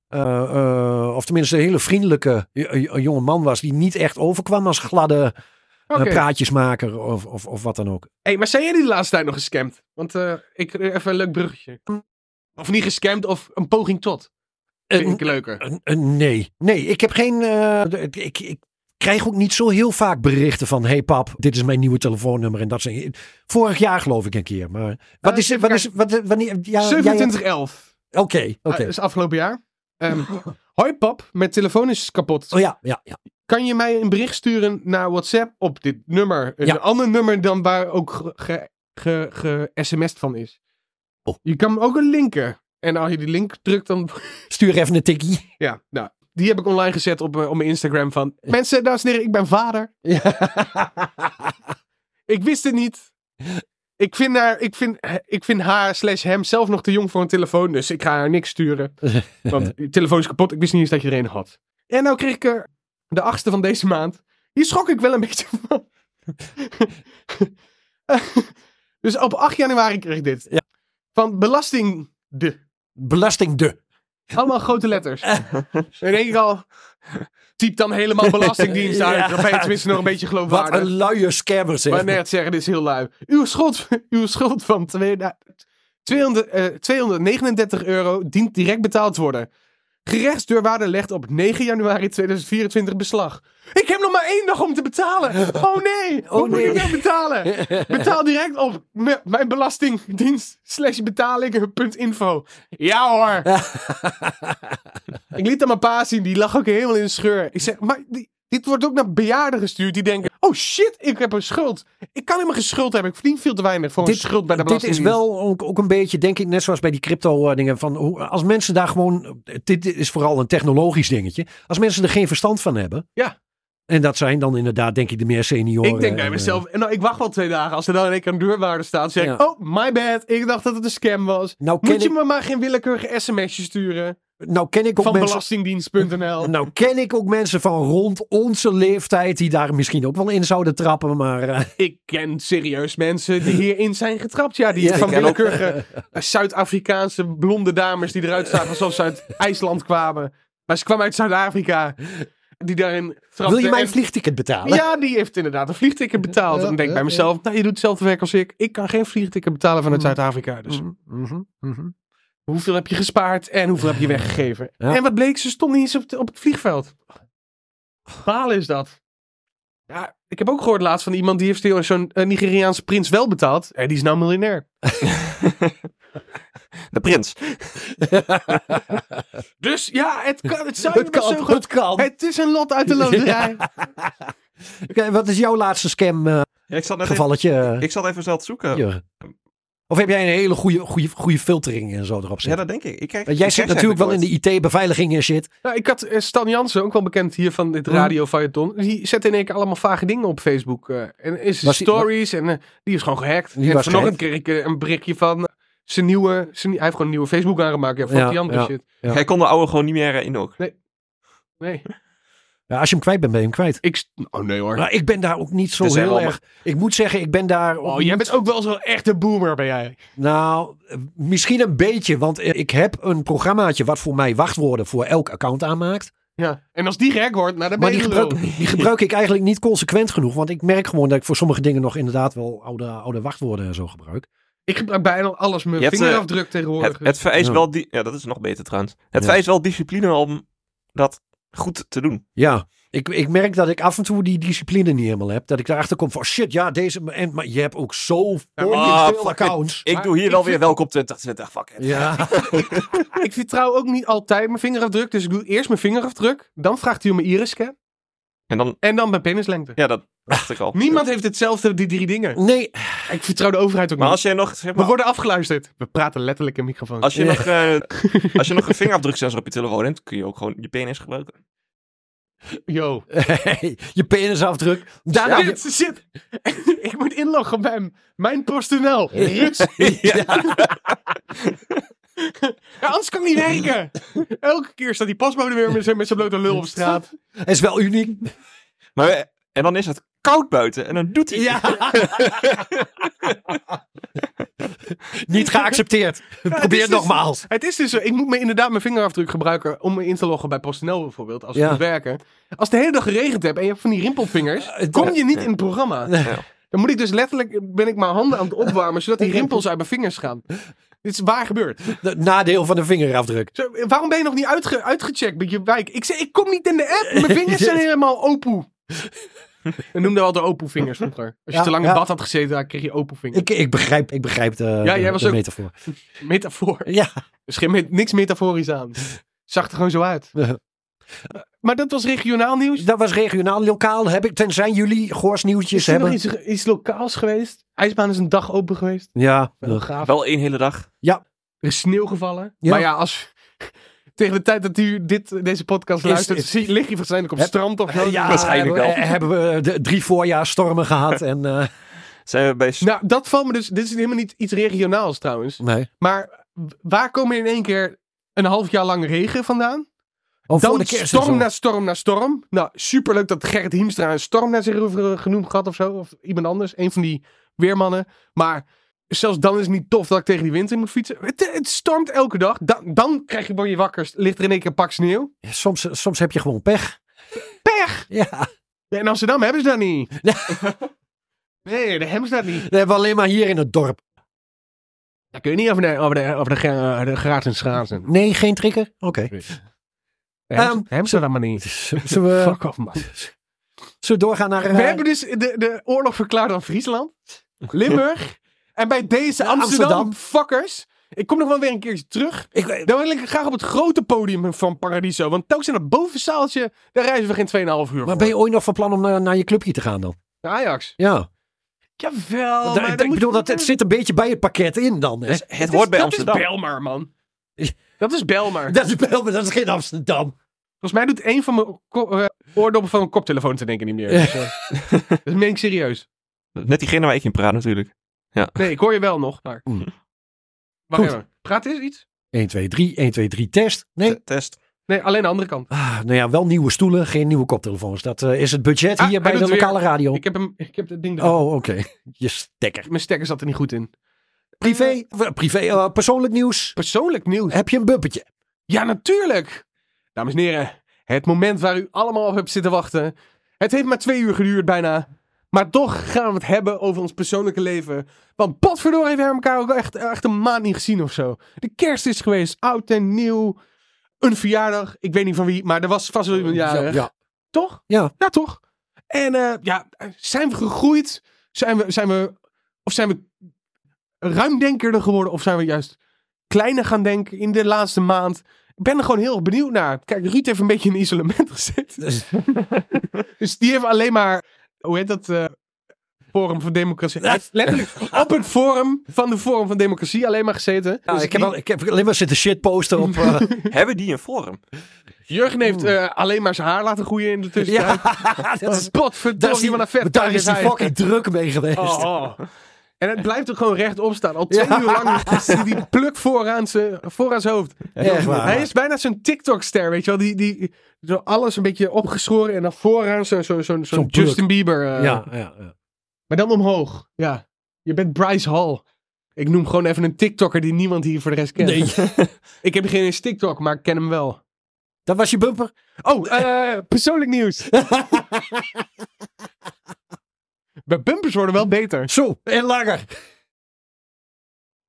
D: eh, eh, of tenminste een hele vriendelijke j- j- jonge man was. Die niet echt overkwam als gladde eh,
E: Oké.
D: praatjesmaker of, of, of wat dan ook.
E: hey, maar zijn jullie de laatste tijd nog gescamd? Want eh, ik even een leuk bruggetje. Of niet gescamd, of een poging tot. Vind ik leuker.
D: Een- een nee, nee, ik heb geen. eh, d- ik, ik krijg ook niet zo heel vaak berichten van: hey pap, dit is mijn nieuwe telefoonnummer en dat zijn. Vorig jaar geloof ik een keer, maar wat
E: Eh,
D: is,
E: even
D: wat is, wat, wanneer? Ja, jij hebt-
E: 2711.
D: Oké, oké.
E: Ah, Dat is afgelopen jaar. Ehm, Hoi pap, mijn telefoon is kapot.
D: Oh ja, ja, ja.
E: Kan je mij een bericht sturen naar WhatsApp op dit nummer? Een
D: Ja.
E: ander nummer dan waar ook ge-sms'd ge, ge, ge-sms'd van is.
D: Oh.
E: Je kan hem ook een linken. En als je die link drukt, dan
D: Stuur even een tikkie.
E: Ja, nou, die heb ik online gezet op, mijn- op mijn Instagram van...
D: Eh.
E: Mensen, dames en heren, ik ben vader. ik wist het niet. Ik vind haar, ik vind, ik vind haar slash hem zelf nog te jong voor een telefoon, dus ik ga haar niks sturen. Want je telefoon is kapot, ik wist niet eens dat je er een had. En nou kreeg ik er de achtste van deze maand. Hier schrok ik wel een beetje van. dus op 8 januari kreeg ik dit.
D: Ja.
E: Van belasting de.
D: Belasting de.
E: Allemaal grote letters. Dan denk ik al, typ dan helemaal belastingdienst uit.
D: Ja.
E: Dan ben je tenminste nog een beetje
D: Wat een
E: geloofwaardig.
D: luie scammer zeg.
E: Maar net zeggen, dit is heel lui. Uw schuld, uw schuld van 200, eh, 239 euro dient direct betaald te worden. Gerechtsdeurwaarder legt op 9 januari 2024 beslag. Ik heb nog maar één dag om te betalen. Oh nee, hoe
D: Oh,
E: moet
D: nee.
E: ik nou betalen? Betaal direct op me- mijn belastingdienst slash betalingen.info. Ja hoor. Ik liet aan mijn pa zien, die lag ook helemaal in de scheur. Ik zeg, maar die- dit wordt ook naar bejaarden gestuurd. Die denken, oh shit, ik heb een schuld. Ik kan helemaal geen schuld hebben. Ik verdien veel te weinig voor een
D: Dit-
E: schuld bij de
D: Dit is
E: belastingdienst.
D: wel ook, ook een beetje, denk ik, net zoals bij die crypto-dingen. Van hoe, als mensen daar gewoon. Dit is vooral een technologisch dingetje. Als mensen er geen verstand van hebben.
E: Ja.
D: En dat zijn dan inderdaad, denk ik, de meer senioren.
E: Ik denk
D: en,
E: bij
D: eh,
E: mezelf, en nou, ik wacht wel twee dagen. Als er dan in één keer een deurwaarde staat, zeg ik,
D: Ja.
E: oh, my bad. Ik dacht dat het een scam was.
D: Nou ken,
E: Moet je
D: ik,
E: me maar geen willekeurige sms'je sturen
D: nou ken ik ook
E: van
D: mensen.
E: belastingdienst.nl.
D: Nou ken ik ook mensen van rond onze leeftijd die daar misschien ook wel in zouden trappen, maar eh,
E: Ik ken serieus mensen die hierin zijn getrapt. Ja, die
D: Ja,
E: van
D: ik ken ook-
E: willekeurige eh, Zuid-Afrikaanse blonde dames die eruit zagen alsof ze uit IJsland kwamen. Maar ze kwamen uit Zuid-Afrika. Die daarin trapten.
D: wil je mijn
E: en-
D: vliegticket betalen?
E: Ja, die heeft inderdaad een vliegticket betaald. En ik denk
D: ja,
E: bij
D: ja.
E: mezelf, nou, je doet hetzelfde werk als ik. Ik kan geen vliegticket betalen vanuit
D: Mm.
E: Zuid-Afrika. Dus
D: Mhm, mhm, mhm.
E: hoeveel heb je gespaard en hoeveel heb je weggegeven?
D: Ja.
E: En wat bleek, ze stond niet eens op, het- op het vliegveld. Balen is dat. Ja, ik heb ook gehoord laatst van iemand die heeft heel- zo'n eh, Nigeriaanse prins wel betaald. Eh, die is nou miljonair.
C: De prins.
E: Dus ja, het kan. Het zou
D: Het
E: het zo
D: kan,
E: goed.
D: het kan.
E: Het is een lot uit de loterij.
D: Oké, wat is jouw laatste scam eh,
C: Ja, ik, zat net even,
D: gevalletje? eh,
C: ik zat even snel te zoeken. Ja,
D: Jurgen? Of heb jij een hele goede, goede, goede filtering en zo erop zitten?
C: dat denk ik. ik kijk,
D: Want jij
C: ik
D: zit
C: kijk ze
D: natuurlijk wel in
C: eigenlijk
D: de IT-beveiliging en shit.
E: Nou, ik had eh, Stan Jansen, ook wel bekend hier van dit
D: Mhm.
E: radio Fayeton. Die zette in één keer allemaal vage dingen op Facebook. eh, en is
D: Was die-
E: stories en eh, die is gewoon gehackt.
D: Die
E: en
D: was
E: vanochtend
D: gehackt.
E: kreeg ik eh, een berichtje van eh, zijn nieuwe... Zijn, hij heeft gewoon een nieuwe Facebook aangemaakt. Ja, fuck
D: Ja,
E: die andere
D: ja.
E: shit.
C: nooit. Hij kon de oude gewoon niet meer eh, in ook.
E: Nee.
D: Ja, als je hem kwijt bent, ben je hem kwijt.
E: Ik, st- oh nee hoor.
D: Maar ik ben daar ook niet zo
C: Er zijn
D: heel
C: wel ma-
D: erg... Ik moet zeggen, ik ben daar...
E: Oh, jij bent ook wel zo'n echte boomer ben jij.
D: Nou, eh, misschien een beetje. Want eh, ik heb een programmaatje wat voor mij wachtwoorden voor elk account aanmaakt.
E: Ja. En als die gek wordt, nou dan ben
D: Maar
E: je
D: die
E: een
D: gebruik,
E: lul.
D: die gebruik ik eigenlijk niet consequent genoeg. Want ik merk gewoon dat ik voor sommige dingen nog inderdaad wel oude, oude wachtwoorden en zo gebruik.
E: Ik gebruik bijna alles mijn
C: Je hebt, eh,
E: vingerafdruk tegenwoordig.
C: Het, het vereist
D: Ja.
C: wel... Die, ja, dat is nog beter trouwens. Het
D: Ja.
C: vereist wel discipline om dat goed te doen.
D: Ja, ik, ik merk dat ik af en toe die discipline niet helemaal heb. Dat ik daarachter kom van shit, ja, deze... En, maar je hebt ook zo
E: maar-
C: Ah,
D: veel
C: fuck it.
D: accounts.
C: Ik
E: Maar
C: doe hier
E: ik
C: wel
E: vind-
C: weer welkom 2020. Fuck it.
D: Ja,
E: Ik vertrouw ook niet altijd mijn vingerafdruk. Dus ik doe eerst mijn vingerafdruk. Dan vraagt hij om mijn irisscan.
C: En dan...
E: En dan mijn penislengte.
C: Ja, dat dacht ik al.
E: Niemand heeft hetzelfde, die drie dingen.
D: nee.
E: Ik vertrouw de overheid ook
C: Maar
E: niet.
C: als jij nog... Zeg
E: We
C: maar,
E: worden afgeluisterd. We praten letterlijk in microfoons.
C: als, je
D: Ja.
C: nog eh, als je nog een vingerafdruksensor op je telefoon hebt, kun je ook gewoon je penis gebruiken.
E: Yo.
D: je penisafdruk. Daarna...
E: Ruud, shit. ik moet inloggen bij m- mijn PostNL. Ruud. Ja, anders kan ik niet werken. Elke keer staat die pasbode weer met zijn, met zijn blote lul op straat.
D: is wel uniek.
C: Maar, eh, en dan is het koud buiten en dan doet hij...
D: Ja. Niet geaccepteerd. Probeer
E: is dus-
D: nogmaals.
E: Het is dus zo, ik moet me inderdaad mijn vingerafdruk gebruiken om me in te loggen bij PostNL bijvoorbeeld, als ik
D: Ja.
E: moet werken. Als de hele dag geregend hebt en je hebt van die rimpelvingers,
D: Eh,
E: kom
D: dat-
E: je niet in het programma.
C: Ja.
E: Dan moet ik dus letterlijk, ben ik mijn handen aan het opwarmen, zodat die rimpels uit mijn vingers gaan. Dit is waar gebeurd.
D: Het nadeel van de vingerafdruk.
E: Zo, eh, waarom ben je nog niet uitge- uitgecheckt met je wijk? Ik zei, ik kom niet in de app. Mijn vingers zijn helemaal opoe. We noemden wel de opoe-vingers vroeger. Als je
D: Ja,
E: te lang in
D: ja.
E: bad had gezeten, dan kreeg je opoe-vingers.
D: Ik, ik begrijp, ik begrijp de,
E: jij
D: de-
E: was
D: de
E: ook-
D: metafoor.
E: Metafoor.
D: Ja,
E: Er is geen met- niks metaforisch aan. Zag er gewoon zo uit. Eh,
D: Ja.
E: Maar dat was regionaal nieuws.
D: dat was regionaal. Lokaal heb ik, tenzij jullie goorsnieuwtjes
E: Is er nog
D: hebben.
E: iets, iets lokaals geweest? IJsbaan is een dag open geweest.
D: Ja,
E: Wel gaaf.
C: Wel één hele dag.
E: Er is sneeuw gevallen.
D: Ja.
E: Maar ja, als, tegen de tijd dat u dit, deze podcast
D: Is-
E: luistert,
D: is-
E: zie- lig je waarschijnlijk op
D: Heb-
E: strand of zo.
D: ja
C: Waarschijnlijk wel.
D: hebben, eh, hebben we de drie voorjaarstormen gehad. En, eh,
C: Zijn we bij... s-
E: Nou, dat valt me dus. Dit is helemaal niet iets regionaals trouwens.
D: nee.
E: Maar w- waar komen in één keer een half jaar lang regen vandaan?
D: Oh, voor
E: Dan
D: de kerst
E: storm
D: en zo.
E: na storm na storm. Nou, superleuk dat Gerrit Hiemstra een storm naar zich heeft, eh, genoemd gehad of zo. Of iemand anders. Een van die weermannen. Maar zelfs dan is het niet tof dat ik tegen die wind in moet fietsen. Het, het stormt elke dag. Dan, dan krijg je word je wakker. Ligt er in één keer een pak sneeuw.
D: soms, soms heb je gewoon pech.
E: Pech!
D: Ja,
E: Ja, in Amsterdam hebben ze dat niet. Nee, daar hebben ze dat niet.
D: dat hebben we alleen maar hier in het dorp.
E: Daar kun je niet over de, over de, over de, gra- de graad en schaatsen.
D: Nee, geen trigger? Oké.
E: Daar
D: Ehm,
E: hebben ze dat maar niet.
D: Zullen, we, zullen
E: Fuck off, man.
D: we doorgaan naar... eh,
E: We hebben dus de, de oorlog verklaard aan Friesland, Limburg en bij deze
D: Ja,
E: Amsterdam,
D: Amsterdam.
E: fuckers. Ik kom nog wel weer een keertje terug.
D: ik,
E: Dan wil ik graag op het grote podium van Paradiso. Want telkens in dat bovenzaaltje, daar reizen we geen 2,5 uur
D: maar
E: voor.
D: ben je ooit nog van plan om eh, naar, naar je clubje te gaan dan?
E: Naar Ajax.
D: Ja.
E: Jawel,
D: Da-
E: Oh, maar
D: ik
E: dan moet-
D: bedoel, dat, het zit een beetje bij het pakket in dan. Hè?
C: Dus het
E: is-
C: hoort bij
E: dat
C: Amsterdam.
E: is Belmar, man. Dat is Belmar.
D: Dat is, wel- maar dat is geen Amsterdam.
E: Volgens mij doet één van mijn ko- eh, oordoppen van mijn koptelefoon te denken niet meer. Dus, eh, dat meen ik serieus.
C: Net diegene waar ik in praat natuurlijk.
E: Nee, ik hoor je wel nog. Maar...
D: Mm.
E: Wacht
D: Goed.
E: even. Praat eens iets?
D: 1, 2, 3, 1, 2, 3, test. Nee.
C: T- Test.
E: Nee, alleen de andere kant.
D: Ah, nou ja, wel nieuwe stoelen, geen nieuwe koptelefoons. Dat eh, is het budget
E: Ah,
D: hier bij
E: hij
D: de
E: doet het
D: lokale radio.
E: Ik heb hem, ik heb dat ding eraf.
D: Oh, oké. Je stekker.
E: Mijn stekker zat er niet goed in. Eh,
D: Privé, eh, privé eh, persoonlijk nieuws.
E: persoonlijk nieuws.
D: Heb je een bumpetje?
E: Ja, natuurlijk. Dames en heren, het moment waar u allemaal op hebt zitten wachten. Het heeft maar twee uur geduurd bijna. Maar toch gaan we het hebben over ons persoonlijke leven. Want potverdorie, we hebben elkaar ook echt, echt een maand niet gezien of zo. De kerst is geweest, oud en nieuw. Een verjaardag, ik weet niet van wie, maar er was vast wel iemand jarig.
D: ja.
E: Toch?
D: Ja.
E: Ja, toch? En eh, ja, zijn we gegroeid? Zijn we, zijn we, of zijn we ruimdenkerder geworden? Of zijn we juist kleiner gaan denken in de laatste maand? Ik ben er gewoon heel erg benieuwd naar. Kijk, Ruud heeft een beetje in isolement gezeten. dus die heeft alleen maar, hoe heet dat? eh, Forum van Democratie. Hij heeft letterlijk op het forum van de Forum van Democratie alleen maar gezeten.
D: Nou, ik, heb al, ik heb alleen maar zitten shitposten op... eh,
C: Hebben die een forum?
E: Jurgen heeft eh, alleen maar zijn haar laten groeien in de tussentijd.
D: ja, dat is, daar is
E: Potverdorie,
D: die,
E: wat een vet
D: daar
E: pak
D: is die
E: hij.
D: fucking druk mee geweest.
E: Oh, oh. En het blijft er gewoon rechtop staan. Al twee uur lang zit die pluk vooraan zijn, vooraan zijn hoofd.
D: Echt waar.
E: Hij is bijna zo'n TikTok-ster, weet je wel. Die, die, zo alles een beetje opgeschoren en dan vooraan zo'n zo, zo,
D: Zo'n pluk.
E: Justin Bieber. eh,
D: ja, ja, ja.
E: Maar dan omhoog. Ja. Je bent Bryce Hall. Ik noem gewoon even een TikToker die niemand hier voor de rest kent.
D: Nee,
E: Ik heb geen eens TikTok, maar ik ken hem wel.
D: dat was je bumper.
E: Oh, eh, persoonlijk nieuws. Mijn bumpers worden wel beter.
D: Zo, en langer.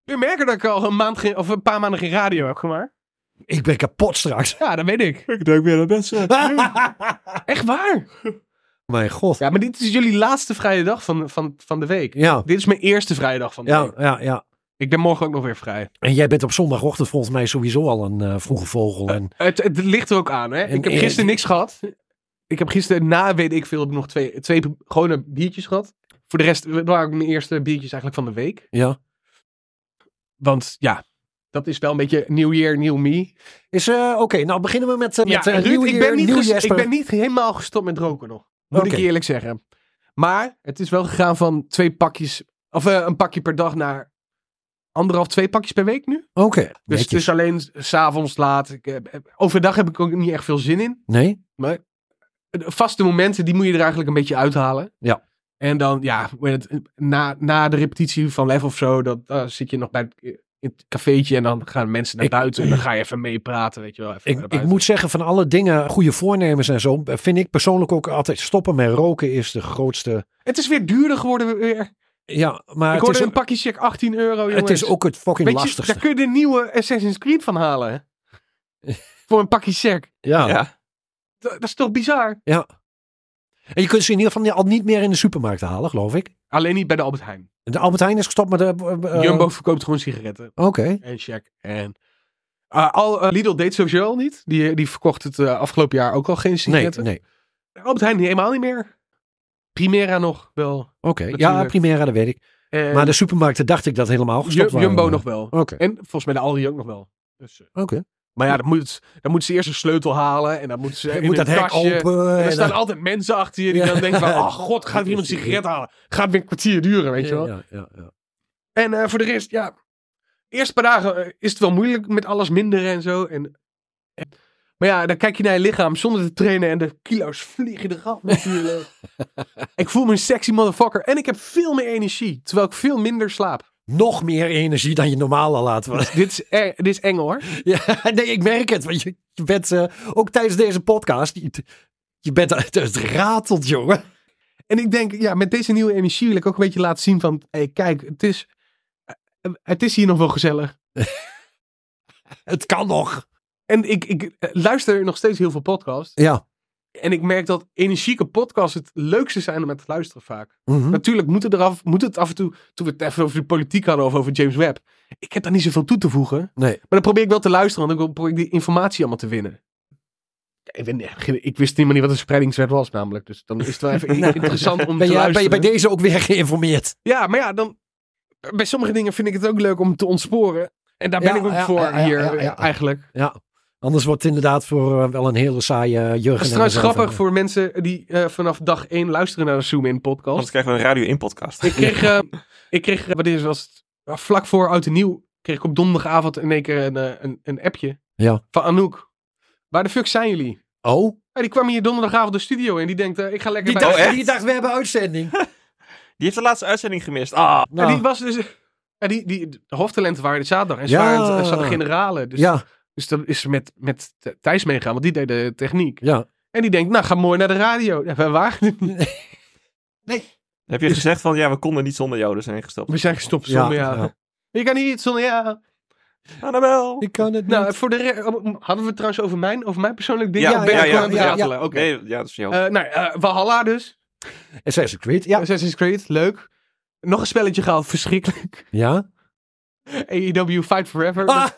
E: Je merkt dat ik al een, maand geen, of een paar maanden geen radio heb gemaakt.
D: Ik ben kapot straks.
E: Ja, dat weet ik. Ah.
C: Ik denk weer dat mensen.
E: Echt waar?
D: Mijn god.
E: Ja, maar dit is jullie laatste vrije dag van, van, van de week.
D: Ja,
E: Dit is mijn eerste vrije dag van de
D: ja,
E: week.
D: ja, ja.
E: Ik ben morgen ook nog weer vrij.
D: En jij bent op zondagochtend volgens mij sowieso al een eh, vroege vogel. En,
E: Het, het ligt er ook aan, hè.
D: En
E: Ik heb
D: eer-
E: gisteren niks gehad. Ik heb gisteren na, weet ik veel, heb ik nog twee, twee gewone biertjes gehad. Voor de rest waren ook mijn eerste biertjes eigenlijk van de week.
D: ja.
E: Want ja, dat is wel een beetje nieuw year, nieuw me.
D: Is, eh, Oké, nou beginnen we met, eh,
E: Ja,
D: met eh,
E: en Ruud,
D: nieuw
E: ik,
D: jaar,
E: ben niet
D: nieuw
E: ges- ik
D: Jesper.
E: ben niet helemaal gestopt met roken nog. Moet
D: Oké.
E: ik je eerlijk zeggen. Maar het is wel gegaan van twee pakjes, of eh, een pakje per dag naar anderhalf, twee pakjes per week nu.
D: Oké,
E: Dus het
D: netjes.
E: is alleen s- s'avonds laat. Ik, heb- heb- overdag heb ik ook niet echt veel zin in. Eh,
D: Nee?
E: De Vaste momenten, die moet je er eigenlijk een beetje uithalen.
D: Ja.
E: En dan, ja, hoe heet het, na, na de repetitie van Lef of zo, dat, eh, zit je nog bij het, in het cafeetje en dan gaan mensen naar
D: Ik-
E: buiten en dan ga je even meepraten, weet je wel. Even
D: Ik,
E: naar
D: ik
E: buiten.
D: moet zeggen, van alle dingen, goede voornemens en zo, eh, vind ik persoonlijk ook altijd stoppen met roken is de grootste.
E: Het is weer duurder geworden weer.
D: Ja, maar
E: ik
D: het,
E: hoorde
D: is,
E: een pakje check 18 euro, jongens.
D: het is ook het fucking
E: Weet je,
D: lastigste.
E: Daar kun je de nieuwe Assassin's Creed van halen. hè? Voor een pakje check.
D: Ja.
C: Ja.
E: Dat, dat is toch bizar?
D: En je kunt ze in ieder geval al niet meer in de supermarkt halen, geloof ik.
E: Alleen niet bij de Albert Heijn.
D: De Albert Heijn is gestopt met de... eh, eh,
E: Jumbo verkoopt gewoon sigaretten
D: Oké.
E: en check. En eh, al, eh, Lidl deed sowieso al niet. Die, die verkocht het eh, afgelopen jaar ook al geen
D: Nee,
E: sigaretten.
D: nee.
E: Albert Heijn helemaal niet meer. Primera nog wel.
D: Oké. Ja,
E: Natuurlijk.
D: Primera, dat weet ik.
E: En
D: Maar de supermarkten dacht ik dat helemaal
E: Ju-
D: gestopt waren.
E: Jumbo nog wel.
D: Oké,
E: En volgens mij de Aldi ook nog wel. Dus, eh,
D: oké.
E: maar ja, dan moeten dan moet ze eerst een sleutel halen. En dan moeten ze
D: Je
E: in
D: moet
E: een
D: dat hek
E: kastje.
D: open.
E: En er
D: en
E: staan
D: dan-
E: altijd mensen achter je die
D: Ja.
E: dan denken van... Oh god, gaat er iemand een sigaret halen? Gaat weer een kwartier duren, weet je wel.
D: Ja, ja, ja.
E: En eh, voor de rest, ja... Eerst paar dagen eh, is het wel moeilijk met alles minderen en zo. En, en- maar ja, dan kijk je naar je lichaam zonder te trainen... en de kilo's vliegen eraf natuurlijk. ik voel me een sexy motherfucker. En ik heb veel meer energie, terwijl ik veel minder slaap.
D: Nog meer energie dan je normaal al had. Want-
E: dit, is, eh, dit is eng hoor.
D: ja, nee, ik merk het. Want je, je bent eh, ook tijdens deze podcast... Je, je bent... Het ratelt, jongen.
E: En ik denk, ja, met deze nieuwe energie wil ik ook een beetje laten zien van... Hey, kijk, het is, eh, het is hier nog wel gezellig.
D: Het kan nog.
E: En ik, ik eh, luister nog steeds heel veel podcasts.
D: Ja.
E: En ik merk dat energieke podcasts het leukste zijn om naar te luisteren vaak.
D: Mhm.
E: Natuurlijk moet het, eraf, moet het af en toe, toen we het even over de politiek hadden of over James Webb. Ik heb daar niet zoveel toe te voegen.
D: Nee.
E: Maar dan probeer ik wel te luisteren, want dan probeer ik die informatie allemaal te winnen. Ja, Ik, ben, ik wist helemaal niet wat een spreidingswet was namelijk. Dus dan is het wel even interessant om
D: Nou, Ben, jij,
E: te
D: ben je
E: luisteren.
D: bij deze ook weer geïnformeerd?
E: Ja, maar ja, dan, bij sommige dingen vind ik het ook leuk om te ontsporen. En daar ben
D: Ja,
E: ik ook
D: ja,
E: voor
D: ja, ja,
E: hier
D: ja, ja.
E: eigenlijk.
D: Ja. Anders wordt het inderdaad voor eh, wel een hele saaie
E: Het
D: Jurgen.
E: is
D: en
E: trouwens
D: mezelf.
E: grappig voor mensen die eh, vanaf dag 1 luisteren naar de Zoom In
C: Anders
E: podcast.
C: krijgen we een radio in podcast.
E: Ik kreeg, eh, ik kreeg eh, wat is, was het, eh, vlak voor Oud en Nieuw, kreeg ik op donderdagavond in één keer een, eh, een, een appje
D: Ja.
E: van Anouk. Waar de fuck zijn jullie?
D: Oh?
E: Ah, die kwam hier donderdagavond de studio in. Die denkt, eh, ik ga lekker
D: Die
E: bij...
D: dacht,
C: Oh, echt?
D: die dacht, we hebben uitzending.
C: Die heeft de laatste uitzending gemist. Ah,
E: En die
D: Nou,
E: was dus... en die, die, de hoftalenten waren dit zaterdag. En ze
D: Ja.
E: waren, ze hadden generalen. Dus,
D: ja,
E: dus dan is ze met, met Thijs meegaan, want die deed de techniek.
D: ja.
E: En die denkt, nou, ga mooi naar de radio. Ja, we, waren,
C: heb je gezegd van ja, we konden niet zonder jou, dus zijn we gestopt.
E: we zijn gestopt zonder
D: Ja,
E: jou.
D: ja.
E: Ik kan niet zonder jou.
C: Annabel!
D: Ik kan het
E: Nou,
D: niet.
E: voor de re- hadden we het trouwens over mijn, over mijn persoonlijk ding?
C: Ja,
E: Of ben
C: ja,
E: ik
C: ja,
E: gewoon aan het
C: ja,
E: ratelen? Oké.
C: Nee, ja, dat is jou.
E: Eh, nou, eh Valhalla dus.
D: Assassin's Creed, ja.
E: Assassin's Creed, leuk. Nog een spelletje gehaald, verschrikkelijk.
D: Ja?
E: AEW Fight Forever.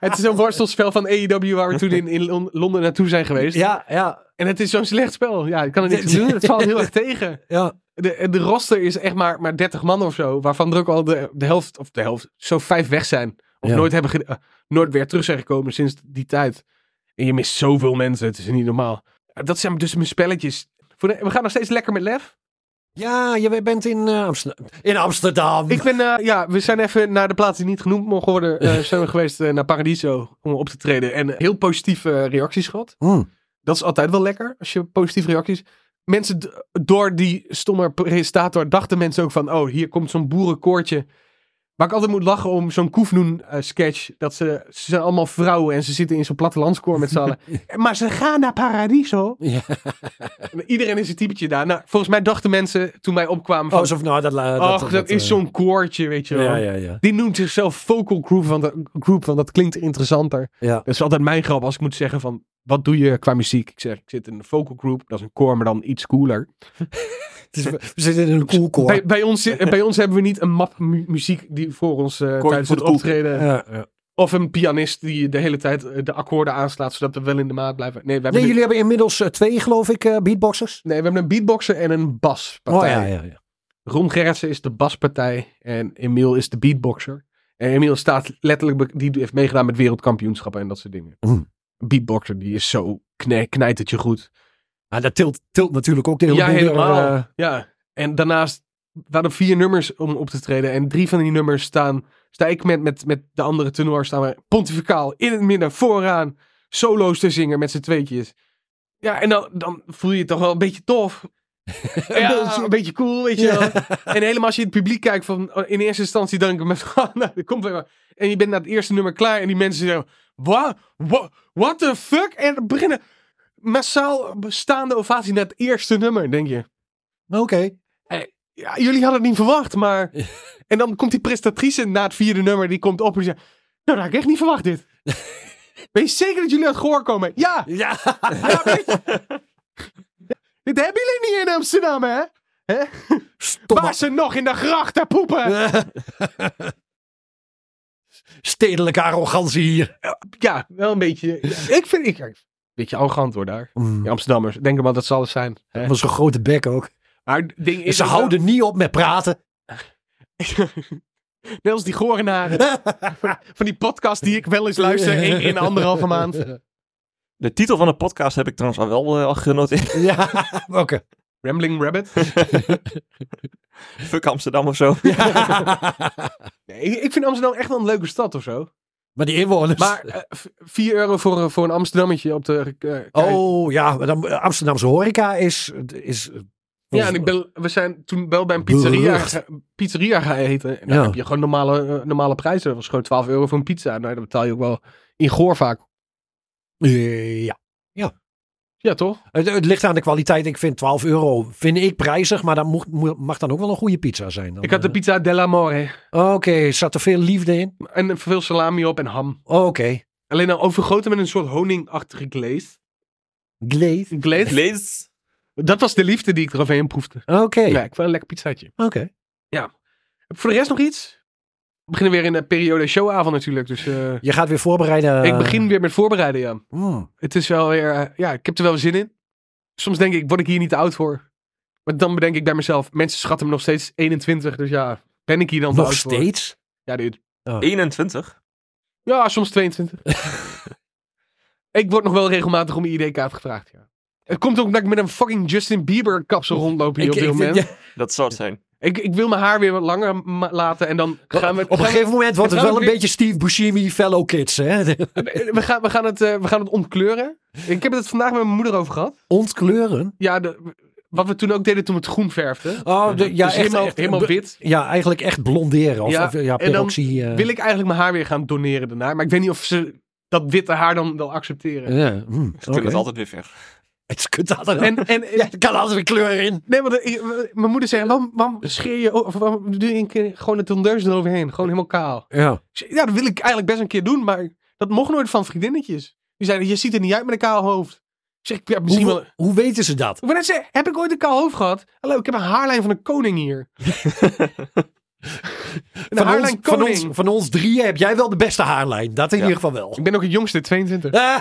E: Het is een worstelspel van AEW waar we toen in, in Lon- Londen naartoe zijn geweest.
D: Ja, ja,
E: En het is zo'n slecht spel. Ja, ik kan er niks aan doen. Het valt heel erg tegen.
D: ja.
E: De, de roster is echt maar, maar 30 man of zo. Waarvan er ook al de, de helft, of de helft, zo vijf weg zijn. Of
D: Ja.
E: nooit, hebben ge- eh, nooit weer terug zijn gekomen sinds die tijd. En je mist zoveel mensen. Het is niet normaal. Eh, Dat zijn dus mijn spelletjes. Voor de- we gaan nog steeds lekker met lef.
D: Ja, je bent in, eh, Amster- in Amsterdam.
E: Ik ben, eh, ja, we zijn even naar de plaats die niet genoemd mogen worden. eh, zijn we geweest eh, naar Paradiso om op te treden. En eh, heel positieve eh, reacties gehad.
D: Hmm.
E: Dat is altijd wel lekker als je positieve reacties. Mensen d- door die stomme presentator dachten mensen ook van: oh, hier komt zo'n boerenkoortje. Waar ik altijd moet lachen om zo'n Koefnoen eh, sketch. Dat ze, ze zijn allemaal vrouwen en ze zitten in zo'n plattelandskoor met z'n allen. maar ze gaan naar Paradiso.
D: Ja.
E: En Iedereen is een typetje daar. Nou, volgens mij dachten mensen toen wij opkwamen van...
D: Oh, zo, van, nou, dat, la-
E: Ach, dat, is
D: eh,
E: zo'n koortje, weet je wel.
D: Ja, ja, ja.
E: Die noemt zichzelf vocal group, want, dat- group, want dat klinkt interessanter.
D: ja.
E: Dat is altijd mijn grap als ik moet zeggen van, wat doe je qua muziek? Ik zeg, ik zit in een vocal group, dat is een koor, maar dan iets cooler.
D: Het is- we zitten in een koelkoor.
E: Bij, bij, ons, zit- bij ons hebben we niet een map mu- muziek die voor ons eh,
C: Koortje
E: tijdens
C: voor
E: het
C: de koek.
E: optreden...
D: Ja, ja.
E: Of een pianist die de hele tijd eh, de akkoorden aanslaat, zodat we wel in de maat blijven. Nee, we hebben,
D: Nee,
E: nu-
D: jullie hebben inmiddels eh, twee, geloof ik, eh, beatboxers.
E: nee, we hebben een beatboxer en een
D: Oh
E: baspartij.
D: ja, ja, ja.
E: Ron Gerritsen is de baspartij en Emiel is de beatboxer. En Emiel staat letterlijk, be- die heeft meegedaan met wereldkampioenschappen en dat soort dingen.
D: Mm.
E: Een beatboxer, die is zo knij, knijtertje goed.
D: Maar dat tilt, tilt natuurlijk ook de hele
E: Ja,
D: boel weer,
E: helemaal.
D: eh,
E: Ja, en daarnaast waren er vier nummers om op te treden. En drie van die nummers staan, sta ik met, met, met de andere tenor, staan we pontificaal in het midden, vooraan, solo's te zingen met z'n tweetjes. Ja, en dan, dan voel je je toch wel een beetje tof. ja, een, beetje, cool, weet je wel. En helemaal als je in het publiek kijkt, van, oh, in eerste instantie denk ik, met, nou, dat komt wel. En je bent na het eerste nummer klaar en die mensen zeggen, what, what, what the fuck? En beginnen massaal bestaande ovatie naar het eerste nummer, denk je.
D: Nou, Oké.
E: Ja, jullie hadden het niet verwacht, maar... En dan komt die prestatrice na het vierde nummer, die komt op en die zegt... Nou, dat had ik echt niet verwacht, dit. Ben je zeker dat jullie uit Goor komen? Ja!
D: Ja.
E: ja weet je. dit hebben jullie niet in Amsterdam, hè? hè? Waar
D: Stomme,
E: ze nog in de gracht te poepen!
D: stedelijke arrogantie hier.
E: Ja, wel een beetje... Ik vind... Ik, een beetje arrogant, hoor, daar.
D: Mm.
E: Die Amsterdammers, denk maar dat zal het zijn. Hè?
D: Dat was een grote bek ook.
E: Maar het ding is...
D: Ze houden niet op met praten.
E: Net als die gorenaren. Van die podcast die ik wel eens luister in, in anderhalve maand.
C: De titel van de podcast heb ik trouwens al wel eh, al genoteerd.
D: Ja, oké.
E: Rambling Rabbit.
C: Fuck Amsterdam of zo.
E: Nee, ik, ik vind Amsterdam echt wel een leuke stad of zo.
D: Maar die inwoners.
E: Maar eh, v- 4 euro voor, een- voor een Amsterdammetje op de. eh, kei-
D: oh ja, maar dan, Amsterdamse horeca is... is
E: Ja, en ik ben, we zijn toen wel bij een pizzeria,
D: Berucht.
E: ge- pizzeria gaan eten. En dan
D: Ja.
E: heb je gewoon normale, eh, normale prijzen. Dat was gewoon 12 euro voor een pizza. Nou, dat betaal je ook wel in Goor vaak.
D: Eh, Ja.
E: Ja, toch?
D: Het, het ligt aan de kwaliteit. Ik vind 12 euro vind ik prijzig, maar dat moet- moet- mag dan ook wel een goede pizza zijn. Dan,
E: Ik had de
D: eh.
E: pizza dell'amore.
D: Oké, zat er veel liefde in?
E: En veel salami op en ham.
D: Oké.
E: Alleen dan overgoten met een soort honingachtige glaze.
D: Gleed.
E: glaze.
C: Lees.
E: Dat was de liefde die ik eroverheen proefde.
D: Oké.
E: Ja, ik vond een lekker pizzaatje.
D: Oké.
E: Voor de rest nog iets? We beginnen weer in de periode showavond natuurlijk. Dus eh,
D: Je gaat weer voorbereiden.
E: ik begin weer met voorbereiden, ja.
D: Hmm.
E: Het is wel weer... eh, ja, ik heb er wel zin in. Soms denk ik, word ik hier niet te oud voor? Maar dan bedenk ik bij mezelf, mensen schatten me nog steeds 21. Dus ja, ben ik hier dan te
D: Nog
E: oud voor?
D: steeds?
E: Ja, dude.
C: 21.
E: Ja, soms 22. ik word nog wel regelmatig om mijn ID-kaart gevraagd, ja. Het komt ook omdat ik met een fucking Justin Bieber kapsel rondloop hier op dit moment.
D: ja,
C: Dat zou het zijn.
E: ik, ik wil mijn haar weer wat langer ma- laten en dan gaan we...
D: op een
E: gaan we-
D: gegeven moment wordt
E: we
D: het
E: gaan
D: wel een
E: weer-
D: beetje Steve Buscemi, fellow kids. Hè?
E: We gaan, we, gaan het, eh, we gaan het ontkleuren. Ik heb het vandaag met mijn moeder over gehad.
D: Ontkleuren.
E: Ja, de- wat we toen ook deden toen we het groen verfden.
D: Oh, de- ja,
E: dus
D: echt,
E: helemaal,
D: echt-
E: helemaal wit.
D: ja, eigenlijk echt blonderen. Of
E: Ja,
D: ja, of, ja
E: en dan
D: peroxy. eh,
E: Wil ik eigenlijk mijn haar weer gaan doneren daarna. Maar ik weet niet of ze dat witte haar dan wel accepteren.
D: ja, hmm,
C: Ze kunnen
D: oké.
C: het altijd weer ver.
D: Het kunt altijd
E: En, en
D: ja, er kan altijd weer kleur in.
E: nee, want eh, ik- mijn moeder zei, waarom, waarom scheer je, of waarom doe je een keer gewoon de tondeurs eroverheen? Gewoon helemaal kaal.
D: Ja.
E: Ik zei, Ja, dat wil ik eigenlijk best een keer doen, maar dat mocht nooit van vriendinnetjes. Die zeiden, je ziet er niet uit met een kaal hoofd. Ik Zeg, ja, misschien
D: hoe,
E: wel...
D: hoe weten ze dat?
E: Ik wou net zeggen, heb ik ooit een kaal hoofd gehad? Hallo, ik heb een haarlijn van een koning hier. een
F: Van
E: haarlijn
F: ons, van,
E: koning.
F: ons,
D: Van ons drieën heb jij wel de beste haarlijn. Dat in ieder geval wel.
E: Ik ben ook het jongste, 22.
D: Ah,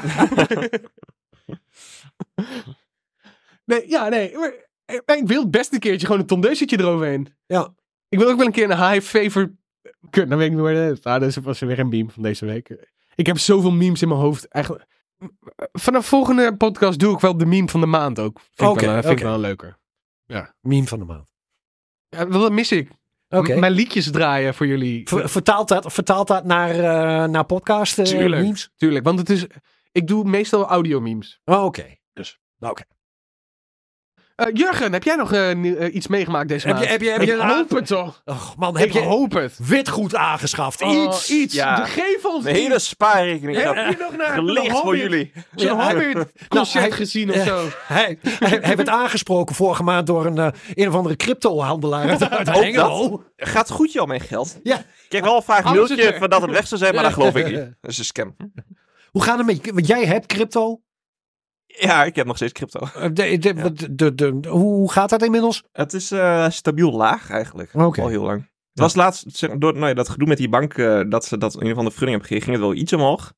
E: Nee, ja, nee. Maar, eh, maar ik wil best een keertje gewoon een tondeusetje eroverheen.
D: Ja.
E: Ik wil ook wel een keer een high favor... Kut, dan weet ik niet waar het is. Ah, dat was weer een meme van deze week. Ik heb zoveel memes in mijn hoofd. Eigenlijk... Vanaf volgende podcast doe ik wel de meme van de maand ook. Vind
D: Oké,
E: ik wel, eh, vind ik
D: oké.
E: wel leuker.
D: meme van de maand.
E: Ja, wel, dat mis ik.
D: Oké.
E: M- Mijn liedjes draaien voor jullie.
D: Ver- vertaalt, dat, vertaalt dat naar, eh, naar podcast? eh,
E: Tuurlijk.
D: memes?
E: Tuurlijk, want het is... Ik doe meestal audio memes.
D: Oh, Oké. Dus.
E: Eh, Jurgen, heb jij nog eh, nieuw- eh, iets meegemaakt deze
D: Heb je,
E: maand?
D: heb je, heb je
E: ik
D: een
E: hoop het toch.
D: Och, man,
E: Heb
D: heb
E: ik
D: je
E: hoop het.
D: witgoed aangeschaft?
E: Oh,
D: Iets.
E: iets.
C: ja.
E: Geef ons
C: Mijn hele spaarrekening
E: Heb
C: gaat
E: je nog naar
C: gelicht voor jullie.
E: Zo'n
D: Ja, hij-
E: concert
D: Nou, hij-
E: gezien of
D: Ja.
E: zo.
D: Hij, hij, hij werd aangesproken vorige maand door een, eh, een of andere crypto-handelaar uit, uit
C: Ook
D: Hengelo.
C: Gaat goed, joh, mijn geld.
D: Ja.
C: Ik kreeg wel vaak een
E: Alles is
C: mailtje
E: er.
C: van dat het weg zou zijn, maar dat geloof ik niet. Dat is een scam.
D: Hoe gaat het met je? Want jij hebt crypto.
C: Ja, ik heb nog steeds crypto.
D: Eh, De, de, de, de, de- hoe gaat dat inmiddels?
C: Het is eh, stabiel laag eigenlijk.
D: Oké.
C: Al heel lang. Het was laatst, zeg, maar, door nou ja, dat gedoe met die bank, eh, dat ze dat in ieder geval de vergunning hebben gegeven, ging het wel iets omhoog.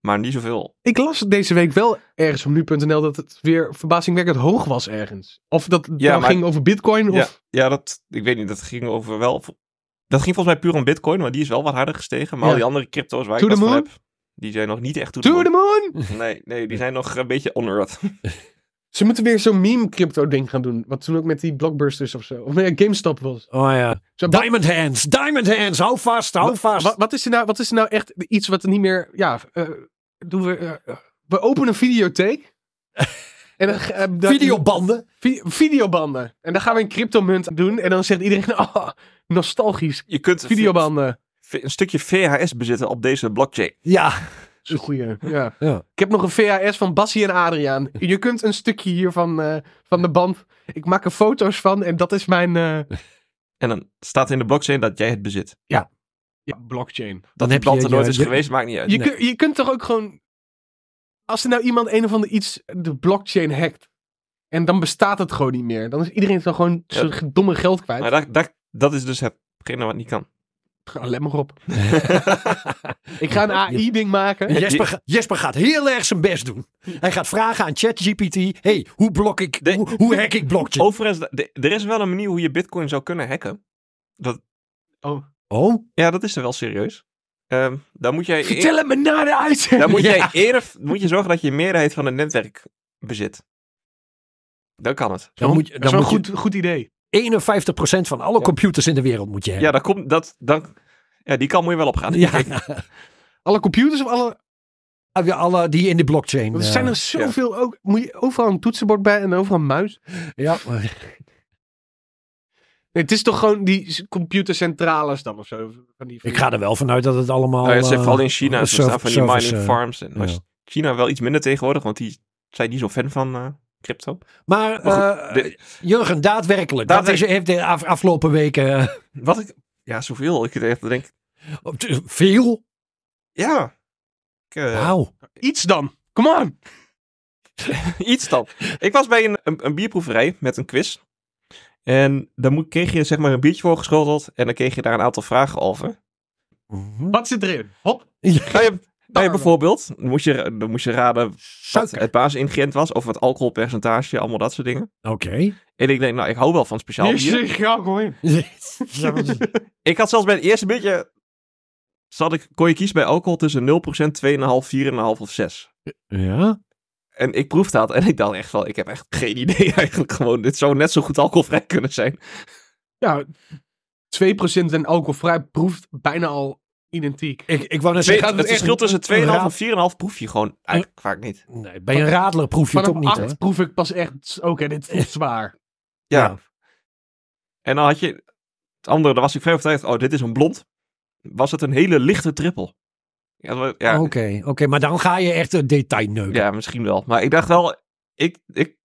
C: Maar niet zoveel.
E: Ik las deze week wel ergens op nu.nl dat het weer verbazingwekkend hoog was ergens. Of dat het
C: Ja,
E: nou
C: maar-
E: ging over bitcoin.
C: Ja,
E: Of...
C: ja, dat, ik weet niet, dat ging over wel... Dat ging volgens mij puur om bitcoin, maar die is wel wat harder gestegen. Maar
E: Ja.
C: al die andere crypto's waar
E: To
C: ik
E: the
C: last van
E: moon?
C: heb, die zijn nog niet echt to the
E: To
C: moon.
E: the moon!
C: Nee, nee, die zijn nog een beetje unearthed.
E: Ze moeten weer zo'n meme crypto ding gaan doen. Wat toen ook met die blockbusters of zo. Of nee, GameStop was.
D: Oh ja.
E: Zo, wat,
D: Diamond Hands, Diamond Hands, hou vast, hou vast.
E: wat, wat is er nou, wat is er nou echt iets wat er niet meer... Ja, eh, doen we... eh, we openen een videotheek. en dan, eh, dat-
D: Videobanden.
E: Vi- videobanden. En dan gaan we een cryptomunt doen. En dan zegt iedereen, oh, nostalgisch.
C: Je kunt een-
E: Videobanden.
C: v- een stukje VHS bezitten op deze blockchain.
D: Ja.
E: Dat is een goeie. Ja.
D: Ja.
E: Ik heb nog een VHS van Bassie en Adriaan. Je kunt een stukje hiervan eh, van de band. Ik maak er foto's van en dat is mijn eh,
C: En dan staat in de blockchain dat jij het bezit.
E: ja, blockchain.
D: Dan
C: Dat
D: heb
C: die band
D: je-
C: er nooit
D: je-
C: is
D: je-
C: geweest, maakt niet uit.
E: Je, kun- je kunt toch ook gewoon... Als er nou iemand een of ander iets de blockchain hackt. En dan bestaat het gewoon niet meer. Dan is iedereen dan gewoon zijn domme geld kwijt.
C: Maar dat, dat, dat is dus hetgene wat niet kan.
E: Ah, Let maar op. ik ga een AI-ding maken.
D: Jesper, ga- Jesper gaat heel erg zijn best doen. Hij gaat vragen aan ChatGPT: hey, hoe blok ik,
C: De- Oh.
D: hoe, hoe hack ik blockchain?
C: Overigens, de- er is wel een manier hoe je bitcoin zou kunnen hacken.
D: Oh,
C: Ja, dat is er wel serieus. Ehm dan moet jij, eer-
E: Vertel het me na de uitzending.
C: dan moet
D: Ja.
C: jij eerder moet je zorgen dat je een meerderheid van het netwerk bezit. Dan kan het.
D: dan moet je, dan moet je
E: goed idee.
D: 51% van alle computers in de wereld moet je
C: Ja,
D: hebben.
C: dan komt dat. Dan, ja, die kan moet je wel Oh opgaan.
D: Ja,
C: Kijk,
E: Alle computers of alle...
D: Heb je alle die in de blockchain.
E: Er
D: eh,
E: zijn er zoveel ook. Moet je overal een toetsenbord bij en overal een muis?
D: ja.
E: Nee, het is toch gewoon die s- computercentrales dan of zo? Van die, van
D: Ik
E: die-
D: ga er wel vanuit dat het allemaal.
C: nou ja, ze
D: eh,
C: vooral in China. Ze
D: serv-
C: staan van die
D: servers,
C: mining
D: eh,
C: farms. En nou is
D: ja.
C: China wel iets minder tegenwoordig, want die zijn niet zo fan van eh, crypto.
D: Maar,
C: Maar
D: eh,
C: dit-
D: Jurgen, daadwerkelijk. Dat is,
C: Daadwerkelijk.
D: heeft de af- afgelopen weken eh,
C: Wat ik. Ja, zoveel. Ik echt denk.
D: op de- veel.
C: Ja. Ik, eh,
D: Wauw.
E: Iets dan. Come on.
C: Iets dan. Ik was bij een, een, een bierproeverij met een quiz. En dan moet, kreeg je zeg maar een biertje voorgeschoteld. En dan kreeg je daar een aantal vragen over. Mhm.
E: Wat zit erin? Hop.
C: Nou, je, nou, je bijvoorbeeld, dan moest je, dan moest je raden wat
D: Suiker.
C: het basisingrediënt was. Of het alcoholpercentage, allemaal dat soort dingen.
D: Oké.
C: En ik denk, nou, ik hou wel van speciaal
E: Hier
C: bier.
E: zit graag gewoon in.
C: Ik had zelfs bij het eerste biertje... Zat ik, kon je kiezen bij alcohol tussen 0%, 2,5, 4,5 of 6.
D: ja.
C: En ik proefde dat en ik dacht echt wel, ik heb echt geen idee eigenlijk gewoon. Dit zou net zo goed alcoholvrij kunnen zijn.
E: Ja, 2% en alcoholvrij proeft bijna al identiek.
D: Ik, ik wou net
C: Twee,
D: zeggen.
E: gaat
C: het
E: het echt-
C: verschil tussen 2,5
D: raad-
C: en 4,5 proef je gewoon eigenlijk vaak niet.
D: Nee, bij een radler proef je het
E: Vanaf
D: ook niet. hoor.
E: 8 proef ik pas echt... Oké, dit voelt zwaar.
C: Ja.
D: Ja.
C: En dan had je het andere, daar was ik vrij overtuigd. Oh, dit is een blond. Was het een hele lichte trippel? Ja, dat- ja,
D: Oké, oké, maar dan ga je echt een detail neuken.
C: ja, misschien wel. Maar ik dacht wel, ik, ik,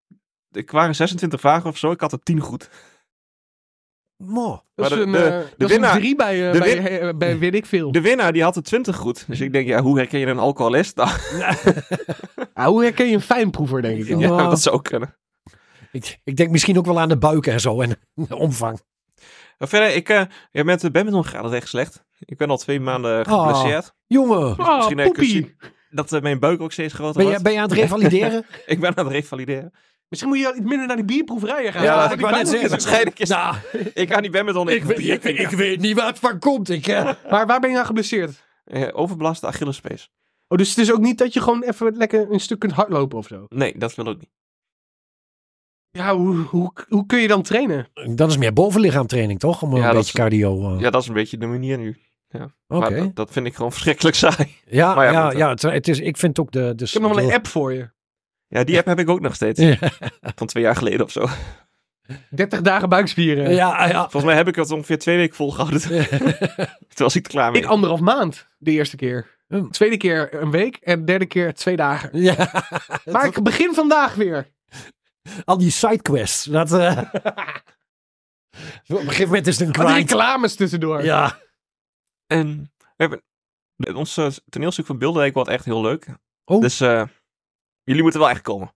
C: ik waren 26 vragen of zo. Ik had er 10 goed.
G: Mo.
E: Dat
C: Maar
E: is
C: de-
E: een,
C: de-
E: eh,
C: de
E: dat is een
C: winnaar-
E: drie bij, eh,
C: de
E: bij,
C: win-
E: eh, bij weet ik veel.
C: De winnaar die had de 20 goed. Dus ik denk, ja, hoe herken je een alcoholist? Nou,
E: Ah, hoe herken je een fijnproever, denk ik dan? Ah,
C: ja, dat zou ook kunnen.
D: Ik, ik denk misschien ook wel aan de buiken en zo en de omvang.
C: Maar verder, ik, eh ja, met de badminton gaat het echt slecht. Ik ben al twee maanden geblesseerd.
D: Oh. Jongen,
E: Ah,
C: Misschien eh, kun je
E: poepie.
C: zien dat eh, mijn buik ook steeds groter
D: ben
C: wordt.
D: je, ben je aan het revalideren?
C: Ik ben aan het revalideren.
E: Misschien moet je dan iets minder naar die bierproeverijen gaan.
C: Ja,
E: Dan
C: dat
E: heb
D: wou
E: bijna
D: net zeggen.
E: gezegd.
C: Waarschijnlijk is
D: nou,
C: Ik ga niet badminton.
D: ik,
C: Ik,
D: weet- ik, weet- ik weet niet waar het van komt. Ik, eh.
E: Maar waar ben je aan geblesseerd?
C: eh, overbelaste Achillespees.
E: Oh, dus het is ook niet dat je gewoon even lekker een stuk kunt hardlopen of zo?
C: Nee, dat wil ik niet.
E: Ja, hoe, hoe, hoe kun je dan trainen?
D: Dat is meer bovenlichaamtraining, toch? Om een
C: Ja, dat
D: beetje
C: is-
D: cardio. eh,
C: Ja, dat is een beetje de manier nu.
D: Oké.
C: Maar dat, dat vind ik gewoon verschrikkelijk saai.
D: Ja,
C: maar
D: ja,
C: ja,
D: ja,
C: goed, eh.
D: het, het is, ik vind ook de... de
E: Ik heb nog wel een app voor je.
C: Ja, die app heb ik ook nog steeds.
D: Ja.
C: Van twee jaar geleden of zo.
E: 30 dagen buikspieren.
D: Ja, ja.
C: Volgens mij heb ik dat ongeveer twee weken volgehouden. Toen was ik er klaar mee.
E: Ik anderhalf maand de eerste keer.
D: Hmm.
E: Tweede keer een week en derde keer twee dagen.
D: ja.
E: Maar ik begin vandaag weer.
D: Al die sidequests. Dat, eh. Op een gegeven moment is het een
E: Wat die
D: grind.
E: reclames tussendoor.
D: Ja.
C: En we hebben... de- Ons eh, toneelstuk van Bilderdijk wordt echt heel leuk.
D: Oh.
C: Dus eh, jullie moeten wel echt komen.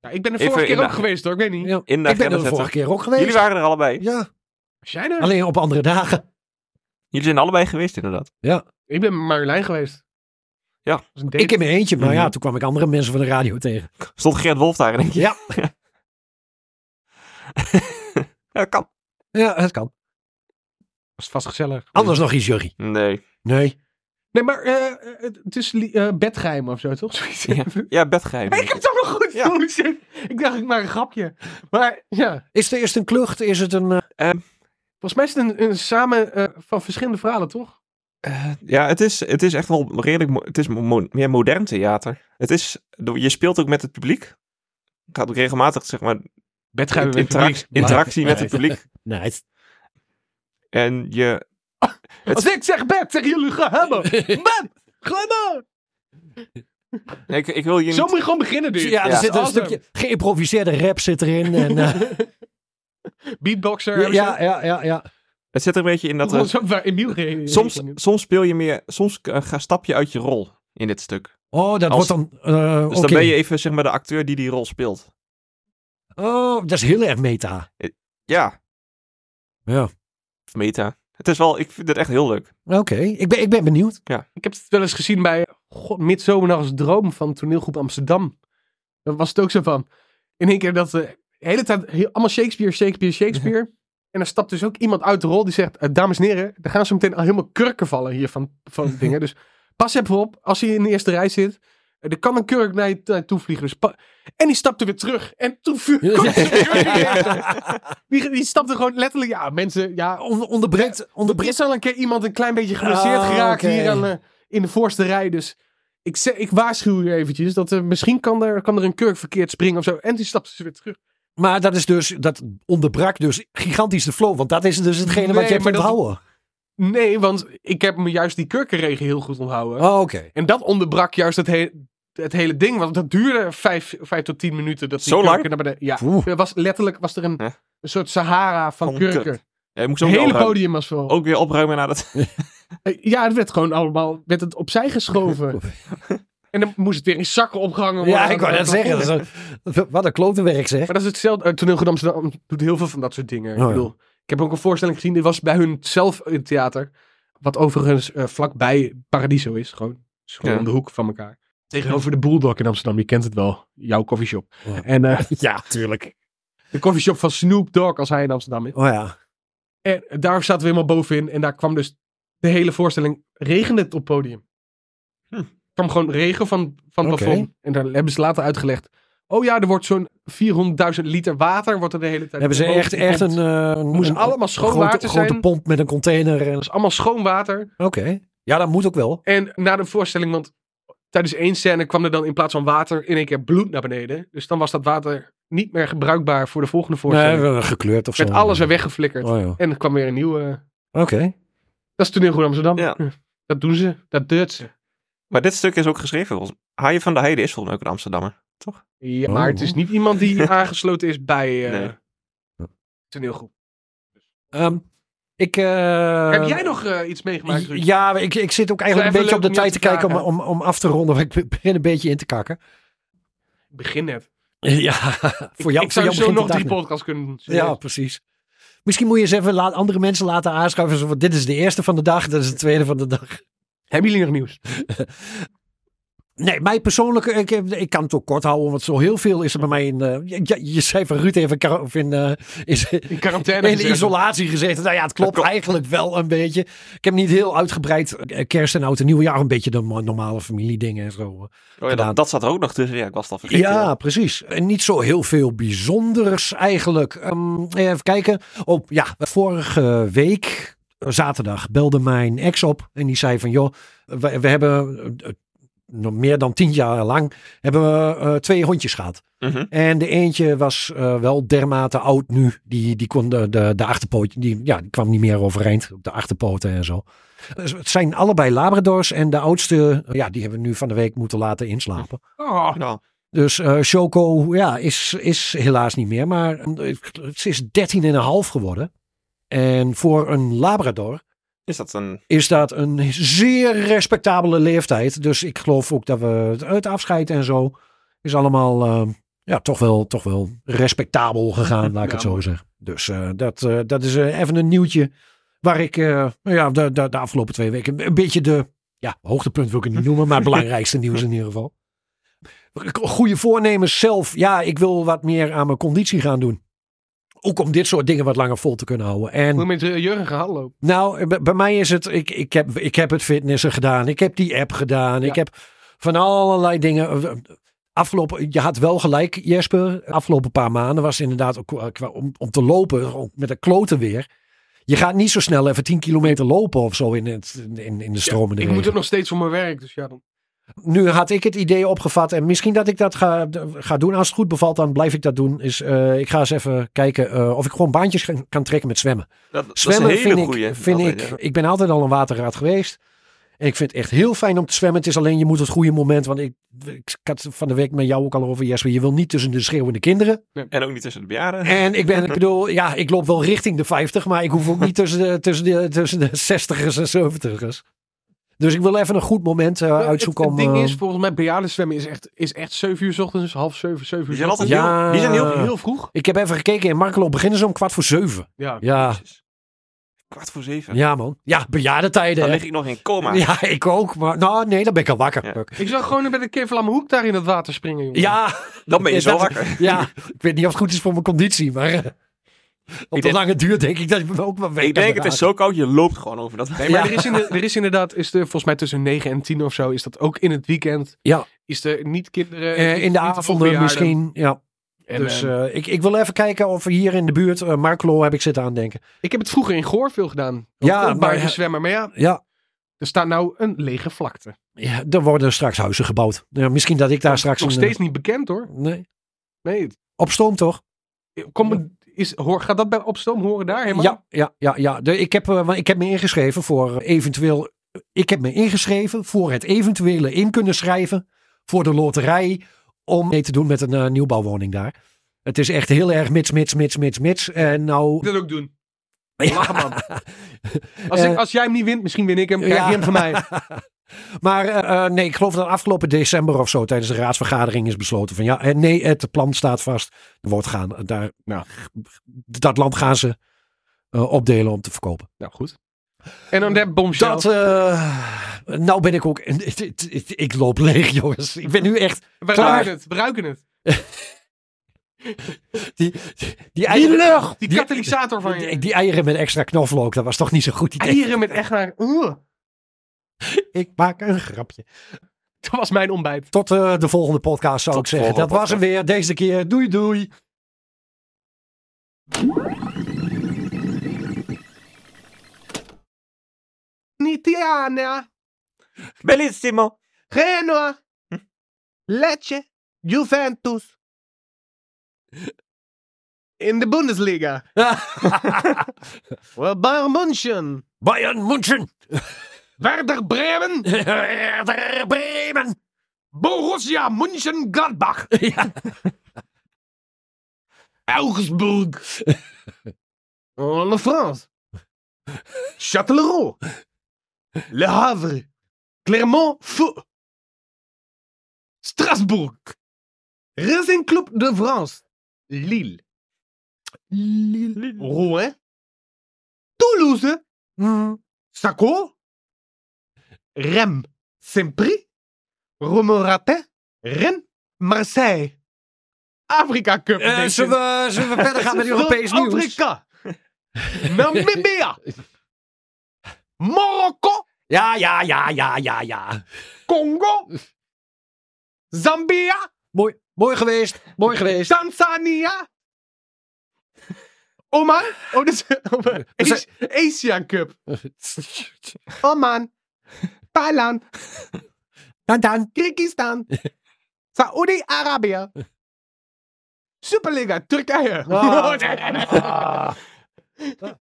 E: Ja, ik ben er
C: Even
E: vorige keer ook
C: inladen.
E: geweest hoor, ik weet niet.
D: Ja.
C: In de
D: Ik ben
C: agenda
D: er de
C: zetten.
D: vorige keer ook geweest.
C: Jullie waren er allebei.
D: Ja,
E: Was jij er?
D: alleen op andere dagen.
C: Jullie zijn allebei geweest inderdaad.
E: Ik ben met Marjolein geweest.
C: Ja.
E: Dat was een date.
D: Ik in mijn eentje, maar ja,
C: Mhm.
D: toen kwam ik andere mensen van de radio tegen.
C: Stond Gert Wolf daar denk je?
D: Ja.
C: Ja, dat kan.
D: Ja, dat kan.
E: was vast gezellig.
D: Anders nog iets, Jurrie.
C: Nee.
D: Nee.
E: Nee, maar eh, eh, het is li- eh, bedgeheimen of zo, toch? Zoiets.
C: Ja, ja bedgeheim.
E: Ik heb het allemaal goed.
C: Ja.
E: Holy shit. Ik dacht, ik maak een grapje. Maar ja,
D: Is het eerst een klucht? Is het een... eh,
E: volgens mij is het een, een samen eh, van verschillende verhalen, toch?
C: Eh, ja, het is, het is echt wel redelijk. mo- Het is mo- meer modern theater. Het is, je speelt ook met het publiek. Het gaat ook regelmatig, zeg maar,
E: Bedgeheimen met
C: interac-
E: publiek.
C: interactie met het
D: Nee.
C: publiek.
D: nee, het-
C: En je.
E: Als ik zeg bed, zeggen jullie gaan hebben. Bed! Glimmer!
C: Nee, ik, ik wil je
E: Zo
C: niet.
E: moet je gewoon beginnen, dus. dude.
D: ja, er
C: Ja.
D: zit een
E: Awesome.
D: stukje geïmproviseerde rap zit erin. En, eh,
E: Beatboxer.
D: ja,
E: hebben
D: ja,
E: ze.
D: ja, ja,
C: Het zit er een beetje in dat.
E: Dat
C: er-
E: was ook waar Emiel ging.
C: soms, soms speel je meer. Soms eh, ga stap je uit je rol in dit stuk.
D: Oh, dat
C: Als-
D: wordt dan... eh,
C: Dus
D: oké.
C: dan ben je even, zeg maar, de acteur die die rol speelt.
D: Oh, dat is heel erg meta.
C: Ja,
D: Ja.
C: meta. Het is wel, ik vind het echt heel leuk.
D: Oké, ik, ben, ik ben benieuwd.
E: Ik heb het wel eens gezien bij God, Midzomernachts Droom van toneelgroep Amsterdam. Daar was het ook zo van. In één keer dat ze de hele tijd heel- allemaal Shakespeare, Shakespeare, Shakespeare. En dan stapt dus ook iemand uit de rol die zegt, eh, dames en heren, er gaan zo meteen al helemaal kurken vallen hier van, van dingen. Dus pas even op, als je in de eerste rij zit, eh, er kan een kurk naar je t- naartoe vliegen. Dus pa- en die stapte weer terug. En toen vu- komt zo'n kurk weer. die, die stapte gewoon letterlijk, ja mensen, ja,
D: On, onderbreekt,
E: er
D: onderbreekt.
E: is al een keer iemand een klein beetje geblesseerd
D: Ah,
E: geraakt
D: oké.
E: hier aan, eh, in de voorste rij. Dus ik, ze- ik waarschuw je eventjes dat er misschien kan er, kan er een kurk verkeerd springen of zo. En toen stapte ze weer terug.
D: Maar dat is dus, dat onderbrak dus gigantisch de flow. Want dat is dus hetgene
E: Nee,
D: wat je hebt
E: maar dat-
D: onthouden.
E: Nee, want ik heb me juist die kurkenregen heel goed onthouden.
D: Oh, oké.
E: En dat onderbrak juist het, he- het hele ding. Want dat duurde vijf, vijf tot tien minuten. Dat die
C: Zo lang?
E: kurken naar beneden- Ja,
D: Oeh.
E: er was, letterlijk was er een,
C: Ja.
E: een soort Sahara van,
C: Van
E: kurken.
C: kurk. Ja, je moet zo
E: Het
C: ook,
E: hele
C: weer opruimen.
E: podium was vol.
C: ook weer opruimen na dat.
E: Eh, Ja, het werd gewoon allemaal werd het opzij geschoven. en dan moest het weer in zakken opgehangen worden.
D: Ja, ik wou net zeggen. dat is een- wat een klotenwerk zeg.
E: Maar dat is hetzelfde. eh, Toneel Goed Amsterdam doet heel veel van dat soort dingen.
D: ja.
E: ik bedoel, ik heb ook een voorstelling gezien. Die was bij hun zelf in het theater. Wat overigens eh, vlakbij Paradiso is. Gewoon, is gewoon
C: Ja.
E: om de hoek van elkaar. Tegenover de Bulldog in Amsterdam. Je kent het wel. Jouw koffieshop.
D: Ja.
E: En eh,
D: Ja, tuurlijk.
E: de koffieshop van Snoop Dogg als hij in Amsterdam is.
D: Oh ja.
E: En daar zaten we helemaal bovenin. En daar kwam dus de hele voorstelling. Regende het op het podium.
C: Hm.
E: Er kwam gewoon regen van, van het
D: Oké.
E: plafond. En daar hebben ze later uitgelegd. Oh ja, er wordt zo'n 400.000 liter water. Wordt er de hele tijd.
D: Hebben ze
E: boven
D: echt,
E: gepompt.
D: echt een... eh
E: moest
D: een,
E: allemaal
D: een
E: schoon
D: grote,
E: water zijn.
D: grote pomp met een container. en-
E: Dat is allemaal schoon water.
D: Oké. Ja, dat moet ook wel.
E: En na de voorstelling, want tijdens één scène kwam er dan in plaats van water in één keer bloed naar beneden. Dus dan was dat water niet meer gebruikbaar voor de volgende
D: Nee, eh,
E: voorstelling.
D: gekleurd of zo.
E: Werd alles weer weggeflikkerd.
D: Oh, ja.
E: En er kwam weer een nieuwe. eh,
D: Oké.
E: Dat is toneel Goed Amsterdam.
C: Ja.
E: Hm. Dat doen ze. Dat deurt ze.
C: Maar dit stuk is ook geschreven. volgens- Haaien van de Heide is volgens mij ook een Amsterdammer.
E: Ja,
D: Oh.
E: maar het is niet iemand die aangesloten is bij eh
C: Nee.
E: toneelgroep.
D: Ehm, ik, eh,
E: Heb jij nog eh, iets meegemaakt, Ruud?
D: Ja, ik, ik zit ook eigenlijk
E: Even
D: een beetje op
E: leuk
D: de
E: om je
D: tijd te
E: te
D: kijken om,
E: vragen.
D: om, om af te ronden. Want ik begin een beetje in te kakken.
E: Begin net.
D: Ja, voor jou,
E: ik
D: voor
E: zou
D: jou
E: zo
D: begint
E: nog
D: de dag
E: drie
D: net.
E: podcasts kunnen...
D: Ja, precies. Misschien moet je eens even laat, andere mensen laten aanschuiven. Zo, van, dit is de eerste van de dag, dat is de tweede van de dag.
E: Hebben jullie nog nieuws?
D: Nee, mij persoonlijk, ik, ik kan het ook kort houden, want zo heel veel is er bij mij in. eh, je- je, je zei van Ruud even, kar- of in, eh, is,
E: In quarantaine
D: in
E: gezeten.
D: isolatie gezeten. Nou ja, het klopt eigenlijk wel een beetje. Ik heb niet heel uitgebreid eh, kerst en oud en nieuwjaar, een beetje de mo- normale familiedingen en zo. eh.
C: Oh ja,
D: gedaan.
C: dat, dat zat er ook nog tussen. Ja, ik was het al vergeten.
D: Ja, precies. En niet zo heel veel bijzonders eigenlijk. Ehm, even kijken. Oh ja, vorige week, eh, zaterdag, belde mijn ex op. En die zei van, joh, we, we hebben eh, eh, nog meer dan tien jaar lang hebben we eh, twee hondjes gehad.
C: Mhm.
D: En de eentje was eh, wel dermate oud nu. Die, die kon de, de, de achterpoot, die, ja, die kwam niet meer overeind op de achterpoten en zo. Dus het zijn allebei labradors en de oudste, eh, ja, die hebben we nu van de week moeten laten inslapen.
E: Oh,
C: Ja.
D: Dus eh Choco ja, is, is helaas niet meer. Maar eh, ze is 13,5 geworden. En voor een Labrador
C: Is dat een...
D: is dat een zeer respectabele leeftijd. Dus ik geloof ook dat we het, het afscheid en zo is allemaal eh, ja, toch, wel, toch wel respectabel gegaan, laat ik
E: Ja,
D: het zo
E: mooi.
D: zeggen. Dus eh, dat, eh, dat is eh, even een nieuwtje waar ik eh, nou ja, de, de, de afgelopen twee weken een beetje de ja, hoogtepunt wil ik het niet noemen, maar het belangrijkste nieuws in ieder geval. Goede voornemens zelf. Ja, ik wil wat meer aan mijn conditie gaan doen. Ook om dit soort dingen wat langer vol te kunnen houden. En
E: moet je met eh, Jurgen gaan hardlopen.
D: nou, b- bij mij is het, ik, ik, heb, ik heb het fitnessen gedaan, ik heb die app gedaan, ik
E: Ja.
D: heb van allerlei dingen. eh, Afgelopen, je had wel gelijk, Jesper. Afgelopen paar maanden was inderdaad ook qua- qua- om, om te lopen, ook met een klote weer. Je gaat niet zo snel even 10 kilometer lopen of zo in, het, in, in de stromende
E: Ik moet
D: regen.
E: het nog steeds voor mijn werk, dus ja dan.
D: Nu had ik het idee opgevat en misschien dat ik dat ga, ga doen. Als het goed bevalt, dan blijf ik dat doen. Is, eh, ik ga eens even kijken eh, of ik gewoon baantjes kan- kan trekken met zwemmen.
C: Dat, dat is een
D: Zwemmen
C: hele
D: vind,
C: goeie.
D: ik, vind
C: altijd,
D: ik,
C: ja.
D: ik ben altijd al een waterraad geweest. En ik vind het echt heel fijn om te zwemmen. Het is alleen, je moet het goede moment. Want ik, ik had het van de week met jou ook al over, Jesper. Je wil niet tussen de schreeuwende kinderen.
C: En ook niet tussen de bejaarden.
D: En ik ben, ik bedoel, ja, ik loop wel richting de 50. Maar ik hoef ook niet tussen de, tussen de, tussen de 60ers en 70ers. Dus ik wil even een goed moment
C: Nou,
D: eh,
E: Het-
D: uitzoeken
E: het,
D: om...
E: ding
D: eh,
E: is, volgens mij bejaarden zwemmen is echt, is echt 7 uur 's ochtends, half 7, 7 uur.
C: Die
E: 's
C: zijn altijd
D: Ja.
C: heel, die zijn heel, heel
E: Heel vroeg?
D: ik heb even gekeken in Markelo beginnen ze om kwart voor zeven.
E: Ja.
D: Ja,
C: Kwart voor zeven.
D: ja man. Ja, bejaardentijden.
C: Dan
D: hè.
C: lig ik nog in coma.
D: Ja, ik ook. Maar nou, nee, dan ben ik al wakker.
C: Ja.
E: Ik zag gewoon bij de Kevlam Hoek daar in het water springen, jongen.
D: ja.
C: Dan Oh, ben je zo
D: Ja, dat-
C: wakker.
D: Ja, ik weet niet of het goed is voor mijn conditie, maar eh, op
C: Ik
D: de
C: denk-
D: lange duur denk ik dat ik me ook wel weg
C: Ik
D: kan
C: denk, het is
D: raken.
C: zo koud, je loopt gewoon over dat.
E: Nee,
D: Ja.
E: maar er, is in er is inderdaad, is er, volgens mij tussen 9 en 10 of zo, is dat ook in het weekend.
D: Ja.
E: Is er niet kinderen.
D: Eh, in de
E: niet
D: avonden
E: bejaarden.
D: misschien, ja.
E: En,
D: dus
E: eh,
D: eh, ik, ik wil even kijken of hier in de buurt, eh Marklo heb ik zitten aandenken.
E: ik heb het vroeger in Goor veel gedaan.
D: Ja,
E: Ja, maar
D: maar-
E: zwemmen. Maar ja,
D: Ja,
E: er staat nou een lege vlakte.
D: ja, er worden straks huizen gebouwd. Ja, misschien dat ik daar straks...
E: Nog
D: een,
E: steeds niet bekend hoor.
D: eh, nee,
E: Nee, het-
D: op stoom toch?
E: Kom, is, hoor, gaat dat bij opstoom horen daar helemaal?
D: Ja, ja, ja. ja. De, ik, heb, eh, want ik heb me ingeschreven voor eventueel. Ik heb me ingeschreven voor het eventuele in kunnen schrijven voor de loterij om mee te doen met een eh, nieuwbouwwoning daar. Het is echt heel erg mits, mits, mits, mits, mits. En nou.
E: Ik wil dat ook doen.
D: Ja,
E: Lachen man. Als, ik,
D: Eh,
E: als jij hem niet wint, misschien win ik hem. Krijg
D: ja.
E: je hem van mij.
D: Maar eh, eh, nee, ik geloof dat afgelopen december of zo tijdens de raadsvergadering is besloten van ja, eh, nee, het plan staat vast. Er wordt gaan, eh, daar,
E: Ja.
D: dat land gaan ze eh, opdelen om te verkopen.
E: Nou goed. En dan dat bombshell.
D: Dat, eh, nou ben ik ook, ik loop leeg jongens. Ik ben nu echt,
E: we
D: klaar.
E: ruiken het. We ruiken het.
D: die, die eieren. lucht!
E: Die, katalysator van je.
D: Die, die eieren met extra knoflook, dat was toch niet zo'n goed idee.
E: eieren met echt naar. Oeh,
D: Ik maak een grapje.
E: dat was mijn ontbijt.
D: Tot eh, de volgende podcast zou
C: Tot
D: ik
C: de
D: zeggen. Dat
C: volgende
D: was hem weer, deze keer. Doei doei.
E: Nitiana,
C: Bellissimo.
E: Genoa, Lecce, Juventus. In de Bundesliga. Well, Bayern München.
D: Bayern München.
E: Werder Bremen.
D: Werder Bremen. Eh,
E: Borussia Mönchengladbach.
D: Ja.
E: Augsburg.
A: Oh, La France. Châtellerault. Le Havre. Clermont. Feu. Strasbourg. Racing Club de France. Lille. Rouen. Toulouse. Saco. Rem. Saint-Prix. Romoratin. Rennes. Marseille. Afrika Cup.
D: Eh,
A: edition.
D: zullen, we, zullen we verder gaan met Europees nieuws?
A: Afrika. Namibia. Marokko.
D: Ja, ja, ja, ja, ja, ja.
A: Congo. Zambia.
D: Mooi, mooi geweest. Mooi geweest.
A: Tanzania. Oman. Oh, dit is Oman.
D: We zijn-
A: Asia- Asian Cup. Oman. Thailand.
D: Dan, dan.
A: Kyrgyzstan. Saoedi-Arabië. Superliga Turkije.
D: Ah.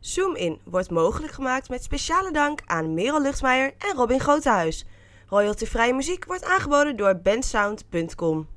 B: Zoom In wordt mogelijk gemaakt met speciale dank aan Merel Luchtmeijer en Robin Grotehuis. Royaltyvrije muziek wordt aangeboden door bensound.com.